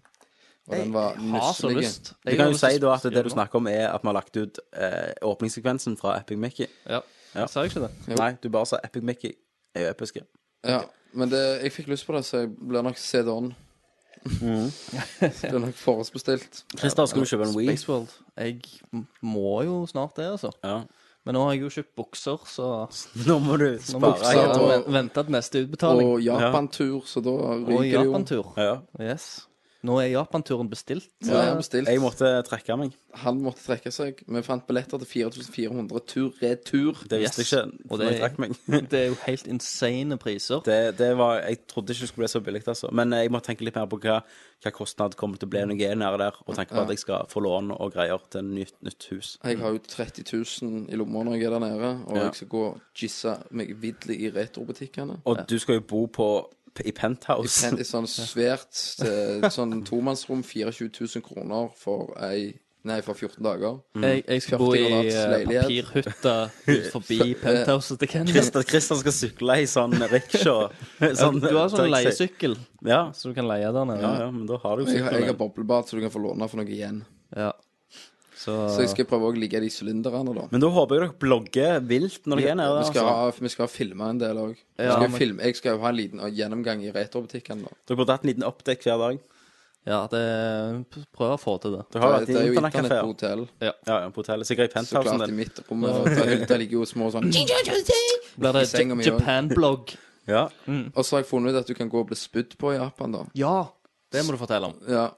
Speaker 8: og
Speaker 9: Jeg
Speaker 8: den var
Speaker 9: har så
Speaker 8: nusselig.
Speaker 9: lyst.
Speaker 7: Du
Speaker 9: Jeg
Speaker 7: kan
Speaker 9: har
Speaker 7: jo
Speaker 9: lyst til
Speaker 7: si da
Speaker 9: å
Speaker 7: at det
Speaker 9: gjøre
Speaker 7: du snakker om, er at vi har lagt ut eh, åpningssekvensen fra Epic Mickey.
Speaker 9: Ja.
Speaker 7: Ja.
Speaker 9: Sa jeg ikke det?
Speaker 8: Jo.
Speaker 7: Nei, du bare sa Epic Mickey er jo episke.
Speaker 8: Ja, men det, jeg fikk lyst på det, så jeg blir nok sett on. [laughs] blir nok forhåndsbestilt.
Speaker 7: Mm. Christer, skal du kjøpe en Wii?
Speaker 9: Spaceworld. Jeg m- må jo snart det, altså.
Speaker 7: Ja.
Speaker 9: Men nå har jeg jo kjøpt bukser, så
Speaker 7: [laughs] Nå må du
Speaker 9: nå må
Speaker 7: spare.
Speaker 8: bukser.
Speaker 7: jeg
Speaker 9: jeg
Speaker 7: tror.
Speaker 8: og-
Speaker 9: ven- vente til neste utbetaling.
Speaker 8: Og Japan-tur, så da
Speaker 9: Og
Speaker 8: ryker det jo.
Speaker 9: Japan-tur.
Speaker 7: Ja.
Speaker 9: Yes. Nå er Japan-turen bestilt.
Speaker 8: Ja, jeg har bestilt.
Speaker 7: Jeg måtte trekke meg.
Speaker 8: Han måtte trekke seg. Vi fant billetter til 4400 tur-retur.
Speaker 7: Det visste
Speaker 9: Yes.
Speaker 7: jeg ikke.
Speaker 9: Og
Speaker 7: for jeg
Speaker 9: det-
Speaker 7: trakk meg.
Speaker 9: [laughs] Det er jo helt insane priser.
Speaker 7: [laughs] Det, det var, jeg trodde ikke det skulle bli så billig, altså. Men jeg må tenke litt mer på hva, hva kostnad kommer til å bli når jeg er nede der, og tenke på at jeg skal få lån og greier til et nytt, nytt hus.
Speaker 8: Jeg har jo 30 000 i lomma når jeg er der nede, og
Speaker 7: Ja.
Speaker 8: jeg skal gå og jizze meg vidlig i retrobutikkene.
Speaker 7: Og du skal jo bo på, i penthouse.
Speaker 8: Pen- I sånn svært eh, sånn tomannsrom, 24 000 kroner for ei Nei, for 14 dager.
Speaker 7: Mm.
Speaker 9: Jeg, jeg skal bo
Speaker 8: 40
Speaker 9: i
Speaker 8: kvadrats
Speaker 9: eh,
Speaker 8: leilighet.
Speaker 9: papirhytta ut forbi penthouset til
Speaker 7: [laughs]
Speaker 9: Kenny.
Speaker 7: Christer, Christer skal sykle i sånn riksjå. [laughs]
Speaker 9: Ja, Du har
Speaker 7: taxi.
Speaker 9: sånn leiesykkel
Speaker 7: Ja.
Speaker 9: som du kan leie der nede.
Speaker 7: ja, ja, men da har du jo
Speaker 8: Jeg, har- jeg har
Speaker 7: sykkel.
Speaker 8: boblebad, så du kan få låne for noe igjen.
Speaker 9: Ja. Så,
Speaker 8: Så jeg skal prøve å ligge i de sylinderne, da.
Speaker 7: Men da håper jeg dere blogger vilt når dere er nede
Speaker 8: Vi
Speaker 7: der.
Speaker 8: skal
Speaker 7: Altså.
Speaker 8: ha, vi skal ha filma en del òg.
Speaker 9: Ja,
Speaker 8: skal
Speaker 9: men-
Speaker 8: filme- jeg skal jo ha en liten eh, gjennomgang i retrobutikken, da.
Speaker 7: Dere burde hatt en liten update hver dag.
Speaker 9: ja, det prøver å få til det.
Speaker 7: Dere har
Speaker 8: det,
Speaker 7: vært
Speaker 8: det
Speaker 7: i
Speaker 8: er jo internett på
Speaker 7: internettkafeer.
Speaker 8: hotell.
Speaker 7: Ja, ja, på hotellet. Sikkert i
Speaker 8: Så
Speaker 7: penthousen
Speaker 8: klart i
Speaker 7: din.
Speaker 8: mitt rom. og Der, der ligger jo små sånn
Speaker 9: Blir
Speaker 8: I senga mi
Speaker 9: det
Speaker 8: også.
Speaker 9: Japan-blogg?
Speaker 7: Ja.
Speaker 8: Og så har jeg funnet ut at du kan gå og bli spydd på i Japan, da.
Speaker 9: Ja! Det må du fortelle om.
Speaker 8: Ja,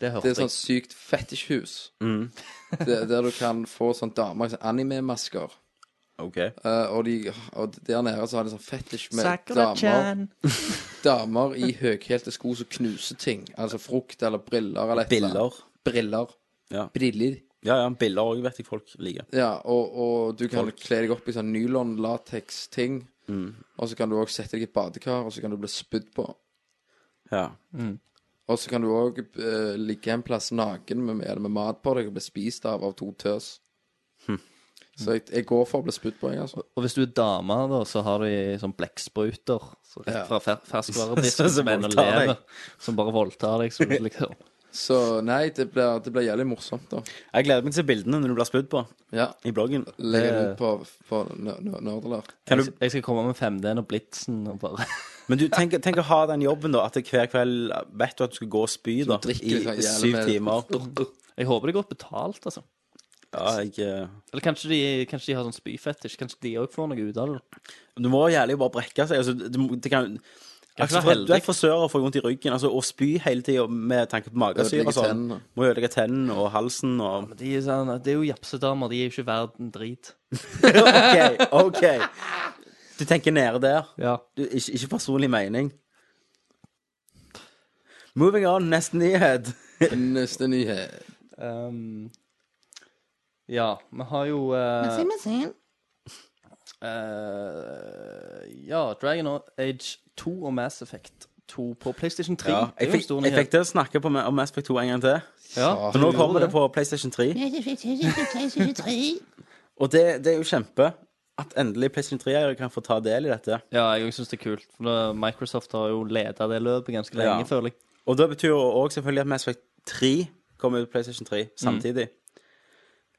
Speaker 9: Det hørte
Speaker 8: Det er sånn
Speaker 9: jeg.
Speaker 8: sykt fetisjhus.
Speaker 7: Mm.
Speaker 8: Det- der du kan få sånn damer i sånn anime-masker.
Speaker 7: OK.
Speaker 8: Eh, og, de, og der nede så har de sånn fetisj med damer,
Speaker 9: Sakura-chan.
Speaker 8: damer i høyhælte sko som knuser ting. Altså frukt eller briller eller et eller annet.
Speaker 7: Biller.
Speaker 8: Briller.
Speaker 7: Ja.
Speaker 8: Briller.
Speaker 7: Ja, ja, biller òg vet jeg folk liker.
Speaker 8: Ja, og, og du kan kle deg opp i sånn nylon-latex-ting. Og så kan du òg sette deg i et badekar, og så kan du bli spydd på.
Speaker 7: Ja.
Speaker 8: Og så kan du òg ligge en plass naken med, med, med mat på deg og bli spist av av to tøs. Så jeg, jeg går for å bli spydd på, jeg, altså.
Speaker 9: Og hvis du er dame, da, så har de sånn blekkspruter så rett fra fer
Speaker 8: [laughs]
Speaker 9: ferskvaredisken
Speaker 7: Som
Speaker 9: som ennå
Speaker 7: voldtar deg.
Speaker 9: lever, som bare voldtar deg. Som, liksom.
Speaker 8: Så nei, det blir, det blir jævlig morsomt, da.
Speaker 7: Jeg gleder meg til bildene når du blir spydd på
Speaker 8: Ja.
Speaker 7: i bloggen. Eh,
Speaker 8: Legger det
Speaker 9: Det-
Speaker 8: ut på, på Ner- Ner- Nerdeler.
Speaker 7: Kan
Speaker 9: Jeg,
Speaker 7: du,
Speaker 9: jeg skal komme med 5D-en og Blitzen og bare [laughs]
Speaker 7: men du, tenk, tenk å ha den jobben, da. At det hver kveld vet du at du skal gå og spy da, i
Speaker 8: drikker sånn jævlig
Speaker 7: syv
Speaker 8: med-
Speaker 7: timer.
Speaker 9: Jeg håper det er godt betalt, altså.
Speaker 7: Ja, jeg, eh,
Speaker 9: Eller kanskje de, kanskje de har sånn spyfetisj. Kanskje de òg får noe ut av det.
Speaker 7: du må jævlig bare brekke seg. Altså, du, må- det kan, Aksel, du er-
Speaker 9: være
Speaker 7: du er
Speaker 9: heldig.
Speaker 7: frisør og får vondt i ryggen. Altså, å spy hele tida med tanke på magesyre og
Speaker 8: Ødelegge
Speaker 7: sånn.
Speaker 8: tennene.
Speaker 7: Må ødelegge tennene og halsen og
Speaker 9: De er sånn, det er jo japsedamer. De er jo ikke verden drit.
Speaker 7: OK, OK. Du tenker nede der.
Speaker 9: Ja.
Speaker 7: Du, ikke, ikke personlig mening. Moving on, neste nyhet.
Speaker 8: Neste nyhet.
Speaker 9: Um, ja, vi har jo eh, eh, Ja, Dragon Age 2 og Mass Effect 2 på PlayStation 3.
Speaker 7: Ja,
Speaker 9: det
Speaker 7: jeg,
Speaker 9: er jo
Speaker 7: fikk,
Speaker 9: en stor
Speaker 7: jeg fikk
Speaker 9: nyhet.
Speaker 7: til å snakke på, om Mass Effect 2 en gang til.
Speaker 9: Ja,
Speaker 7: For nå kommer det på PlayStation 3. Og det, det er jo kjempe at endelig PlayStation 3-eiere kan få ta del i dette.
Speaker 9: ja, jeg syns det er kult. For da- Microsoft har jo leda det løpet ganske
Speaker 7: Ja.
Speaker 9: lenge, føler jeg.
Speaker 7: Og det betyr jo også selvfølgelig at Mass Effect 3 kommer ut på PlayStation 3 samtidig.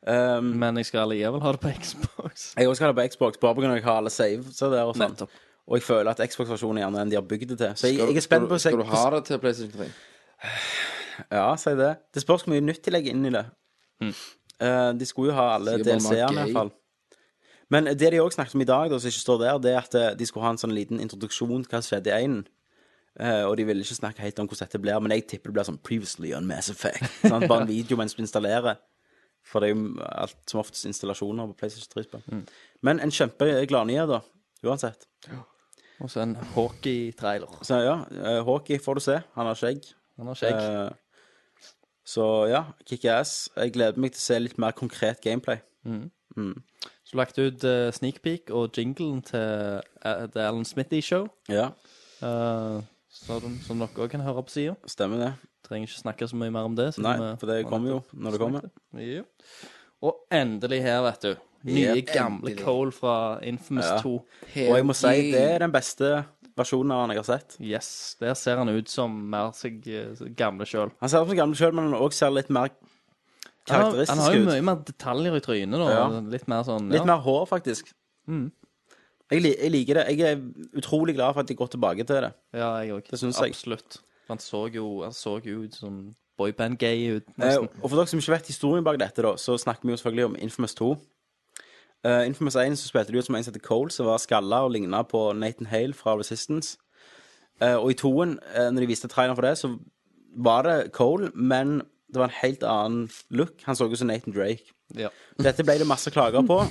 Speaker 7: Um,
Speaker 9: Men jeg skal likevel ha det på Xbox.
Speaker 7: jeg også har det på Xbox, bare pga. at jeg har alle saves og der og sånn.
Speaker 9: Nettopp.
Speaker 7: Og jeg føler at Xbox-versjonen gjerne er den de har bygd det til. Så jeg,
Speaker 8: Skal-
Speaker 7: jeg er
Speaker 8: skal
Speaker 7: spent
Speaker 8: du-
Speaker 7: på å se
Speaker 8: Skal du ha det til PlayStation 3?
Speaker 7: Ja, si det. Det spørs hvor mye nytt de legger inn i det. Eh, de skulle jo ha alle
Speaker 8: Mm. Sier bare noe
Speaker 7: DLC-ene,
Speaker 8: gøy.
Speaker 7: iallfall. Men det de òg snakket om i dag, da, som ikke står der, det er at eh, de skulle ha en sånn liten introduksjon til hva som skjedde i einen. Eh, og de ville ikke snakke helt om hvordan dette blir, men jeg tipper det blir sånn previously on Mass Effect. [laughs] Sant? Bare en video mens du installerer.
Speaker 8: Mm.
Speaker 7: For det er jo alt som oftest installasjoner på PlayStation 3-spill. Men en kjempeglad nyhet, da. Uansett.
Speaker 9: Og så en hockey-trailer.
Speaker 7: Så ja, eh, Hawkeye får du se. Han har skjegg.
Speaker 9: Han har skjegg.
Speaker 7: Eh, så ja, kick ass. Jeg gleder meg til å se litt mer konkret gameplay.
Speaker 9: Mm.
Speaker 7: Mm.
Speaker 9: Så lagt ut eh, sneak peek og jinglen til eh, The Alan Smithy Show.
Speaker 7: Ja.
Speaker 9: Eh, som, som dere òg kan høre på sida.
Speaker 7: Stemmer det.
Speaker 9: Trenger ikke snakke så mye mer om det. siden
Speaker 7: Nei,
Speaker 9: vi-
Speaker 7: for det
Speaker 9: vi
Speaker 7: kommer jo
Speaker 9: nettopp
Speaker 7: når det kommer.
Speaker 9: snakket. Ja. Og endelig her, vet du. Nye,
Speaker 7: Yep.
Speaker 9: gamle
Speaker 7: Endelig.
Speaker 9: Cole fra Infamous
Speaker 7: Ja.
Speaker 9: 2.
Speaker 7: Og jeg må si det er den beste versjonen av han jeg har sett.
Speaker 9: Yes. Der ser han ut som mer seg eh, gamle sjøl.
Speaker 7: Han ser ut som gammel sjøl, men han også ser litt mer
Speaker 9: Han har jo
Speaker 7: karakteristisk ut.
Speaker 9: mye mer detaljer i trynet. Da.
Speaker 7: Ja.
Speaker 9: Litt mer sånn
Speaker 7: Litt mer hår, faktisk.
Speaker 9: Mm.
Speaker 7: Jeg, li jeg liker det. Jeg er utrolig glad for at de går tilbake til det.
Speaker 9: Ja, jeg òg.
Speaker 7: Det syns jeg.
Speaker 9: Absolutt. Han så jo, han så jo ut som boyband-gay ut,
Speaker 7: Eh,
Speaker 9: nesten.
Speaker 7: og for dere som ikke vet historien bak dette, da, så snakker vi jo selvfølgelig om Infamous 2. Eh, Infamous 1 så spilte de ut som en som heter Cole, som var skalla og ligna på Nathan Hale fra Resistance. Eh, og i toen, eh, når de viste traileren for det, så var det Cole, men det var en helt annen look. Han så ut som Nathan Drake.
Speaker 9: Ja.
Speaker 7: Dette ble det masse klager på,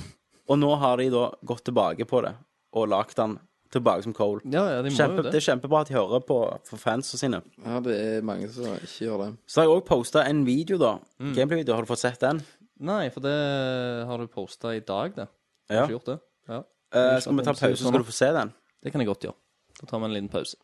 Speaker 7: og nå har de da gått tilbake på det og lagd han tilbake som Cole.
Speaker 9: Ja, ja, de må
Speaker 7: Kjempe,
Speaker 9: jo
Speaker 7: det.
Speaker 9: det.
Speaker 7: er kjempebra at de hører på for fansa sine.
Speaker 8: Ja, det er mange som ikke gjør det.
Speaker 7: Så har jeg òg posta en video, da.
Speaker 9: Mm.
Speaker 7: Gameplay-video. Har du fått sett den?
Speaker 9: Nei, for det har du posta i dag, det. Har
Speaker 7: Ja.
Speaker 9: ikke gjort det? Ja.
Speaker 7: Eh, skal vi ta pause, så skal du få se den?
Speaker 9: Det kan jeg godt gjøre. Da tar vi en liten pause.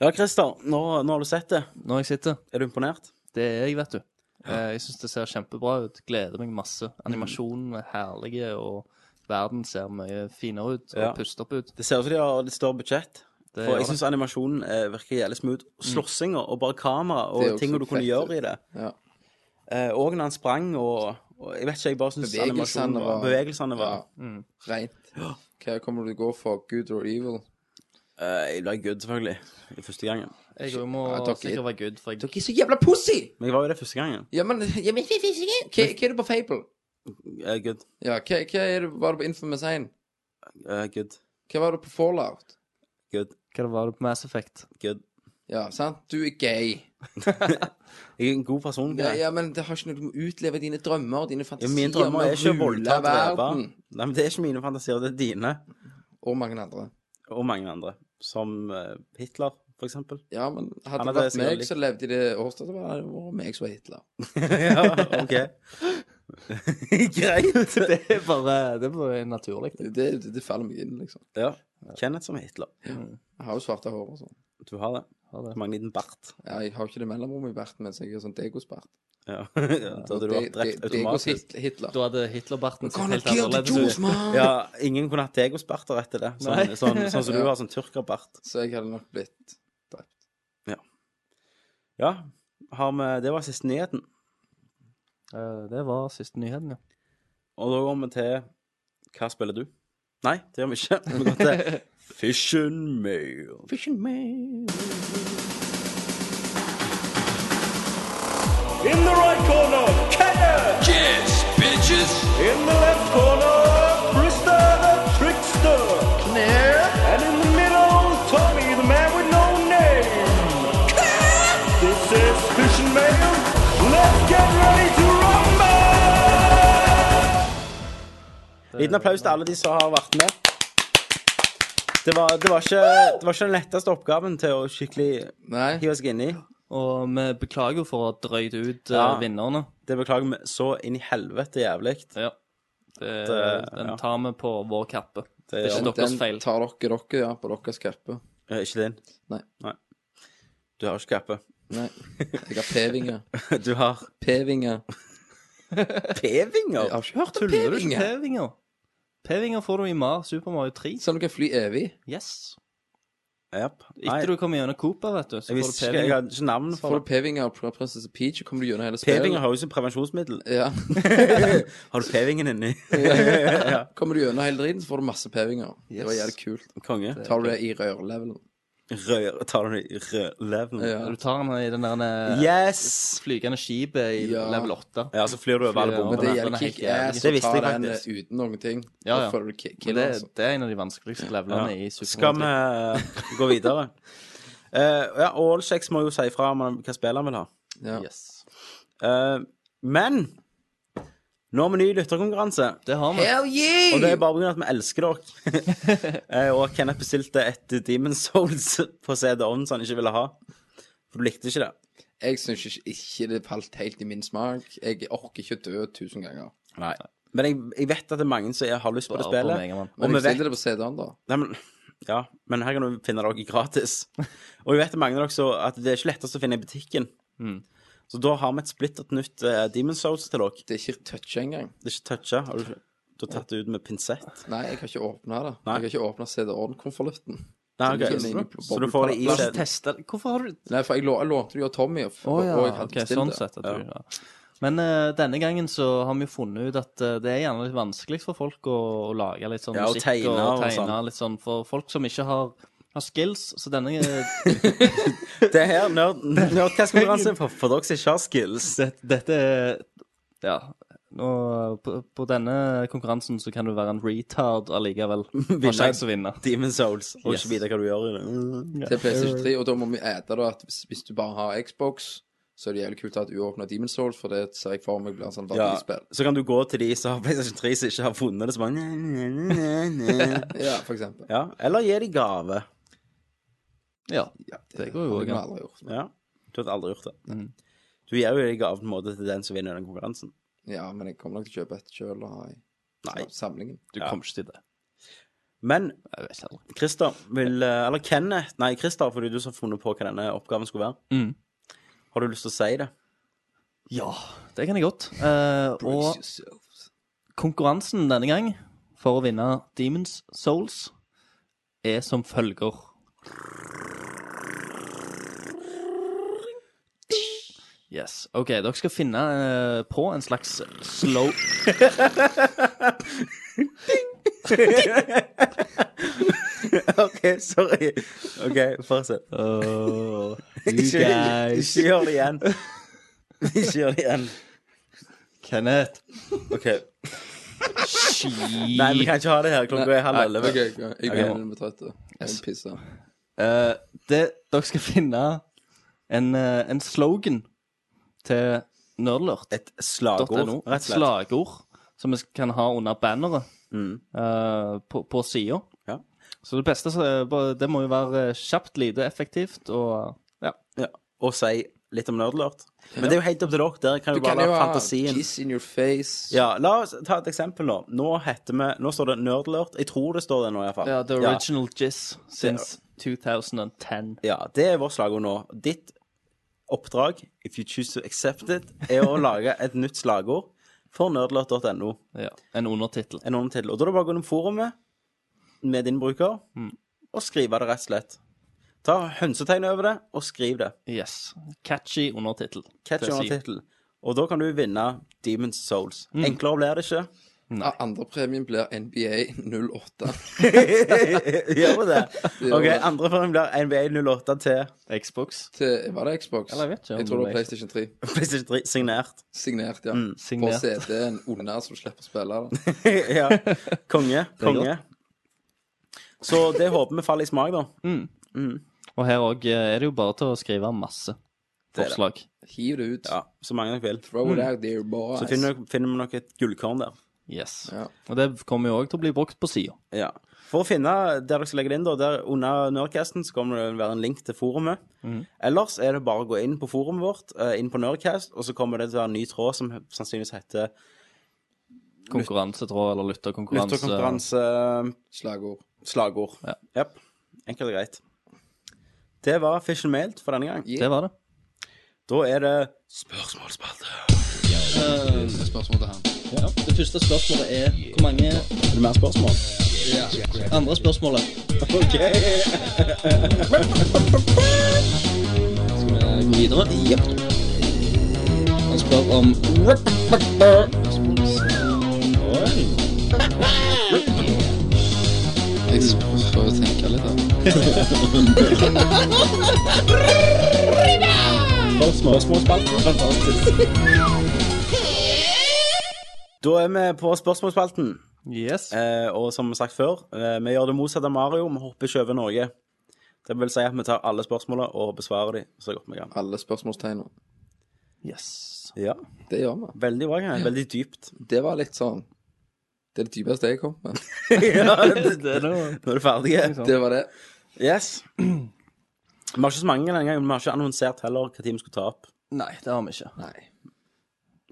Speaker 7: Ja, Christer, nå, nå har du sett det.
Speaker 9: Når jeg sitter
Speaker 7: Er du imponert?
Speaker 9: Det er jeg, vet du. Eh, Jeg syns det ser kjempebra ut. Gleder meg masse. Animasjonen er herlig, og verden ser mye finere ut og
Speaker 7: Ja.
Speaker 9: pustet opp ut.
Speaker 7: Det ser ut som de har litt større budsjett.
Speaker 9: Det
Speaker 7: For
Speaker 9: gjør
Speaker 7: jeg
Speaker 9: det.
Speaker 7: syns animasjonen eh, virker jævlig smooth. Slåssinger og bare kamera
Speaker 8: Mm. Det er jo
Speaker 7: og tinga
Speaker 8: så
Speaker 7: du kunne
Speaker 8: fett
Speaker 7: gjøre
Speaker 8: ut.
Speaker 7: i det.
Speaker 8: Ja.
Speaker 7: Eh, og når han sprang og, og Jeg vet ikke, jeg bare syns
Speaker 8: Bevegelsene
Speaker 7: animasjonen var
Speaker 8: var-
Speaker 7: Bevegelsene var
Speaker 8: Rent. Hva kommer du til å gå for? Good or evil?
Speaker 7: Eh, Jeg ble good, selvfølgelig, i første gangen.
Speaker 9: Jeg òg må
Speaker 8: Ja, dere-
Speaker 9: sikkert være good, for jeg
Speaker 8: Dere er så jævla pussy!
Speaker 7: Men jeg var jo det første gangen.
Speaker 8: Ja, men, ja, men hva, hva er det på Fable?
Speaker 7: Eh, good.
Speaker 8: Ja, hva, hva er det, var det på Infamous 1?
Speaker 7: Eh, good.
Speaker 8: Hva var det på Fallout?
Speaker 7: Good.
Speaker 9: Hva var det på Mass Effect?
Speaker 7: Good.
Speaker 8: Ja, sant? Du er gay.
Speaker 7: Jeg er en god person.
Speaker 8: Ja,
Speaker 7: greit.
Speaker 8: ja, men det har ikke noe med å utleve dine drømmer, dine
Speaker 7: Ja,
Speaker 8: fantasier.
Speaker 7: Mine drømmer
Speaker 8: om å
Speaker 7: er ikke å
Speaker 8: rule
Speaker 7: voldta og drepe.
Speaker 8: verden.
Speaker 7: Nei, men det er ikke mine fantasier, det er dine.
Speaker 8: Og mange andre.
Speaker 7: Og mange andre. Som eh, Hitler, for eksempel. [laughs]
Speaker 8: Ja, men
Speaker 7: Han
Speaker 8: hadde det
Speaker 7: hadde
Speaker 8: vært meg
Speaker 7: sikkert
Speaker 8: som levde i det årstedet, så hadde det vært meg som var Hitler.
Speaker 7: ja, OK. [laughs] Greit.
Speaker 9: Det er bare, det er bare naturlig.
Speaker 8: Det, det, det faller meg inn, liksom.
Speaker 7: [laughs] Ja. Kenneth som er Hitler.
Speaker 8: Jeg har jo svarte hår og sånn.
Speaker 7: Du har det.
Speaker 9: Har det.
Speaker 7: Som en liten bart.
Speaker 8: Ja, jeg har ikke det mellomrommet i barten mens jeg gjør sånn degospart.
Speaker 7: Ja. [laughs] ja, Da hadde du vært drept automatisk.
Speaker 8: Hitler.
Speaker 9: Da hadde Hitler-barten sett
Speaker 8: Gonna
Speaker 9: helt
Speaker 8: kill the
Speaker 9: annerledes
Speaker 8: Jews,
Speaker 9: ut.
Speaker 7: [laughs]
Speaker 8: man!
Speaker 7: Ja, ingen kunne hatt degosbarter etter det. Sånn,
Speaker 9: Nei.
Speaker 7: sånn, sånn [laughs] som du
Speaker 8: Ja.
Speaker 7: har, sånn tyrkerbart.
Speaker 8: Så jeg hadde nok blitt drept.
Speaker 7: Ja. Har vi, det var siste nyheten.
Speaker 9: Eh, Det var siste nyheten, ja.
Speaker 7: Og da går vi til Hva spiller du? Nei, det gjør vi ikke. Vi går [laughs] til Fish and Mail. Fish and Mail.
Speaker 13: In the right corner, Kenneth! Yes, bitches! In the left corner, Krista the Trickster! Knair! And in the middle, Tommy, the man with no name! This is Fish and Mail. Let's get ready to rumble!
Speaker 7: Liten applaus til alle de som har vært med. Det var, det, var ikke, det var ikke den letteste oppgaven til å skikkelig
Speaker 8: Nei.
Speaker 7: hive seg inni.
Speaker 9: Og vi beklager jo for å ha drøyd ut eh,
Speaker 7: Ja.
Speaker 9: vinnerne.
Speaker 7: Det beklager vi så inn i helvete jævlig.
Speaker 9: Ja. Det,
Speaker 7: Det-
Speaker 9: den
Speaker 7: ja.
Speaker 9: tar vi på vår kappe. Det, er
Speaker 7: gjør
Speaker 9: ikke
Speaker 7: vi.
Speaker 9: deres feil.
Speaker 8: Den tar dere dere, ja, på deres kappe.
Speaker 7: Eh, Ikke din.
Speaker 8: Nei.
Speaker 7: Du har ikke kappe.
Speaker 8: Nei. Jeg har p-vinger.
Speaker 7: [laughs] Du har
Speaker 8: P-vinger.
Speaker 7: p-vinger.
Speaker 8: Jeg har ikke hørt om
Speaker 9: Tuller du ikke?
Speaker 8: p-vinger.
Speaker 9: P-vinger. P-vinger får du i Mar Super Mario 3.
Speaker 8: Sånn du kan fly evig.
Speaker 9: Yes.
Speaker 7: Japp. Nei,
Speaker 9: Etter du kommer gjennom Cooper, vet du, så
Speaker 7: jeg
Speaker 9: får du
Speaker 7: visste ikke, jeg
Speaker 9: P-vinger.
Speaker 7: hadde ikke navn
Speaker 8: Får
Speaker 7: for
Speaker 8: du
Speaker 7: det.
Speaker 8: p-vinger fra prinsesse Peach, så kommer du gjennom hele spillet.
Speaker 7: P-vinger har jo som prevensjonsmiddel.
Speaker 8: Ja. [laughs]
Speaker 7: Har du p-vingen inni?
Speaker 8: Kommer du gjennom hele driten, så får du masse p-vinger. Det var
Speaker 9: Yes.
Speaker 8: jævlig kult.
Speaker 7: Konge.
Speaker 8: Tar du det i rørlevelen?
Speaker 7: Rør, tar du det i rødleven?
Speaker 8: Ja.
Speaker 9: Du tar den i den der eh,
Speaker 7: Yes!
Speaker 9: flygende skipet i
Speaker 8: Ja.
Speaker 9: level 8.
Speaker 7: Ja, så flyr du over alle
Speaker 9: Flyr over.
Speaker 8: Men det
Speaker 7: bombene.
Speaker 8: er
Speaker 9: den
Speaker 8: jævlig
Speaker 9: er helt jævlig.
Speaker 8: kick-ass
Speaker 7: Det
Speaker 8: å
Speaker 7: visste
Speaker 8: ta
Speaker 7: jeg
Speaker 8: den eh,
Speaker 7: faktisk.
Speaker 8: uten noen ting.
Speaker 9: Ja, ja.
Speaker 8: Da får du ki-
Speaker 9: Men
Speaker 8: kill,
Speaker 9: det,
Speaker 8: altså.
Speaker 9: det er en av de vanskeligste levelene i Super
Speaker 7: Skal vi
Speaker 9: Mario 3.
Speaker 7: gå
Speaker 8: [laughs]
Speaker 7: videre? Eh, ja, og Allshex må jo si fra om han, hva spill han vil ha.
Speaker 8: Ja.
Speaker 9: Yes.
Speaker 7: Eh, men Eh, Nå har vi ny lytterkonkurranse.
Speaker 9: Det har
Speaker 8: vi. Hell yeah!
Speaker 7: Og det er bare pga. at vi elsker dere.
Speaker 8: [laughs]
Speaker 7: Eh, og Kenneth bestilte et Demon Souls på CD-on som han ikke ville ha. For du likte ikke det.
Speaker 8: Jeg syns ikke, ikke det falt helt i min smak. Jeg orker ikke dø tusen ganger.
Speaker 7: Nei. Men jeg, jeg vet at det er mange som har lyst på det
Speaker 8: Bare på
Speaker 7: spillet.
Speaker 8: Mega Man.
Speaker 7: og
Speaker 8: Men
Speaker 7: vi
Speaker 8: jeg
Speaker 7: vet
Speaker 8: stiller det på CD-en, da.
Speaker 7: Nei, men, ja, men her kan du finne det også gratis. Og jeg vet at mange av dere så at det er ikke lettest å finne i butikken. Så da har vi et splittert nytt uh, Demon Souls til dere.
Speaker 8: Det er ikke toucha engang.
Speaker 7: Det er ikke toucha. Har du, du har tatt det ut med pinsett?
Speaker 8: Nei, jeg har ikke åpna det. Jeg har ikke åpna CD-on-konvolutten.
Speaker 7: Nei, ok.
Speaker 8: Så
Speaker 7: Så du- så du får det i La oss CD-en.
Speaker 9: teste Hvorfor har du
Speaker 8: Nei, for jeg, lå, jeg lånte det jo av Tommy, og,
Speaker 9: Å ja,
Speaker 8: og jeg hadde
Speaker 9: ok, sånn sett. At du, ja. Men eh, denne gangen så har vi jo funnet ut at eh, det er gjerne litt vanskelig for folk å, å lage litt sånn
Speaker 7: Ja, og
Speaker 9: musikk
Speaker 7: tegne og sånn.
Speaker 9: litt sånn for folk som ikke har, har skills. Så denne eh,
Speaker 7: [laughs] Det her, nerd- nerdcast-konkurranse for, for dere som ikke har skills.
Speaker 9: dette, dette er Ja. Nå, på, på denne konkurransen så kan du være en retard allikevel. Har sjanse å vinne.
Speaker 7: Demon Souls, og
Speaker 9: Yes.
Speaker 7: ikke vite hva du gjør i det. Mm.
Speaker 8: Til PlayStation 3, og da må vi ete da at hvis, hvis du bare har Xbox, så er det jævlig kult å ha et uåpna Demon Souls, for det ser jeg for meg blir en sånn
Speaker 7: Ja,
Speaker 8: verdispill.
Speaker 7: så kan du gå til de som har PlayStation 3 som ikke har funnet det, så bare næ, næ, næ, næ.
Speaker 8: Ja, for eksempel.
Speaker 7: [laughs] Ja, eller gi de gave.
Speaker 9: Ja,
Speaker 8: det går jo
Speaker 7: an.
Speaker 8: aldri gjort.
Speaker 7: Ja, du hadde aldri gjort det.
Speaker 9: Mm.
Speaker 7: Du gir jo de gave på en måte til den som vinner den konkurransen.
Speaker 8: Ja, men jeg kommer nok til å kjøpe et sjøl og ha i
Speaker 7: Nei.
Speaker 8: samlingen.
Speaker 9: Du
Speaker 7: Ja.
Speaker 9: kommer ikke til det.
Speaker 7: Men
Speaker 9: Jeg vet aldri.
Speaker 7: Christer vil eh, Eller Kenneth Nei, Christer, fordi du som har funnet på hva denne oppgaven skulle være.
Speaker 9: Mm.
Speaker 7: Har du lyst til å si
Speaker 9: [laughs]
Speaker 7: det?
Speaker 9: Ja, det kan jeg godt. Eh, og konkurransen denne gang for å vinne Demons Souls er som følger. Yes. OK, dere skal finne eh, på en slags slow
Speaker 7: OK, sorry. OK, fortsett.
Speaker 9: oh,
Speaker 7: [laughs] Ikke, ikke gjør det igjen. Ikke gjør det igjen.
Speaker 9: Kenneth.
Speaker 7: OK. Nei, vi kan ikke ha det her. Klokka er halv
Speaker 8: Nei,
Speaker 7: elleve.
Speaker 8: ok, ok. Jeg
Speaker 7: Ok.
Speaker 8: begynner med trøtte. Jeg pisser.
Speaker 9: Eh, det, dere skal finne en, eh, en slogan til Nerdlert.
Speaker 7: Et slagord,
Speaker 9: .no.
Speaker 7: rett og
Speaker 9: Et
Speaker 7: slett.
Speaker 9: slagord som vi kan ha under banneret
Speaker 7: Mm.
Speaker 9: eh, på, på sida.
Speaker 7: Ja.
Speaker 9: Så det beste så er bare- Det må jo være eh, kjapt, lite, effektivt og ja.
Speaker 7: Ja. Og si litt om nerdlert. Men det er jo helt opp til dere. Dere kan
Speaker 8: Du
Speaker 7: jo
Speaker 8: kan
Speaker 7: bare
Speaker 8: jo
Speaker 7: la
Speaker 8: ha
Speaker 7: fantasien
Speaker 8: Kiss in your face.
Speaker 7: Ja, La oss ta et eksempel nå. Nå heter vi, nå står det Nerdlert. Jeg tror det står det nå, iallfall.
Speaker 9: ja The Original Jizz since 2010.
Speaker 7: Ja, det er vårt slagord nå. Ditt oppdrag, if you choose to accept it, er å lage et nytt slagord for nerdlert.no.
Speaker 9: Ja. En undertittel.
Speaker 7: En undertittel. Og da er det bare å gå innom forumet med din bruker
Speaker 8: Mm.
Speaker 7: og skrive det rett og slett. Ta hønsetegn over det, og skriv det.
Speaker 9: Yes. Catchy undertittel.
Speaker 7: Catch
Speaker 9: Det sier-
Speaker 7: undertittel. Og da kan du vinne Demon's Souls.
Speaker 8: Mm.
Speaker 7: Enklere blir det ikke.
Speaker 8: Ja, Andrepremien Ah, blir NBA 08.
Speaker 7: Gjør vi det? [laughs]
Speaker 8: Gjør
Speaker 7: OK,
Speaker 8: det.
Speaker 7: andre form blir NBA08 til
Speaker 9: Xbox.
Speaker 8: Til, var det Xbox?
Speaker 9: Eller jeg vet ikke om
Speaker 8: tror det
Speaker 9: det
Speaker 8: var
Speaker 9: var
Speaker 8: PlayStation 3.
Speaker 7: PlayStation 3 signert.
Speaker 8: Signert, ja.
Speaker 9: signert.
Speaker 8: På CD-en under, så du slipper å spille det.
Speaker 7: [laughs] ja. Konge. Konge. Så det håper vi faller i smak, da.
Speaker 9: Og her òg er det jo bare til å skrive masse
Speaker 7: er det.
Speaker 9: forslag.
Speaker 8: Hiv det ut.
Speaker 7: Ja, Så mange dere vil.
Speaker 8: Throw it out there, boys.
Speaker 7: Så finner, dere- finner vi nok et gullkorn der.
Speaker 9: Yes.
Speaker 8: Ja.
Speaker 9: Og det kommer jo òg til å bli brukt på sida.
Speaker 7: Ja. For å finne der dere skal legge det inn, da, der under Nerdcasten så kommer det å være en link til forumet. Ellers er det bare å gå inn på forumet vårt, eh, inn på Nerdcast, og så kommer det til å være en ny tråd som sannsynligvis heter
Speaker 9: Konkurransetråd eller lytterkonkurranse.
Speaker 7: Lytterkonkurranse
Speaker 8: Slagord.
Speaker 7: slagord.
Speaker 9: Ja.
Speaker 7: Japp. Enkelt og greit. Det var Fish and Mailed for denne gang.
Speaker 9: Det var det.
Speaker 7: Da er det spørsmålsspalte.
Speaker 8: Spørsmål til han.
Speaker 9: Det første spørsmålet er hvor mange
Speaker 7: Er det mer spørsmål?
Speaker 9: andre spørsmålet.
Speaker 7: OK.
Speaker 9: Skal vi gå videre? Ja. Han spør om
Speaker 8: Jeg prøver å tenke litt, da.
Speaker 7: Da er vi på spørsmålsspalten.
Speaker 9: Yes.
Speaker 7: Eh, og som sagt før, eh, vi gjør det motsatte av Mario. Vi hopper ikke over Norge. Det vil si at vi tar alle spørsmålene og besvarer dem så godt vi kan.
Speaker 8: Alle spørsmålstegnene.
Speaker 9: Yes.
Speaker 7: Ja.
Speaker 8: Det gjør vi.
Speaker 7: Veldig bra, Kenneth. Veldig dypt. [laughs]
Speaker 8: Det var litt sånn Det er det dypeste jeg kom med.
Speaker 7: ja, det, det, nå er du ferdig.
Speaker 8: Det var det.
Speaker 7: Yes. [clears throat] Vi har ikke så mange denne gangen. Vi har ikke annonsert heller hva tid vi skulle ta opp.
Speaker 9: Nei, det har vi ikke.
Speaker 8: Nei.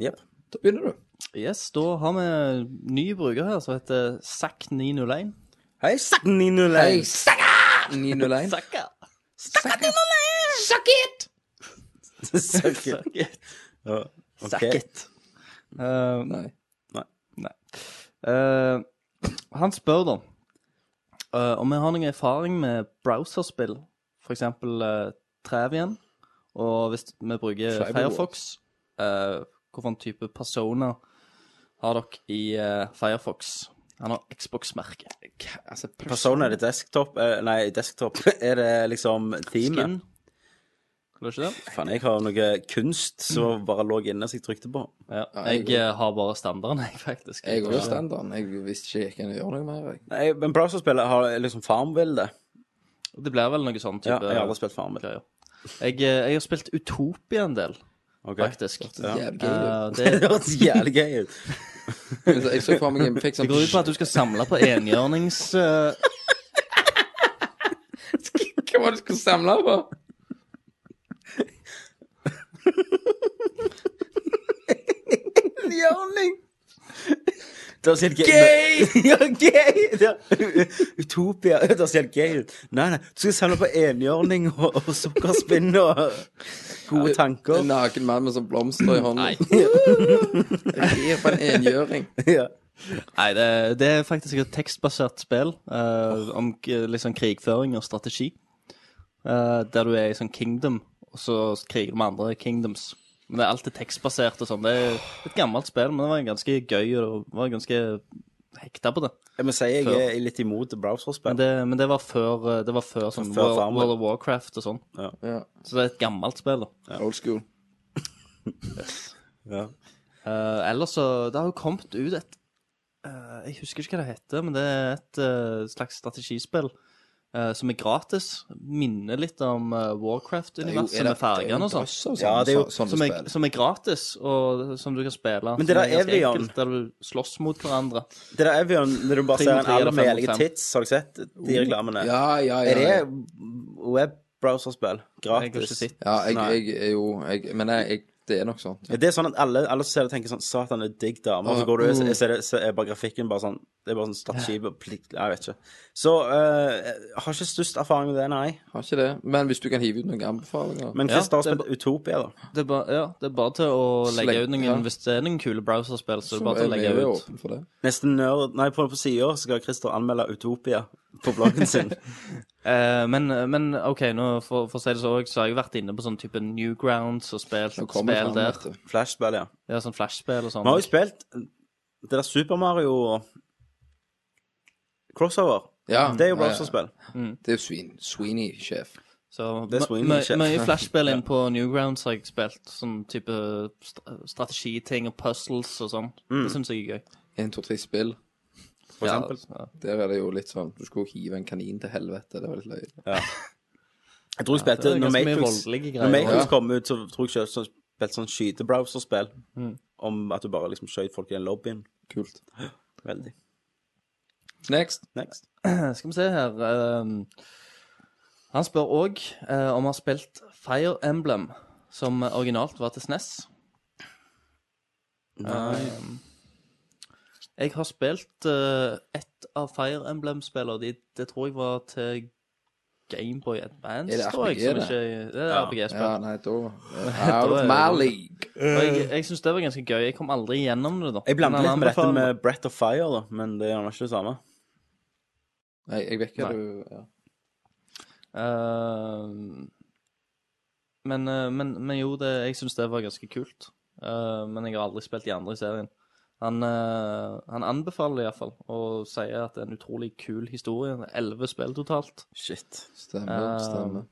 Speaker 7: Yep.
Speaker 8: Da begynner du.
Speaker 9: Yes, da har vi en ny bruker her som heter Zack901.
Speaker 7: Hei, Zack901.
Speaker 8: Hei, Sakka! 901.
Speaker 9: Zacka!
Speaker 8: Suck it!
Speaker 7: Suck it. Ja, ok.
Speaker 9: Suck it. Eh,
Speaker 8: Nei.
Speaker 7: Nei.
Speaker 9: Nei. Eh, han spør da eh, om vi har noen erfaring med browserspill, f.eks. Uh, Travian, og hvis vi bruker
Speaker 8: Tribal
Speaker 9: Firefox, uh, hvilken type personer har dere i eh, Firefox? Han har Xbox-merke.
Speaker 8: Hva- Altså,
Speaker 7: Persona er det desktop eh, Nei, desktop [laughs] er det liksom teamet.
Speaker 9: Skin. Var det ikke det?
Speaker 7: Faen, jeg har noe kunst som bare lå inne som jeg trykte på.
Speaker 9: Ja.
Speaker 8: jeg-
Speaker 9: Jeg eh, har bare [laughs] standarden, jeg, faktisk.
Speaker 8: Jeg går jo
Speaker 9: Ja.
Speaker 8: standarden. Jeg visste ikke jeg kunne gjøre noe mer. Jeg.
Speaker 7: Nei, men browserspillet har liksom Farmville, det.
Speaker 9: Det blir vel noe sånn type
Speaker 7: Ja, jeg har aldri spilt Farmville.
Speaker 9: greier. Jeg, eh, jeg har spilt Utopia en del,
Speaker 7: Ok.
Speaker 9: faktisk.
Speaker 7: Ja.
Speaker 8: Jævlig gøy.
Speaker 9: Eh,
Speaker 7: [laughs] Det
Speaker 9: det,
Speaker 7: høres jævlig gøy ut.
Speaker 8: Men så- Jeg så for meg en fikk
Speaker 9: det
Speaker 8: sånn
Speaker 9: går ut på at du skal samle på enhjørnings... eh,
Speaker 8: [laughs] Hva var det du skulle samle på?
Speaker 7: Jørning! Det høres helt gøy Gay! [laughs] ja, gay! Det- Utopia. Det høres helt gøy ut. Nei, nei, du skal samle på enhjørning og, og sukkerspinn og gode tanker.
Speaker 8: En naken mann med sånn blomster i hånden. Jeg gir på en engjøring.
Speaker 7: Ja.
Speaker 9: Nei, det, det er faktisk et tekstbasert spill eh, om k- litt sånn krigføring og strategi. Eh, der du er i sånn kingdom, og så kriger du med andre kingdoms. Men det er alltid tekstbasert og sånn. Det er et gammelt spill, men det var ganske gøy, og det var ganske hekta på det.
Speaker 7: Jeg må si jeg er litt imot browserspill.
Speaker 9: Men det, men det var før, eh, det var før, sånn
Speaker 7: før
Speaker 9: World,
Speaker 7: Farmville.
Speaker 9: World of Warcraft og sånn.
Speaker 8: Ja.
Speaker 9: Så det er et gammelt spill, da.
Speaker 8: Old school.
Speaker 7: Ja.
Speaker 9: Eh, ellers så Det har jo kommet ut et eh, Jeg husker ikke hva det heter, men det er et eh, slags strategispill eh, som er gratis. Minner litt om eh, Warcraft-universet med fargene og sånn.
Speaker 7: Ja, det er jo-
Speaker 9: Som er, som er gratis, og som du kan spille.
Speaker 7: Men det der
Speaker 9: som er ganske
Speaker 7: Evian-
Speaker 9: enkelt, Der du slåss mot hverandre.
Speaker 7: Det der Evian, når du bare
Speaker 9: Tre
Speaker 7: ser
Speaker 9: mot
Speaker 7: en
Speaker 9: tre eller
Speaker 7: alle med
Speaker 9: fem mot
Speaker 7: jævlige
Speaker 9: fem.
Speaker 7: tits, har du sett de reklamene?
Speaker 8: Ja, ja, ja.
Speaker 7: Er det
Speaker 8: ja.
Speaker 7: webbrowserspill?
Speaker 9: Jeg har ikke
Speaker 7: Gratis?
Speaker 9: sett.
Speaker 8: Ja, jeg,
Speaker 7: Nei.
Speaker 8: jeg er jo jeg, Men jeg, jeg, det er nok sånn.
Speaker 7: Ja, det er sånn at alle, alle som ser det, tenker sånn Satan, det er digg dame. Og så går du
Speaker 9: Mm.
Speaker 7: og ser, ser bare grafikken bare sånn Det er bare sånn strategi og plikt Jeg vet ikke. Så eh, jeg har ikke størst erfaring med det, nei.
Speaker 8: Har ikke det. Men hvis du kan hive ut noen anbefalinger
Speaker 7: Men
Speaker 9: Ja,
Speaker 7: Chris har
Speaker 9: det er
Speaker 7: spilt Utopia, da.
Speaker 9: Det er, ba, ja, det er bare til å legge
Speaker 8: Sleng-
Speaker 9: ut noen
Speaker 8: ja.
Speaker 9: Hvis det er noen kule browserspill, så er
Speaker 8: så
Speaker 9: det bare til å
Speaker 8: er vi
Speaker 9: legge
Speaker 8: jo
Speaker 9: ut.
Speaker 8: åpne for det.
Speaker 7: Neste nerd Nei, på, på sida skal Christer anmelde Utopia på bloggen
Speaker 9: [laughs]
Speaker 7: sin.
Speaker 9: Eh, men, men OK, nå for, for å si det så, så har jeg vært inne på sånn type Newgrounds og spilt
Speaker 8: Nå kommer
Speaker 9: spill
Speaker 8: det
Speaker 9: der.
Speaker 8: fram. vet du.
Speaker 7: Flashspill, ja.
Speaker 9: Ja, sånn flashspill og sånn.
Speaker 7: Vi har jo spilt det der Super Mario Crossover.
Speaker 8: Ja,
Speaker 7: Det er jo
Speaker 8: ja, ja.
Speaker 7: browserspill.
Speaker 8: Det er jo Sween, Sweeney-sjef.
Speaker 9: Så
Speaker 7: Det er
Speaker 9: mø-
Speaker 7: swinging
Speaker 9: mø-
Speaker 7: shit.
Speaker 9: Mye flashspill
Speaker 8: [laughs]
Speaker 9: inn på Newgrounds har jeg spilt. Sånn type st- strategiting og puzzles og sånn.
Speaker 8: Mm.
Speaker 9: Det syns jeg er gøy.
Speaker 8: 1, 2, 3 spill.
Speaker 7: For eksempel.
Speaker 9: Ja,
Speaker 8: Der er det jo litt sånn Du skulle hive en kanin til helvete. Det var litt løye.
Speaker 7: Jeg tror jeg
Speaker 9: det
Speaker 7: spilte
Speaker 9: er
Speaker 7: når
Speaker 9: ganske mye
Speaker 7: Matrix,
Speaker 9: voldelige
Speaker 7: når
Speaker 9: greier.
Speaker 7: Matrix
Speaker 8: Ja.
Speaker 7: kom ut, så tror jeg ikke jeg spilte sånn skytebrowserspill.
Speaker 9: Mm.
Speaker 7: Om at du bare liksom skjøt folk i den lobbyen.
Speaker 8: Kult.
Speaker 7: Veldig.
Speaker 8: Next.
Speaker 7: Next.
Speaker 9: Eh, Skal vi se her ehm, Han spør òg om han har spilt Fire Emblem, som originalt var til E SNES.
Speaker 7: Nei.
Speaker 9: Ehm, Jeg har spilt eh, ett av Fire Emblem-spillene. De, det tror jeg var til Gameboy Advance.
Speaker 8: Er det
Speaker 9: tror jeg,
Speaker 8: RPG,
Speaker 9: som
Speaker 8: det?
Speaker 9: ikke- det er
Speaker 7: Ja.
Speaker 9: RPG-spill.
Speaker 8: Ja, nei, da
Speaker 9: [laughs]
Speaker 8: Out of
Speaker 9: er det-
Speaker 8: my league.
Speaker 9: Og jeg, jeg syns det var ganske gøy. Jeg kom aldri gjennom det, da.
Speaker 7: Eh. Jeg blander
Speaker 9: Men
Speaker 7: litt
Speaker 9: han
Speaker 7: med dette
Speaker 9: anbefaler-
Speaker 7: med Brett of Fire, da, men det er gjerne ikke det samme.
Speaker 8: Nei, jeg vet ikke
Speaker 9: Nei.
Speaker 8: du ja.
Speaker 9: Eh, men, eh, men, men jo, det, jeg syns det var ganske kult. Eh, men jeg har aldri spilt de andre i serien. Han, eh, han anbefaler det iallfall, og sier at det er en utrolig kul historie. Elleve spill totalt.
Speaker 7: Shit.
Speaker 8: Stemmer.
Speaker 9: Eh,
Speaker 8: stemmer.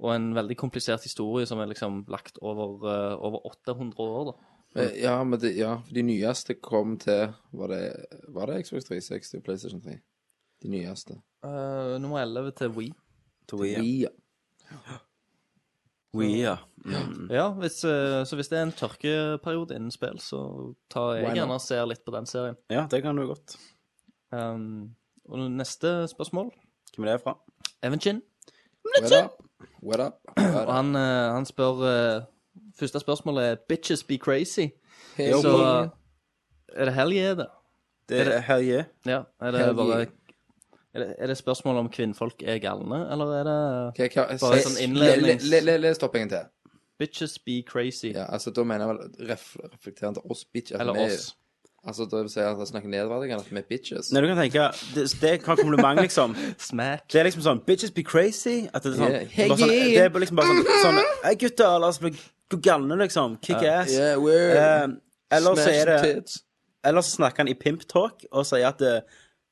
Speaker 9: Og en veldig komplisert historie som er liksom lagt over, eh, over 800 år, da.
Speaker 8: Eh, Ja, men det, ja, for de nyeste kom til Var det, var det Xbox 360 og PlayStation 3? De nyeste.
Speaker 9: Eh, nummer 11 til We.
Speaker 7: To i, ja.
Speaker 8: Vi, ja.
Speaker 7: We, ja. Mm.
Speaker 9: Ja, hvis, eh, så hvis det er en tørkeperiode innen spill, så tar jeg
Speaker 7: Why
Speaker 9: gjerne
Speaker 7: not?
Speaker 9: og ser litt på den serien.
Speaker 7: Ja, det kan du godt.
Speaker 9: Um, og neste spørsmål
Speaker 7: Hvem er det fra?
Speaker 9: Evan Chin.
Speaker 8: What up? What up? What
Speaker 9: Og
Speaker 8: up?
Speaker 9: han, eh, han spør eh, Første spørsmål er 'Bitches be crazy'.
Speaker 8: Hell
Speaker 9: så eh,
Speaker 8: yeah.
Speaker 9: er det helg, er det?
Speaker 7: Det er hell yeah.
Speaker 9: Ja, er det
Speaker 8: Hell
Speaker 9: bare
Speaker 8: yeah.
Speaker 9: er det, er det spørsmål om kvinnfolk er galne, eller er det
Speaker 8: Ok, hva-
Speaker 9: bare
Speaker 8: se-
Speaker 9: sånn
Speaker 8: le- le-
Speaker 9: innlednings...
Speaker 8: le- Les stoppingen til.
Speaker 9: Bitches be crazy.
Speaker 8: Ja, altså Da mener jeg vel ref, reflekterende til oss bitch. at
Speaker 9: Eller
Speaker 8: vi-
Speaker 9: oss.
Speaker 8: Altså Da vil si at jeg snakker nedverdigende at vi er bitches.
Speaker 7: Nei, du kan tenke Det, det er kompliment, liksom.
Speaker 9: Smack.
Speaker 7: Det er liksom sånn Bitches be crazy. At det er sånn,
Speaker 8: Yeah. Hey,
Speaker 7: bare sånn
Speaker 8: yeah.
Speaker 7: Det er liksom bare sånn, sånn Hei, gutter, la oss bli gå galne, liksom. Kick
Speaker 8: Ja.
Speaker 7: ass.
Speaker 8: Yeah, we're-
Speaker 7: Eh, eller så
Speaker 8: Smash
Speaker 7: er det
Speaker 8: tits.
Speaker 7: Eller så snakker han i pimp talk og sier at eh,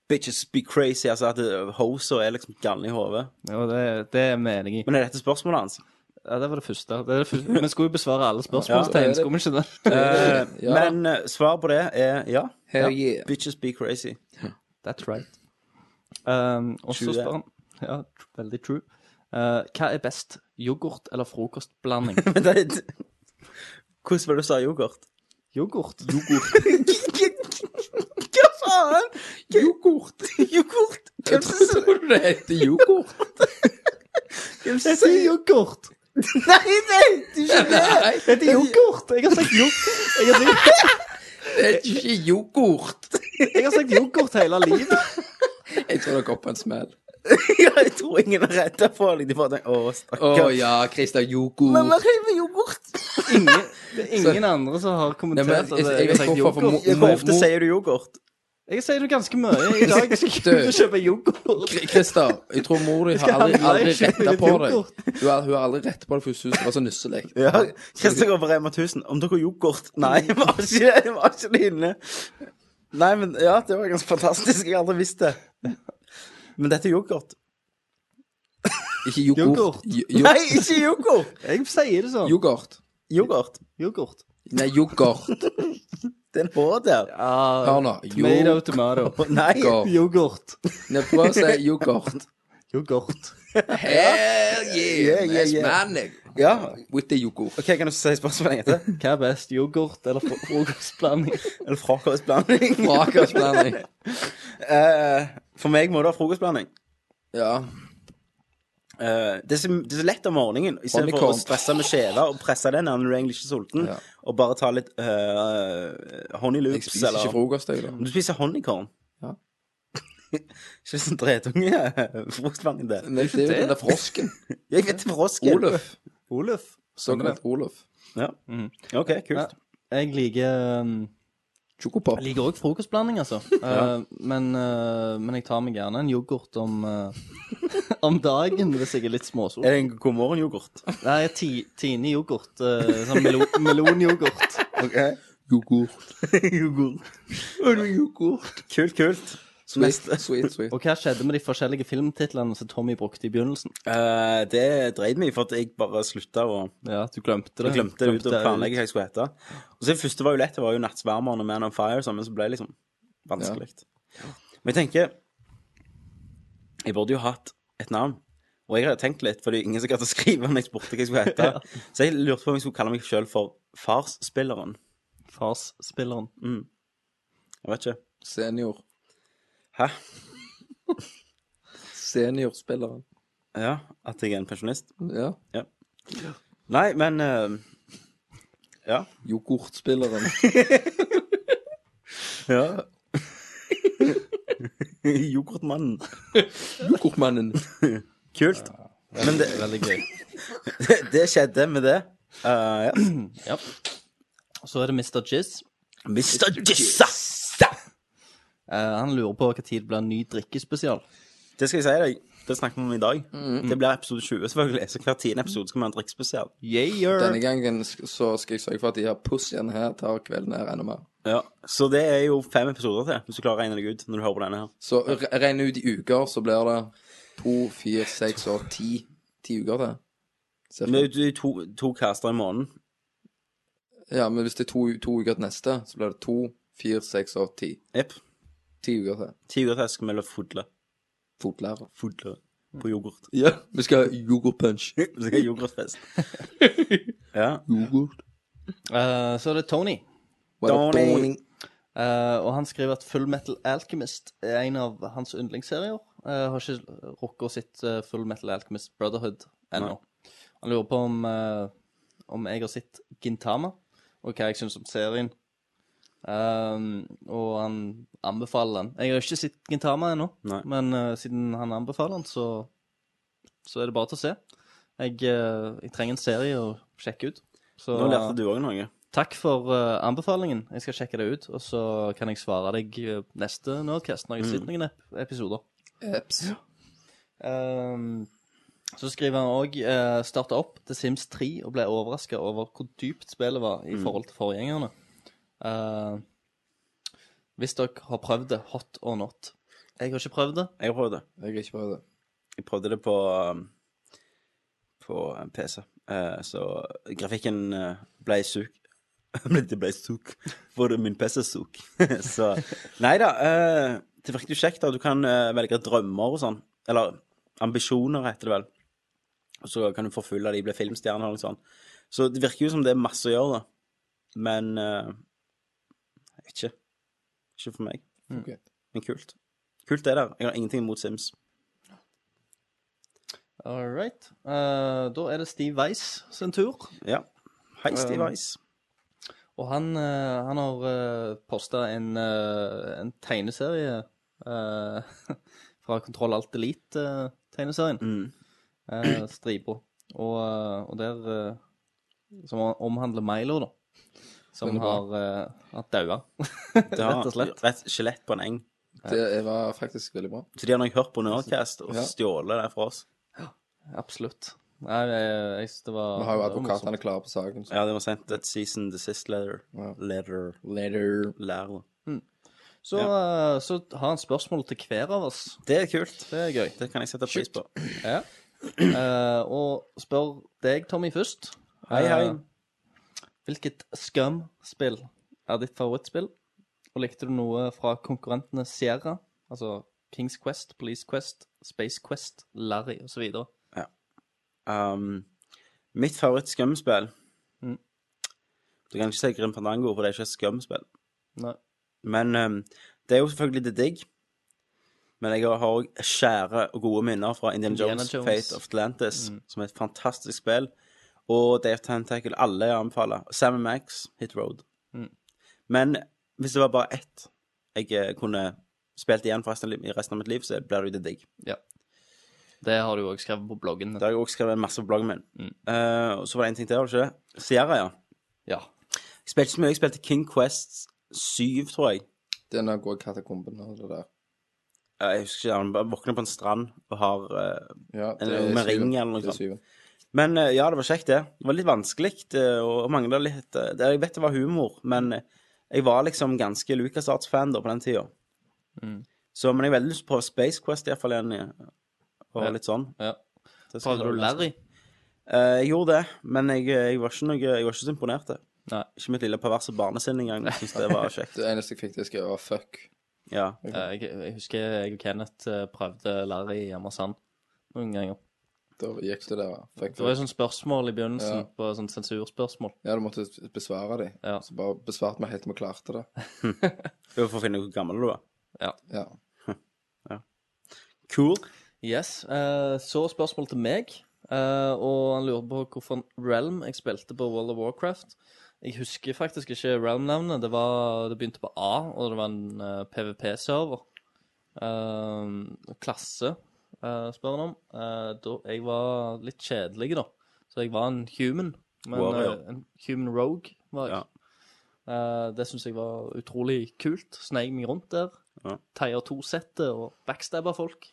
Speaker 7: Bitches be crazy, altså at eh, hoser er liksom galne i hodet.
Speaker 9: Jo, det, det er vi enig i.
Speaker 7: Men er dette spørsmålet hans?
Speaker 9: Ja, det var det første. Det er det første. Vi skulle jo besvare alle spørsmålstegn,
Speaker 8: Ja.
Speaker 9: skulle vi ikke det?
Speaker 7: Eh,
Speaker 8: Ja.
Speaker 7: Men eh, svaret på det er ja.
Speaker 8: Hell
Speaker 7: ja.
Speaker 8: yeah.
Speaker 7: Bitches be crazy. [laughs]
Speaker 9: That's right. Um, og så
Speaker 7: True that.
Speaker 9: spør han Ja, tr- veldig true. Eh, hva er best, yoghurt eller frokostblanding?
Speaker 8: [laughs]
Speaker 7: Men det er Hvordan var det du sa yoghurt? [laughs]
Speaker 9: yoghurt? [laughs]
Speaker 7: Hva faen? Yoghurt. Yoghurt. Hvem som
Speaker 8: Tror du det heter yoghurt?
Speaker 7: hvem som
Speaker 9: Jeg sier
Speaker 7: sier
Speaker 9: yoghurt!
Speaker 7: Nei, nei, du skjønner.
Speaker 8: [laughs] Nei,
Speaker 9: Det er yoghurt! Jeg har sagt yoghurt, jeg har, sagt-
Speaker 8: det er ikke yoghurt.
Speaker 9: jeg har sagt yoghurt hele livet.
Speaker 8: Jeg tror dere går på en smell.
Speaker 7: Ja, jeg tror ingen er redda for deg. De bare tenker Å,
Speaker 8: Å
Speaker 7: stakkar.
Speaker 8: ja, Christer, yoghurt.
Speaker 7: skriver yoghurt.
Speaker 9: Ingen, det er ingen andre som
Speaker 8: Nei,
Speaker 9: har
Speaker 8: men
Speaker 9: kommentert at
Speaker 8: jeg- jeg-
Speaker 9: jeg har sagt
Speaker 8: jeg- hvorfor-
Speaker 9: yoghurt.
Speaker 8: Ja,
Speaker 7: Hvor ofte sier du yoghurt?
Speaker 9: Jeg sier det ganske mye. I dag skal
Speaker 8: Død.
Speaker 9: jeg kjøpe yoghurt.
Speaker 8: Kri- Christer, jeg tror mor di har
Speaker 9: skal
Speaker 8: aldri,
Speaker 9: handle
Speaker 8: aldri
Speaker 9: en skikkelig
Speaker 8: retta på deg.
Speaker 9: yoghurt.
Speaker 8: Hun har, hun har aldri retta på deg for hun syntes det var så nusselig.
Speaker 7: Ja. Kristian går på Rema 1000. Om dere har yoghurt? Nei, vi har ikke det. Vi har ikke det inne. Nei, men ja, det var ganske fantastisk. Jeg har aldri visst det. Men dette er yoghurt.
Speaker 8: Ikke yoghurt.
Speaker 9: Yoghurt.
Speaker 8: Yo- yo-
Speaker 7: Nei, ikke yoghurt!
Speaker 9: Jeg sier det sånn.
Speaker 8: Yoghurt.
Speaker 7: Yoghurt.
Speaker 9: Yoghurt.
Speaker 8: Nei, yoghurt.
Speaker 7: Det er en H der.
Speaker 8: Hør
Speaker 9: Uh,
Speaker 8: nå.
Speaker 9: tomato, tomato.
Speaker 7: Nei.
Speaker 8: Yoghurt.
Speaker 9: Yoghurt.
Speaker 8: Nei, prøv å si yoghurt.
Speaker 9: Yoghurt.
Speaker 8: Hell yeah,
Speaker 7: Yeah, yeah,
Speaker 8: that's
Speaker 7: yeah.
Speaker 8: my nigga.
Speaker 7: Ja.
Speaker 8: With the yoghurt.
Speaker 7: OK, kan du si spørsmålet etter?
Speaker 9: Hva er best, yoghurt eller fro- frokostblanding?
Speaker 7: Eller frokostblanding?
Speaker 8: Frokostblanding.
Speaker 7: Eh, for meg må det være frokostblanding.
Speaker 8: Ja.
Speaker 7: Eh, det, er så, det er så lett om morgenen. I stedet for å
Speaker 8: Honeycomb.
Speaker 7: stresse med skjeva og presse den når du egentlig ikke er sulten,
Speaker 8: Ja.
Speaker 7: og bare ta litt eh, honey
Speaker 8: Jeg
Speaker 7: loops
Speaker 8: spiser ikke
Speaker 7: eller
Speaker 8: frokost, jeg, da.
Speaker 7: Mm. Du spiser honeycorn.
Speaker 8: Ja.
Speaker 7: [laughs] ikke sånn dretunge frokostblanding det.
Speaker 8: Nei, det er jo den der frosken.
Speaker 7: Jeg vet frosken.
Speaker 8: Oluf.
Speaker 9: Oluf.
Speaker 8: Såkalt Oluf.
Speaker 7: Ja. OK, kult.
Speaker 9: Jeg liker um,
Speaker 8: Chocopop.
Speaker 9: Jeg liker òg frokostblanding, altså. Eh, men, eh, men jeg tar meg gjerne en yoghurt om, eh, [laughs] om dagen hvis jeg er litt småsol.
Speaker 7: Er det en god morgen-yoghurt?
Speaker 9: Nei, jeg ti, Tine yoghurt. eh, sånn melo, [laughs] melonyoghurt.
Speaker 8: Yoghurt.
Speaker 7: [laughs] yoghurt.
Speaker 8: Yoghurt.
Speaker 7: Kult, kult.
Speaker 8: Sweet, sweet. sweet.
Speaker 9: Og hva skjedde med de forskjellige filmtitlene som Tommy brukte i begynnelsen?
Speaker 7: Eh, det dreit meg, for at jeg bare slutta å
Speaker 9: Ja, du glemte det.
Speaker 7: Jeg glemte det ut og
Speaker 9: Glemte
Speaker 7: planlegge hva jeg skulle hete. Og så det første var jo lett, det var jo Nattsvermeren og Man on Fire, så, men så ble det liksom vanskelig. Men jeg tenker Jeg burde jo hatt et navn. Og jeg hadde tenkt litt, fordi ingen som gadd å skrive når jeg spurte hva jeg skulle [laughs] hete. Så jeg lurte på om jeg skulle kalle meg sjøl for Farsspilleren.
Speaker 9: Farsspilleren.
Speaker 7: Jeg vet ikke.
Speaker 8: Senior.
Speaker 7: Hæ?
Speaker 8: Seniorspilleren.
Speaker 7: Ja, at jeg er en pensjonist?
Speaker 8: Ja.
Speaker 7: Nei, men eh, Ja.
Speaker 8: Yoghurtspilleren.
Speaker 7: ja. [laughs] Yoghurtmannen.
Speaker 8: Yoghurtmannen.
Speaker 7: Kult. Men det,
Speaker 9: [laughs] Veldig gøy.
Speaker 7: det skjedde med det. Eh, ja.
Speaker 9: Ja. Og så er det Mr. Jizz.
Speaker 7: Mr. Jizza!
Speaker 9: Eh, han lurer på hva tid det blir en ny drikkespesial.
Speaker 7: Det skal jeg si deg. Det snakker vi om i dag. Det blir episode 20, selvfølgelig. Så hver tiende episode skal vi ha en drikkespesial.
Speaker 8: Denne
Speaker 9: Yeah!
Speaker 8: gangen sk- så skal jeg sørge for at de her pussien her tar kvelden her enda mer.
Speaker 7: Ja. Så det er jo fem episoder til, hvis du klarer å regne deg ut når du hører på denne her.
Speaker 8: Så re- regn ut i uker, så blir det to, fire, seks og ti. Ti uker til. Cirka.
Speaker 7: Men det er jo to, to caster i måneden.
Speaker 8: Ja, men hvis det er to, to uker til neste, så blir det to, fire, seks og ti.
Speaker 7: Jepp.
Speaker 8: Ti uker til.
Speaker 7: Ti uker til skal vi la fodle.
Speaker 8: Fotlærer.
Speaker 7: Fodle. på yoghurt. [laughs]
Speaker 8: Ja, vi skal ha yoghurtpunch.
Speaker 7: Vi skal ha yoghurtfest. ja.
Speaker 8: Yoghurt.
Speaker 9: Eh, så er det Tony.
Speaker 8: What up, Tony? Tony?
Speaker 9: Eh, og han skriver at Full Metal Alchemist er en av hans yndlingsserier. Eh, har ikke rukket å sett eh, Full Metal Alchemist Brotherhood ennå. Han lurer på om, eh, om jeg har sett Gintama, og hva jeg syns om serien. Eh, og han anbefaler den. Jeg har ikke sett Gintama ennå,
Speaker 7: Nei.
Speaker 9: men eh, siden han anbefaler den, så, så er det bare til å se. Jeg, eh, jeg trenger en serie å sjekke ut. Så,
Speaker 7: Nå lærte du òg noe.
Speaker 9: Takk for eh, anbefalingen. Jeg skal sjekke det ut, og så kan jeg svare deg eh, neste Nerdcast når jeg har sett noen ep episoder.
Speaker 8: Eps.
Speaker 9: Ehm, så skriver han òg uh, starta opp til Sims 3 og ble overraska over hvor dypt spillet var i
Speaker 7: Mm.
Speaker 9: forhold til forgjengerne. Eh, hvis dere har prøvd det, hot or not. Jeg har ikke prøvd det.
Speaker 7: Jeg har prøvd det.
Speaker 8: Jeg har ikke prøvd det.
Speaker 7: Jeg prøvde det på um, På en PC. Eh, så grafikken eh, ble suk. [laughs] Men det ble suk. For min PC suk. [laughs] så Nei da. eh, det virker jo kjekt. da Du kan eh, velge drømmer og sånn. Eller ambisjoner, heter det vel. Og så kan du forfølge de, bli filmstjerne eller noe sånt. Så det virker jo som det er masse å gjøre, da. Men eh, jeg vet ikke. Ikke for meg.
Speaker 8: Ok.
Speaker 7: Men kult. Kult er det. Jeg har ingenting imot Sims.
Speaker 9: All right. Eh, da er det Steve Weiss sin tur.
Speaker 7: Ja. Hei, Steve
Speaker 9: Um,
Speaker 7: Ice.
Speaker 9: Og han, eh, han har uh, posta en, eh, en tegneserie eh, [laughs] fra Kontroll Alt eh, Elite-tegneserien.
Speaker 8: Mm.
Speaker 9: Uh, Stripa. Og, eh, og der eh, Som omhandler Milo, da. Som
Speaker 8: Den er
Speaker 9: har,
Speaker 8: bra.
Speaker 9: eh, har [laughs] daua,
Speaker 7: Det har
Speaker 9: rett og slett.
Speaker 7: rett skjelett på en eng.
Speaker 8: Det var faktisk veldig bra.
Speaker 7: Så de har nok hørt på Nerdcast og
Speaker 8: Ja.
Speaker 7: stjålet det fra oss.
Speaker 9: Absolutt. Nei, jeg, jeg, det var
Speaker 8: Vi har jo
Speaker 9: det var morsomt.
Speaker 8: advokatene klare på saken. så-
Speaker 7: Ja, det var sendt et season desist letter.
Speaker 8: Ja.
Speaker 7: Letter.
Speaker 8: Later.
Speaker 7: Lærer.
Speaker 9: Så, eh, så har han spørsmål til hver av oss.
Speaker 7: Det er kult.
Speaker 9: Det er gøy.
Speaker 7: Det kan jeg sette pris på.
Speaker 9: Ja. Eh, og spør deg, Tommy, først.
Speaker 7: Hei, hei.
Speaker 9: Eh, hvilket Scum-spill er ditt favorittspill? Og likte du noe fra konkurrentene Sierra? Altså Kings Quest, Police Quest, Space Quest, Larry osv.
Speaker 7: Um, mitt favorittskumspill
Speaker 9: Mm.
Speaker 7: Du kan ikke si Grim Fandango, for det er ikke et skumspill.
Speaker 9: Nei.
Speaker 7: Men um, det er jo selvfølgelig det digg. Men jeg har òg skjære og gode minner fra Indian
Speaker 9: Indiana
Speaker 7: Jones,
Speaker 9: Jones. Mm.
Speaker 7: Fate of Atlantis, som er et fantastisk spill. Og Dave Tentacle, alle jeg anbefaler. Sam Max, Hit Road.
Speaker 9: Mm.
Speaker 7: Men hvis det var bare ett jeg eh, kunne spilt igjen for resten av, li- i resten av mitt liv, så blir det jo det digg.
Speaker 9: Ja. Det har du jo òg skrevet på bloggen.
Speaker 7: Det har jeg også skrevet masse på bloggen min.
Speaker 9: Mm.
Speaker 7: Eh, og så var det en ting til, var det ikke det? Sierra, ja.
Speaker 9: Ja.
Speaker 7: Jeg spilte ikke så mye. Jeg spilte King Quest 7, tror jeg.
Speaker 8: Denne går i katakomben og det der.
Speaker 7: Eh, Jeg husker ikke, han bare våkner på en strand og har eh,
Speaker 8: Ja,
Speaker 7: En
Speaker 8: det er
Speaker 7: med
Speaker 8: syven.
Speaker 7: ring eller noe
Speaker 8: Det er
Speaker 7: sånt.
Speaker 8: syven.
Speaker 7: Men eh, ja, det var kjekt, det. Det var litt vanskelig eh, og mangla litt eh, det- Jeg vet det var humor, men eh, jeg var liksom ganske Lucas Arts-fan da på den tida.
Speaker 9: Mm.
Speaker 7: Så, men jeg har veldig lyst på Space Quest iallfall igjen. eh, Og
Speaker 9: Ja.
Speaker 7: litt sånn.
Speaker 9: ja.
Speaker 7: Det skal
Speaker 9: Prøvde du
Speaker 7: jeg lage.
Speaker 9: Larry?
Speaker 7: Eh, jeg gjorde det, men jeg, eh, jeg, var ikke noe, jeg var ikke så imponert. det.
Speaker 9: Nei.
Speaker 7: Ikke mitt lille perverse barnesinn engang. Jeg synes det
Speaker 9: [laughs]
Speaker 7: var kjekt.
Speaker 8: Det eneste jeg fikk til, skal være fuck.
Speaker 7: Ja.
Speaker 9: Eh, Jeg, jeg husker jeg og Kenneth eh, prøvde Larry i Ammersand noen ganger.
Speaker 8: Da gikk det der. Fuck,
Speaker 9: Det var
Speaker 8: fuck.
Speaker 9: jo sånn spørsmål i begynnelsen,
Speaker 8: Ja.
Speaker 9: på sånn sensurspørsmål.
Speaker 8: Ja, du måtte besvare dem.
Speaker 9: Ja.
Speaker 8: Så bare besvarte vi helt til vi klarte det.
Speaker 7: Det var For å finne ut hvor gammel du var.
Speaker 8: Ja.
Speaker 7: Cool.
Speaker 9: Yes. eh, så spørsmål til meg. eh, og han lurer på hvorfor Realm jeg spilte på World of Warcraft. Jeg husker faktisk ikke Realm-navnet. Det, var- det begynte på A, og det var en eh, PVP-server. Eh, klasse, eh, spør han om. Eh, da, jeg var litt kjedelig, da. Så jeg var en human. Men
Speaker 7: Warrior.
Speaker 9: eh, en human rogue var jeg.
Speaker 7: Ja.
Speaker 9: Eh, det syns jeg var utrolig kult. Sneik meg rundt der.
Speaker 7: Ja.
Speaker 9: Teier to-settet og backstabba folk.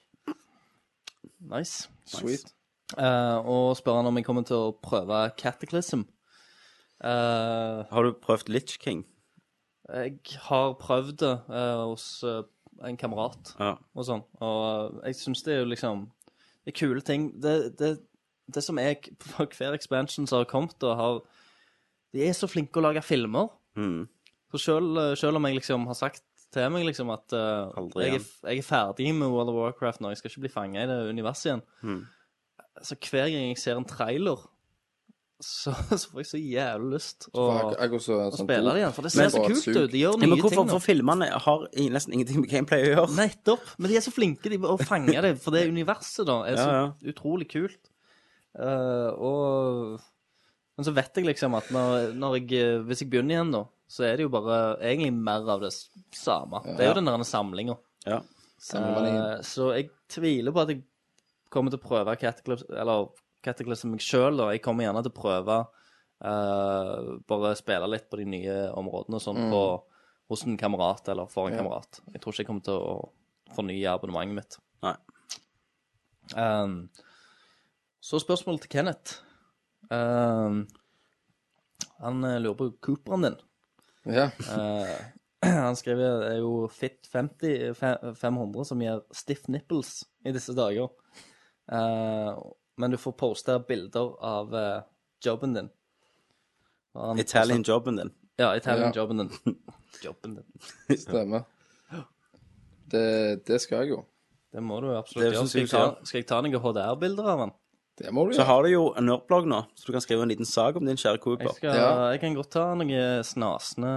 Speaker 9: Nice.
Speaker 8: Sweet.
Speaker 9: Eh, og spør han om jeg kommer til å prøve Cataclysm. Eh,
Speaker 7: Har du prøvd Litch King?
Speaker 9: jeg har prøvd det eh, hos eh, en kamerat
Speaker 7: Ja.
Speaker 9: og sånn, og eh, jeg syns det er jo liksom Det er kule ting. Det, det, det som jeg [laughs] på hver expansion som har kommet og har De er så flinke å lage filmer.
Speaker 7: Mm.
Speaker 9: For selv, selv om jeg liksom har sagt til meg, liksom, at eh,
Speaker 7: Aldri
Speaker 9: jeg, er,
Speaker 7: igjen.
Speaker 9: jeg er ferdig med World of Warcraft nå, jeg skal ikke bli fanga i det universet igjen.
Speaker 7: Hmm.
Speaker 9: Så hver gang jeg ser en trailer, så, [laughs] så får jeg så jævlig lyst å,
Speaker 8: får jeg- jeg også
Speaker 9: å
Speaker 8: sånn
Speaker 9: spille det igjen. For det ser
Speaker 7: Men-
Speaker 9: så kult ut. De
Speaker 7: Ja,
Speaker 9: gjør nye
Speaker 7: men hvorfor,
Speaker 9: ting nå.
Speaker 7: for filmene har i- nesten ingenting med gameplay å gjøre.
Speaker 9: Nettopp. Men de er så flinke de, å fange det, for det universet da er så
Speaker 7: Ja,
Speaker 9: utrolig kult. Eh, og Men så vet jeg liksom at når, når jeg, eh, hvis jeg begynner igjen, da, så er det jo bare egentlig mer av det s- samme. Det er jo den der samlinga.
Speaker 7: Ja.
Speaker 8: Samlingen.
Speaker 9: så jeg tviler på at jeg kommer til å prøve Cataclysm Eller Cataclysm meg sjøl, da. Jeg kommer gjerne til å prøve eh, bare spille litt på de nye områdene og sånn
Speaker 8: Mm.
Speaker 9: på, hos en kamerat eller for en
Speaker 8: Ja.
Speaker 9: kamerat. Jeg tror ikke jeg kommer til å fornye abonnementet mitt.
Speaker 7: Nei.
Speaker 9: Ehm, så spørsmålet til Kenneth. Ehm, han eh, lurer på Cooperen din.
Speaker 8: Ja.
Speaker 9: Eh, [clears throat] han skriver det er jo Fit 50, fe- 500 som gir stiff nipples i disse dager. Eh, men du får poste bilder av eh, jobben din. Og han
Speaker 7: Italian
Speaker 9: postet-
Speaker 7: jobben din.
Speaker 9: Ja, Italian
Speaker 8: Ja.
Speaker 9: jobben din. jobben din.
Speaker 8: Stemmer. Det, det skal jeg jo.
Speaker 9: Det må du absolutt
Speaker 7: Det
Speaker 9: gjøre.
Speaker 7: synes
Speaker 9: Skal
Speaker 7: jeg
Speaker 9: jeg,
Speaker 7: du
Speaker 9: ta, skal jeg ta noen HDR-bilder av han?
Speaker 8: Det må du
Speaker 7: Så
Speaker 8: gjøre.
Speaker 7: har du jo en nerdblogg nå, så du kan skrive en liten sag om din kjære Cooper.
Speaker 9: Jeg, skal,
Speaker 8: Ja.
Speaker 9: jeg kan godt ta noen snasende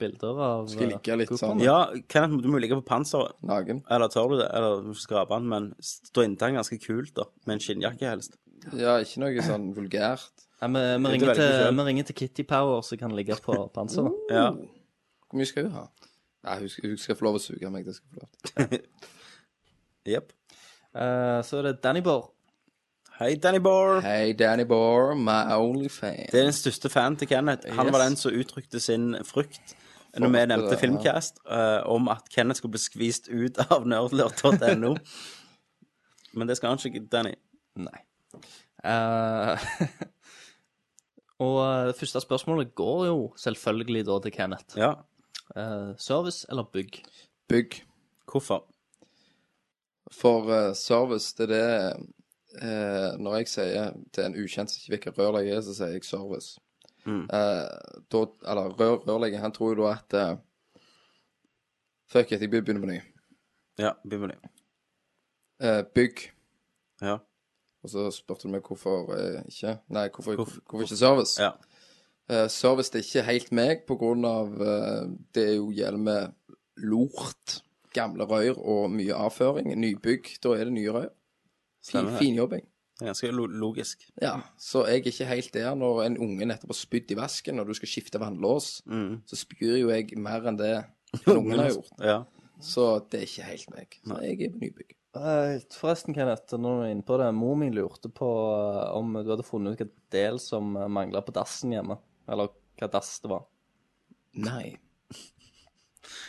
Speaker 9: bilder av eh,
Speaker 8: Skal ligge litt sånn.
Speaker 7: Ja, Kenneth, du må ligge på panseret.
Speaker 8: Nagen.
Speaker 7: Eller tør du det? Eller du må ikke skrape den, men stå inntil den ganske kult, da. Med en skinnjakke helst.
Speaker 8: Ja, ikke noe sånn vulgært.
Speaker 9: Nei, vi, vi,
Speaker 7: velger
Speaker 9: ringer til,
Speaker 7: selv. Uh.
Speaker 9: vi ringer til Kitty Power, som kan ligge på
Speaker 7: [laughs]
Speaker 9: panseret.
Speaker 7: Ja.
Speaker 8: Hvor mye skal hun ha? Nei, hun skal, hun skal få lov å suge meg. Det skal hun få lov til.
Speaker 7: Jepp.
Speaker 9: Eh, så er det Danny Bore.
Speaker 7: Hei, Danny Bohr.
Speaker 8: Hei, Danny Bohr, my only fan.
Speaker 7: Det er den største fan til Kenneth. Han
Speaker 8: Yes.
Speaker 7: var den som uttrykte sin frykt når vi
Speaker 8: Frykte
Speaker 7: nevnte
Speaker 8: det, ja.
Speaker 7: Filmcast, eh, om at Kenneth skulle bli skvist ut [laughs] av nerdlurt.no. Men det skal han ikke, Danny.
Speaker 9: Nei. Eh, [laughs] og eh, det første spørsmålet går jo selvfølgelig da til Kenneth.
Speaker 7: Ja,
Speaker 9: Eh, service eller bygg?
Speaker 8: Bygg
Speaker 7: hvorfor?
Speaker 8: for eh, service. Det er det eh, Når jeg sier til en ukjent som ikke vet hva rørlegger er, så sier jeg service.
Speaker 7: Mm.
Speaker 8: Eh, da, eller rør, rørlegger, han tror jo da at eh, Fuck it, jeg begynner på ny.
Speaker 7: Ja, begynn med det.
Speaker 8: Eh, bygg.
Speaker 7: Ja.
Speaker 8: Og så spurte du meg hvorfor eh, ikke Nei, hvorfor,
Speaker 7: Hvorfor-
Speaker 8: hvorfor, ikke service?
Speaker 7: ja.
Speaker 8: Eh, service det er ikke helt meg, på grunn av eh, det er jo gjelder med lort, gamle rør og mye avføring. Nybygg, da er det nye rør. Fin,
Speaker 7: Stemmer det.
Speaker 8: Finjobbing.
Speaker 7: Det er ganske lo- logisk.
Speaker 8: Ja, så jeg er ikke helt der når en unge nettopp har spydd i vasken, og du skal skifte vannlås, så spyr jo jeg mer enn det [laughs] den ungen har gjort.
Speaker 7: Ja.
Speaker 8: Så det er ikke helt meg. Så jeg er på nybygg.
Speaker 9: Eh, forresten, Kenneth, når du er inne på det, mor mi lurte på eh, om du hadde funnet ut hvilken del som eh, manglet på dassen hjemme. Eller hva dass det var.
Speaker 8: Nei.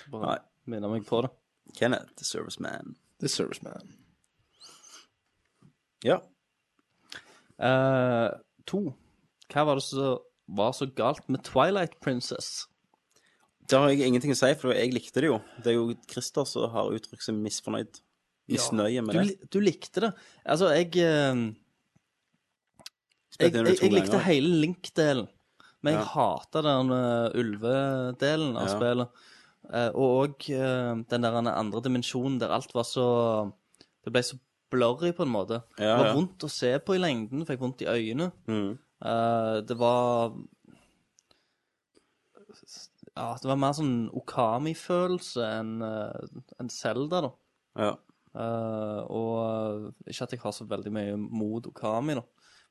Speaker 9: Bare minner meg på det.
Speaker 7: Kenneth, the serviceman.
Speaker 8: The service man.
Speaker 7: Ja.
Speaker 9: Eh, to. Hva var det som var så galt med Twilight Princess?
Speaker 7: Det har jeg ingenting å si, for jeg likte det jo. Det er jo Christer som har uttrykt seg misfornøyd. Misnøye med
Speaker 9: du,
Speaker 7: det.
Speaker 9: li- du likte det. Altså, jeg eh, Jeg,
Speaker 7: Spilte den
Speaker 9: jeg,
Speaker 7: jo to
Speaker 9: jeg likte
Speaker 7: ganger.
Speaker 9: hele Link-delen, men jeg
Speaker 7: Ja.
Speaker 9: hata den eh, ulvedelen av
Speaker 7: Ja.
Speaker 9: spillet. Eh, og òg den der andre dimensjonen der alt var så Det ble så blurry, på en måte.
Speaker 7: Ja,
Speaker 9: det var
Speaker 7: ja.
Speaker 9: vondt å se på i lengden, fikk vondt i øynene.
Speaker 7: Mm.
Speaker 9: Eh, det var Ja, det var mer sånn Okami-følelse enn uh, en Zelda, da.
Speaker 7: Ja.
Speaker 9: Eh, og ikke at jeg har så veldig mye mot Okami, da.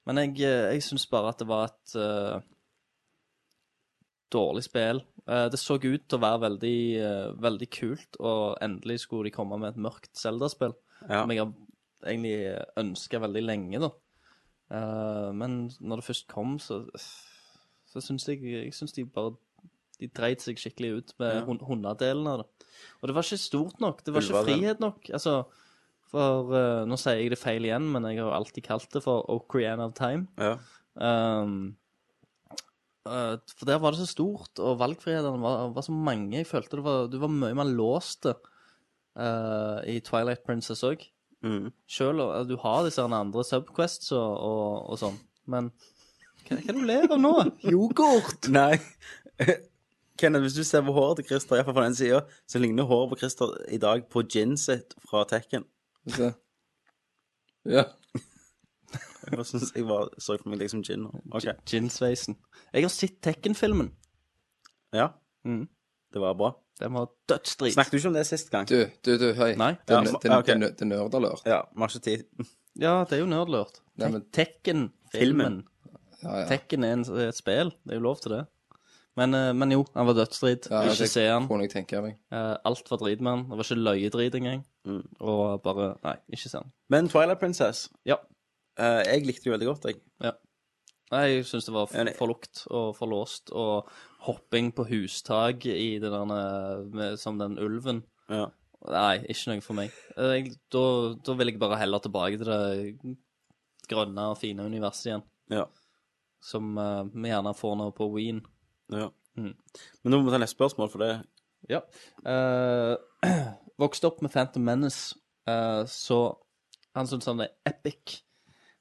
Speaker 9: Men jeg, eh, jeg syns bare at det var et eh, dårlig spill. Eh, det så ut til å være veldig, eh, veldig kult, og endelig skulle de komme med et mørkt Zelda-spill.
Speaker 7: Ja.
Speaker 9: Som jeg har egentlig ønska veldig lenge, da. Eh, men når det først kom, så, så syns jeg, jeg synes de bare de dreit seg skikkelig ut med
Speaker 7: Ja.
Speaker 9: hun- hundedelen av det. Og det var ikke stort nok. Det var ikke
Speaker 7: Ulvadelen.
Speaker 9: frihet nok. Altså, for eh, Nå sier jeg det feil igjen, men jeg har jo alltid kalt det for Ocrian of Time.
Speaker 7: ja.
Speaker 9: Um, eh, for der var det så stort, og valgfrihetene var, var så mange. Jeg følte det var, du var mye mer låst eh, i Twilight Princess òg.
Speaker 7: Mm.
Speaker 9: Sjøl om eh, du har disse her andre subquests og, og, og [laughs]
Speaker 8: [laughs]
Speaker 9: sånn, men hva, hva er det du ler av nå? Yoghurt!
Speaker 7: Nei. [laughs] Kenneth, hvis du ser på håret til Christer, i hvert fall fra den sida, så ligner håret på Christer i dag på gin sitt fra Tekken.
Speaker 8: Se. Ja.
Speaker 7: Jeg syns jeg var, så for meg liksom gin. Okay.
Speaker 9: Gin-sveisen. Jeg har sett Tekken-filmen.
Speaker 7: Ja.
Speaker 9: Mm.
Speaker 7: Det var bra.
Speaker 9: Den var dødsdrit.
Speaker 7: Snakket du ikke om det sist gang?
Speaker 8: Du, du, du, hei.
Speaker 9: Nei.
Speaker 8: Det
Speaker 7: Ja,
Speaker 8: er nø-
Speaker 7: ja,
Speaker 8: det er
Speaker 7: ok.
Speaker 8: det er nø- det er nerdalert.
Speaker 7: Ja, vi har ikke tid.
Speaker 9: Ja, det er jo nerdlurt.
Speaker 8: Nei, men-
Speaker 9: Tekken-filmen.
Speaker 8: Ja, ja.
Speaker 9: Tekken er en, er et spill. Det er jo lov til det. Men, eh, men jo, han var dødsdrit.
Speaker 8: Ja,
Speaker 9: ikke
Speaker 8: det
Speaker 9: se han.
Speaker 8: kunne jeg tenke meg.
Speaker 9: Eh, alt var drit med han. Det var ikke løyedrit engang.
Speaker 7: Mm.
Speaker 9: Og bare Nei, ikke se han.
Speaker 7: Men Twilight Princess
Speaker 9: Ja.
Speaker 7: eh, Jeg likte det veldig godt, jeg.
Speaker 9: Ja. Nei, jeg syns det var
Speaker 7: Ja,
Speaker 9: for,
Speaker 7: det-
Speaker 9: for lukt og for låst, og hopping på hustak i det der eh, med, som den ulven.
Speaker 7: Ja.
Speaker 9: Nei, ikke noe for meg. Eh, Jeg, da, da vil jeg bare heller tilbake til det grønne og fine universet igjen,
Speaker 7: ja.
Speaker 9: som eh, vi gjerne får nå på Ween.
Speaker 7: ja.
Speaker 9: Mm.
Speaker 7: Men nå må vi ta neste spørsmål, for det
Speaker 9: Ja. Eh, [clears throat] vokste opp med Phantom Menace, eh, så han syntes han er epic.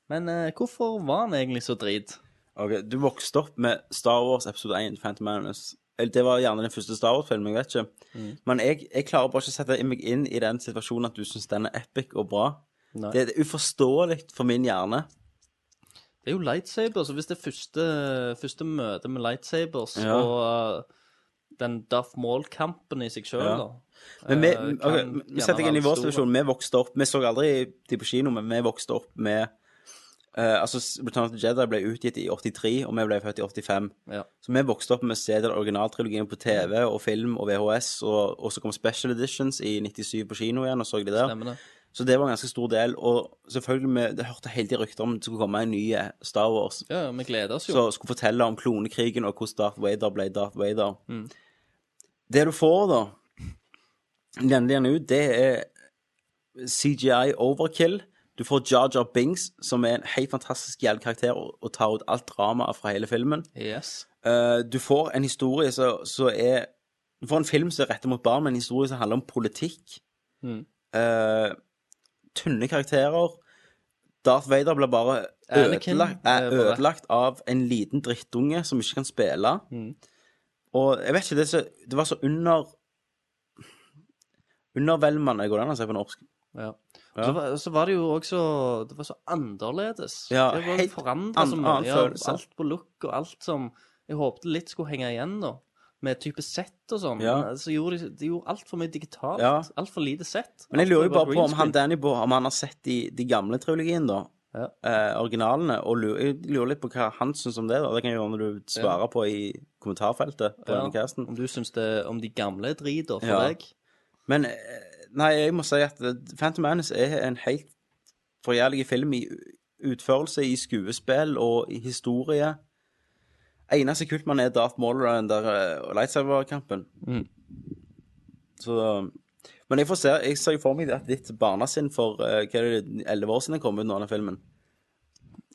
Speaker 9: Men eh, hvorfor var han egentlig så drit?
Speaker 7: Ok, Du vokste opp med Star Wars episode 1, Phantom Menace. Eller, Det var gjerne den første Star Wars-filmen, jeg vet ikke.
Speaker 9: Mm.
Speaker 7: Men jeg, jeg klarer bare ikke å sette meg inn i den situasjonen at du syns den er epic og bra.
Speaker 9: Nei.
Speaker 7: Det, det er uforståelig for min hjerne.
Speaker 9: Det er jo lightsabers, og hvis det er første, første møte med lightsabers
Speaker 7: Ja.
Speaker 9: og uh, den Duff Maul-kampen i seg sjøl,
Speaker 7: Ja.
Speaker 9: da
Speaker 7: Men vi,
Speaker 9: eh, kan
Speaker 7: ok, vi- vi
Speaker 9: gjerne
Speaker 7: setter deg inn i
Speaker 9: være
Speaker 7: vår
Speaker 9: stor.
Speaker 7: situasjon. Vi vokste opp Vi så aldri de på kino, men vi vokste opp med eh, Altså, Return of the Jedi ble utgitt i 83, og vi ble født i 85.
Speaker 9: Ja. Mm.
Speaker 7: Så vi vokste opp med å se den originaltrilogien på TV og film og VHS, og, og så kom special editions i 97 på kino igjen, og så de der.
Speaker 9: Stemmer det.
Speaker 7: Så det var en ganske stor del. Og selvfølgelig, vi det hørte hele tiden rykter om det skulle komme en ny eh, Star Wars
Speaker 9: Ja, ja, vi gleder oss jo.
Speaker 7: som skulle fortelle om klonekrigen og hvordan Darth Vader ble Darth Vader. Det du får, da, nevner jeg nå, det er CGI overkill. Du får Jar Jar Bings, som er en helt fantastisk jævlig karakter og og tar ut alt dramaet fra hele filmen.
Speaker 9: Yes.
Speaker 7: Eh, du får en historie som som er Du får en film som er rettet mot barn, men en historie som handler om politikk.
Speaker 9: Mm.
Speaker 7: Eh, tynne karakterer. Darth Vader blir bare
Speaker 9: Anakin
Speaker 7: ødelagt,
Speaker 9: ble
Speaker 7: er
Speaker 9: bare-
Speaker 7: ødelagt av en liten drittunge som ikke kan spille.
Speaker 9: Mm.
Speaker 7: Og jeg vet ikke, det, er så, det var så under Undervelmende, går det an å si på norsk?
Speaker 9: Ja.
Speaker 7: Ja.
Speaker 9: Så, var, så var det jo også Det var så annerledes.
Speaker 7: Ja,
Speaker 9: det var
Speaker 7: helt
Speaker 9: forandra så
Speaker 7: an-
Speaker 9: mye.
Speaker 7: annen
Speaker 9: ja,
Speaker 7: følelse.
Speaker 9: Alt på look og alt som Jeg håpte litt skulle henge igjen, da. Med type sett og sånn.
Speaker 7: Ja.
Speaker 9: Men Så gjorde de, de gjorde altfor mye digitalt.
Speaker 7: Ja.
Speaker 9: Altfor lite sett.
Speaker 7: Men jeg
Speaker 9: Alt
Speaker 7: lurer jo
Speaker 9: var
Speaker 7: bare på
Speaker 9: green
Speaker 7: om han
Speaker 9: screen.
Speaker 7: Danny Boe Om han har sett de, de gamle triologien, da.
Speaker 9: Ja.
Speaker 7: eh, originalene, og lurer, jeg lurer litt på hva han syns om det. da Det kan jo høre når du svarer på i kommentarfeltet. på denne casten
Speaker 9: Om du syns det om de gamle er drit, da, for
Speaker 7: Ja.
Speaker 9: deg?
Speaker 7: Men eh, nei, jeg må si at eh, Phantom Menace er en helt forjævlig film i utførelse, i skuespill og i historie. Eneste kult man er Darth Maul og den der eh, lightsaber-kampen.
Speaker 9: Mm.
Speaker 7: Så Men jeg, får se, jeg ser jo for meg at ditt barnesinn for eh, hva er det, 11 år siden kom ut nå, denne filmen,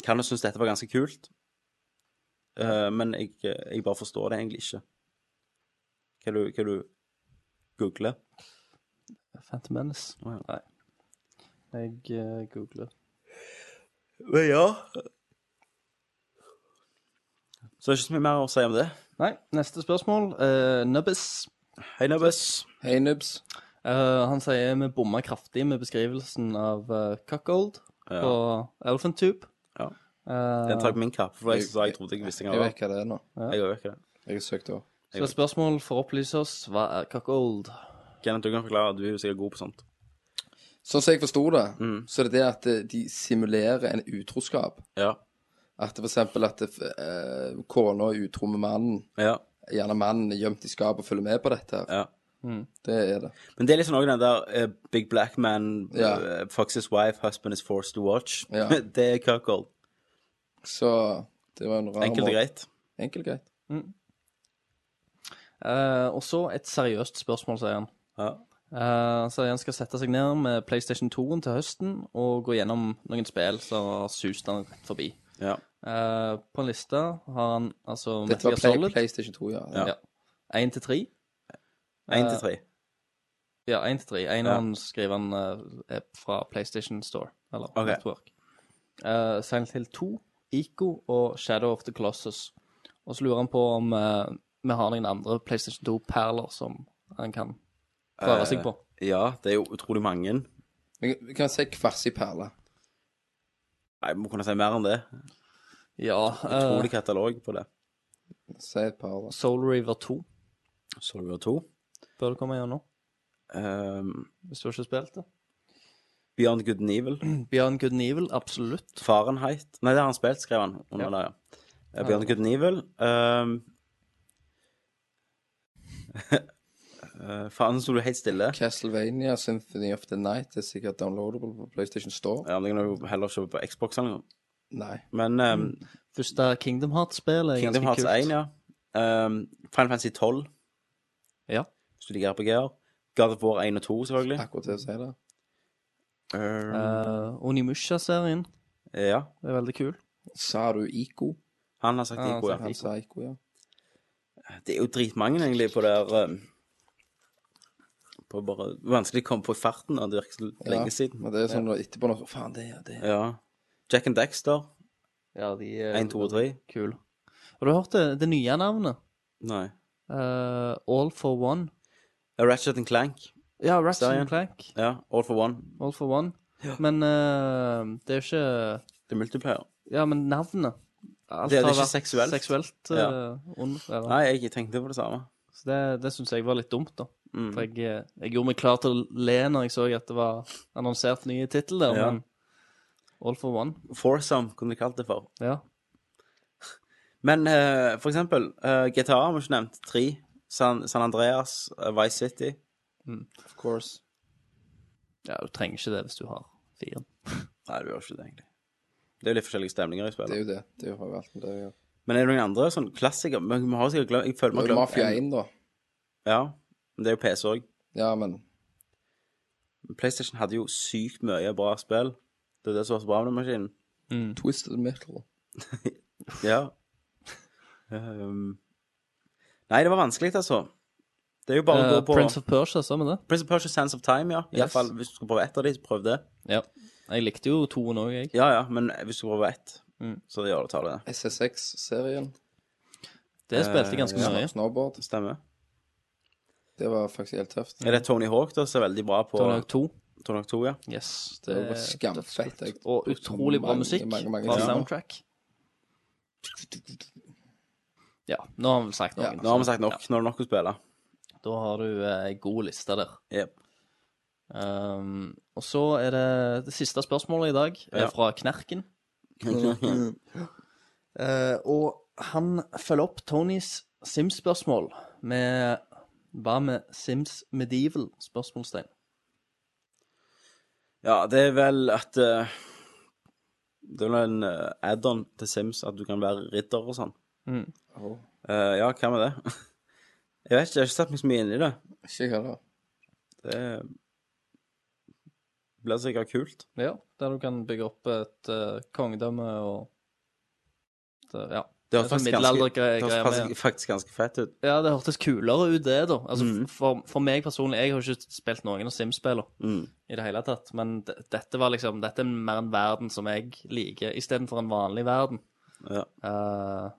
Speaker 7: kan jo synes dette var ganske kult. Eh, men jeg, jeg bare forstår det egentlig ikke. Hva du, hva du googler?
Speaker 9: Phantom Menace.
Speaker 7: Å, ja.
Speaker 9: Nei. Jeg eh, googler.
Speaker 7: Men ja. Så det er ikke så mye mer å si om det.
Speaker 9: Nei, neste spørsmål. Uh, Nubbis.
Speaker 7: Hei, Nubbes.
Speaker 8: Hei, Nubs.
Speaker 9: Eh, han sier vi bomma kraftig med beskrivelsen av uh, cuckold
Speaker 7: Ja.
Speaker 9: på Elephant Tube.
Speaker 7: Ja.
Speaker 9: Eh,
Speaker 7: Den tar jeg på min kappe, for jeg sa jeg trodde jeg visste hva
Speaker 8: Jeg
Speaker 7: det var.
Speaker 8: vet hva det er nå.
Speaker 7: Jeg gjør ikke det.
Speaker 8: Jeg har søkt opp.
Speaker 9: så spørsmål for å opplyse oss. Hva er cuckold?
Speaker 7: Kenneth, du kan forklare. Du er jo sikkert god på sånt.
Speaker 8: Sånn som jeg forsto det, så er det det at eh, de simulerer en utroskap.
Speaker 7: Ja.
Speaker 8: At det for eksempel at eh, kona er utro med mannen,
Speaker 7: Ja.
Speaker 8: gjerne mannen er gjemt i skapet og følger med på dette. her.
Speaker 7: ja.
Speaker 8: Det er det.
Speaker 7: Men det er liksom også den der eh, Big Black Man,
Speaker 8: Ja.
Speaker 7: eh, Fox's wife, husband is forced to watch.
Speaker 8: Ja.
Speaker 7: [laughs] det er cuckold.
Speaker 8: Så det var en rar
Speaker 7: Enkelt og
Speaker 8: måte.
Speaker 7: greit.
Speaker 8: Enkelt og greit.
Speaker 9: Eh, og så et seriøst spørsmål, sier han.
Speaker 7: Ja.
Speaker 9: Eh, Han sier han skal sette seg ned med PlayStation 2-en til høsten og gå gjennom noen spill som har sust han rett forbi.
Speaker 7: Ja.
Speaker 9: Eh, på en liste har han altså
Speaker 8: Dette var Play, PlayStation 2, ja.
Speaker 7: Ja.
Speaker 9: Ja. Én til tre.
Speaker 7: Én til tre.
Speaker 9: Ja, én til tre. En
Speaker 7: Ja.
Speaker 9: av dem skriver han eh, er fra PlayStation Store, eller
Speaker 7: Ok.
Speaker 9: Network. Eh, Silent Hill 2, Ico og Shadow of the Colossus. Og så lurer han på om eh, vi har noen andre PlayStation 2-perler som han kan prøve seg på.
Speaker 7: Eh, ja, det er jo utrolig mange.
Speaker 8: Vi vi kan si kvers i perle.
Speaker 7: Nei, vi må kunne si mer enn det.
Speaker 9: Ja. eh,
Speaker 7: Utrolig katalog på det.
Speaker 8: Si et par, da.
Speaker 9: Soul River 2
Speaker 7: Solver 2.
Speaker 9: bør det komme gjennom,
Speaker 7: Um,
Speaker 9: hvis du ikke har spilt det.
Speaker 7: Beyond Good and Evil.
Speaker 9: Beyond Good and Evil, absolutt.
Speaker 7: Fahrenheit. Nei, det har han spilt, skrev han. Under
Speaker 9: Ja.
Speaker 7: det, ja. Eh, Beyond Good and Evil. Um, [laughs] eh, faen, nå sto du helt stille.
Speaker 8: Castlevania Symphony of the Night er sikkert downloadable på PlayStation Store.
Speaker 7: Ja, men Det kan du jo heller kjøpe på Xbox. eller noe.
Speaker 8: Nei.
Speaker 7: Men um,
Speaker 9: Første Kingdom Hearts-spillet er
Speaker 7: Kingdom
Speaker 9: Mm, ganske
Speaker 7: Hearts 1,
Speaker 9: kult.
Speaker 7: ja. Um, Final Fantasy 12,
Speaker 9: ja.
Speaker 7: hvis du liker RPG-er. God of War 1 og 2, selvfølgelig.
Speaker 8: Akkurat det å si det.
Speaker 7: Um,
Speaker 9: Eh, Onimusha-serien
Speaker 7: ja.
Speaker 9: er veldig kul.
Speaker 8: Sa du Ico?
Speaker 7: Han har sagt
Speaker 9: Ja, han
Speaker 7: Ico, ja.
Speaker 9: har
Speaker 8: Han sa Ico, ja.
Speaker 7: Det er jo dritmange, egentlig, på det her um, på bare, Vanskelig å komme på i farten, da. det virker så lenge siden.
Speaker 8: Men det er sånn da etterpå noe Faen, det er det. er-
Speaker 7: Ja. Jack and Dexter,
Speaker 9: Ja, de er
Speaker 7: 1, 2 og 3.
Speaker 9: kule. Har du hørt det, det nye navnet?
Speaker 7: Nei.
Speaker 9: Eh, All for One.
Speaker 7: A Ratchet and Clank.
Speaker 9: Ja, Ratchet
Speaker 7: Serien.
Speaker 9: and Clank.
Speaker 7: Ja. All for One.
Speaker 9: All for One. Men eh, det er jo ikke
Speaker 7: Det er multiplayer.
Speaker 9: Ja, men navnet. Alt
Speaker 7: Det- det er
Speaker 9: har
Speaker 7: ikke
Speaker 9: vært
Speaker 7: seksuelt.
Speaker 9: seksuelt eh,
Speaker 7: Ja.
Speaker 9: under, eller?
Speaker 7: Nei, jeg tenkte på det samme.
Speaker 9: Så det, det syns jeg var litt dumt, da.
Speaker 7: Mm.
Speaker 9: For jeg, eh, jeg gjorde meg klar til å le når jeg så at det var annonsert nye tittel der,
Speaker 7: Ja.
Speaker 9: men All for One.
Speaker 7: Foursome kunne de kalt det for.
Speaker 9: Ja.
Speaker 7: Men eh, for eksempel, eh, GTA har vi ikke nevnt. 3. San, San Andreas, eh, Vice City.
Speaker 8: Of course.
Speaker 9: ja, du trenger ikke det hvis du har fire.
Speaker 7: Nei, du gjør ikke det, egentlig. Det er jo litt forskjellige stemninger i
Speaker 8: Det er
Speaker 7: spillet.
Speaker 8: jo det. Det har jo alt med det å gjøre.
Speaker 7: Men er det noen andre sånn klassikere? Men vi har sikkert glemt Jeg føler vi har
Speaker 8: Det er jo
Speaker 7: glemt
Speaker 8: Mafia
Speaker 7: en.
Speaker 8: 1, da.
Speaker 7: Ja. Men det er jo PC òg.
Speaker 8: Ja, men
Speaker 7: PlayStation hadde jo sykt mye bra spill. Det er det som var så bra med den maskinen.
Speaker 8: Twisted Metal.
Speaker 7: Ja. Um, nei, det var vanskelig, altså. Det er jo bare å
Speaker 9: Eh,
Speaker 7: gå på
Speaker 9: Prince of Persia, sa vi det?
Speaker 7: Prince of Persia Sands of Time, ja. I
Speaker 9: Yes.
Speaker 7: hvert fall hvis du skal prøve ett av de, så prøv det.
Speaker 9: Ja. Jeg likte jo toen òg, jeg.
Speaker 7: Ja, ja, men hvis du prøver ett, så gjør det, tar det.
Speaker 8: SSX-serien.
Speaker 9: Det spilte jeg ganske
Speaker 7: Eh,
Speaker 9: nøye.
Speaker 8: Snowboard.
Speaker 7: Det stemmer.
Speaker 8: Det var faktisk helt tøft.
Speaker 7: Er det Tony Hawk, da, som er veldig bra på
Speaker 9: Tony Hawk 2.
Speaker 7: Tony Hawk 2, ja.
Speaker 9: Yes.
Speaker 8: Det
Speaker 9: Det
Speaker 8: var skamfett. Jeg
Speaker 9: Eh, Og utrolig bra
Speaker 8: Mange,
Speaker 9: musikk.
Speaker 8: mange, mange
Speaker 9: bra
Speaker 8: timer.
Speaker 9: soundtrack. Ja, nå har vi vel sagt noen.
Speaker 7: Nå har vi sagt nok. Nå er det nok å spille.
Speaker 9: Da har du eh, ei god liste der.
Speaker 7: Jep.
Speaker 9: Um, og så er det det siste spørsmålet i dag, er
Speaker 7: Ja.
Speaker 9: fra
Speaker 8: [laughs]
Speaker 9: Knerken. Eh, og han følger opp Tonys Sims-spørsmål med Hva med Sims Medieval? spørsmålstegn.
Speaker 7: Ja, det er vel at eh, Det er vel en eh, add-on til Sims at du kan være ridder og sånn.
Speaker 9: Mm.
Speaker 8: Oh.
Speaker 7: Eh, ja, hva med det? [laughs] Jeg vet ikke, jeg har ikke satt meg så mye inn i det.
Speaker 8: Ikke jeg heller.
Speaker 7: Det blir sikkert kult.
Speaker 9: Ja, der du kan bygge opp et eh, kongedømme og det, Ja.
Speaker 7: Det
Speaker 9: er
Speaker 7: høres
Speaker 9: sånn
Speaker 7: faktisk, ganske-
Speaker 9: middelaldergreier
Speaker 7: det høres
Speaker 9: med-
Speaker 7: faktisk, faktisk ganske fett ut.
Speaker 9: Ja, det hørtes kulere ut, det, da. Altså,
Speaker 8: Mm.
Speaker 9: for, for meg personlig, jeg har jo ikke spilt noen av Sims-spillene
Speaker 8: Mm.
Speaker 9: i det hele tatt. Men d dette var liksom Dette er mer en verden som jeg liker, istedenfor en vanlig verden.
Speaker 7: Ja.
Speaker 9: Eh,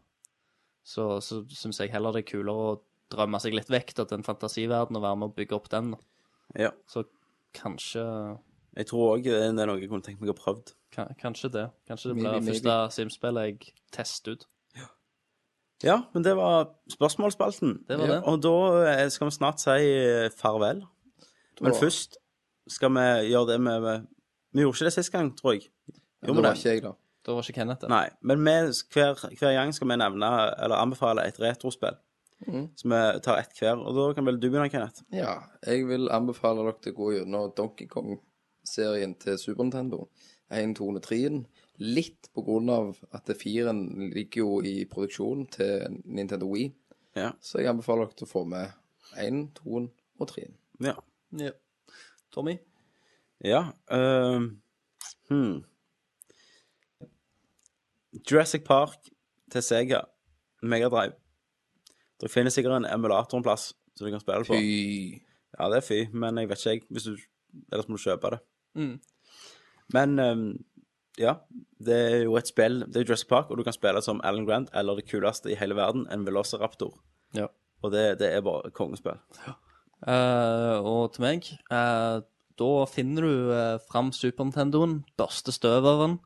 Speaker 9: så så syns jeg heller det er kulere å drømme seg litt vekk da, til en fantasiverden og være med å bygge opp den. Da.
Speaker 7: ja.
Speaker 9: Så kanskje
Speaker 7: Jeg tror òg det er noe jeg kunne tenkt meg å ha prøvd.
Speaker 9: ka- Kanskje det. Kanskje det
Speaker 8: Maybe,
Speaker 9: blir
Speaker 8: maybe.
Speaker 9: første Sims-spillet jeg tester ut.
Speaker 7: Ja, men det var spørsmålsspalten.
Speaker 9: Det var det.
Speaker 7: Og da eh, skal vi snart si eh, farvel. Men
Speaker 8: Da-
Speaker 7: først skal vi gjøre det med med- Vi gjorde ikke det sist gang, tror jeg.
Speaker 8: Det
Speaker 7: Gjorde vi
Speaker 8: var
Speaker 7: det?
Speaker 8: ikke jeg, da.
Speaker 9: Da var ikke Kenneth der.
Speaker 7: Nei, men vi, hver, hver gang skal vi nevne eller anbefale et retrospill.
Speaker 9: Mm.
Speaker 7: Så vi tar ett hver. Og da kan vel du begynne, Kenneth.
Speaker 8: Ja, jeg vil anbefale dere til å gå gjennom Donkey Kong-serien til Super Nintendo. 1, 2 og 3. Litt på grunn av at 4-en ligger jo i produksjon til Nintendo Wii.
Speaker 7: Ja.
Speaker 8: Så jeg anbefaler dere til å få med 1, 2 og 3.
Speaker 7: Ja.
Speaker 9: Ja. Tommy?
Speaker 7: ja ehm, hmm. Jurassic Park til Sega. Megadrive. Dere finner sikkert en emulator en plass som du kan spille på.
Speaker 8: Fy.
Speaker 7: Ja, det er fy, men jeg vet ikke, jeg. Hvis du, ellers må du kjøpe det.
Speaker 9: Mm.
Speaker 7: Men ehm, ja, det er jo et spill. Det er Jurassic Park, og du kan spille som Alan Grant eller det kuleste i hele verden, en velociraptor.
Speaker 9: Ja.
Speaker 7: Og det, det er bare kongespill.
Speaker 9: Eh, og til meg eh, Da finner du eh, fram Super Nintendoen, børster støv av den,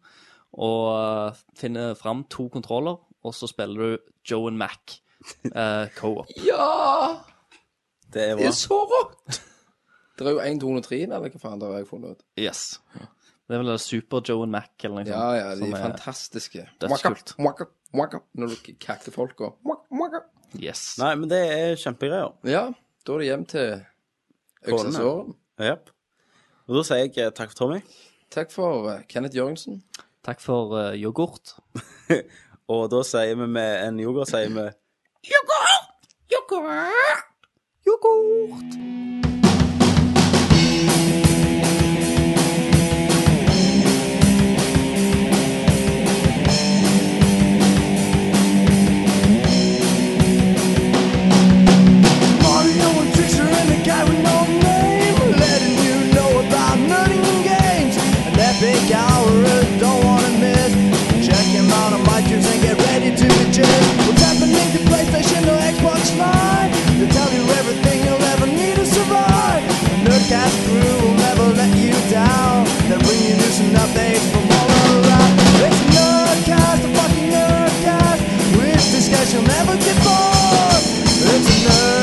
Speaker 9: og eh, finner fram to kontroller, og så spiller du Joe and Mac eh, co-op.
Speaker 8: Ja!
Speaker 7: Det
Speaker 8: Det er så rått! Det er jo 1,203, eller hva faen det har jeg funnet ut.
Speaker 9: Yes. Det er vel det Super Joe and Mac eller noe
Speaker 8: Ja,
Speaker 9: sånt.
Speaker 8: ja, de
Speaker 9: som
Speaker 8: er
Speaker 9: er-
Speaker 8: fantastiske.
Speaker 9: dødskult.
Speaker 8: Mwaka, mwaka, mwaka, Når du kakter folka. Mwaka, mwaka.
Speaker 9: Yes.
Speaker 7: Nei, men det er kjempegreier.
Speaker 8: Ja, da er det hjem til Øksesåren.
Speaker 7: Jepp. Og da sier jeg eh, takk for Tommy.
Speaker 8: Takk for eh, Kenneth Jørgensen.
Speaker 9: Takk for eh, yoghurt.
Speaker 7: og da sier vi med en yoghurt sier vi
Speaker 13: Mario and Trickster and the guy with no name Letting you know about nutting and games An epic hour, you don't wanna miss Check him out on iTunes and get ready to adjust What's happening to PlayStation or Xbox Live They tell you everything you'll ever need to survive The Nerdcast crew will never let you down They'll bring you news and updates from all around It's Nerdcast, the fucking Nerdcast With discussion, never get bored It's a Nerdcast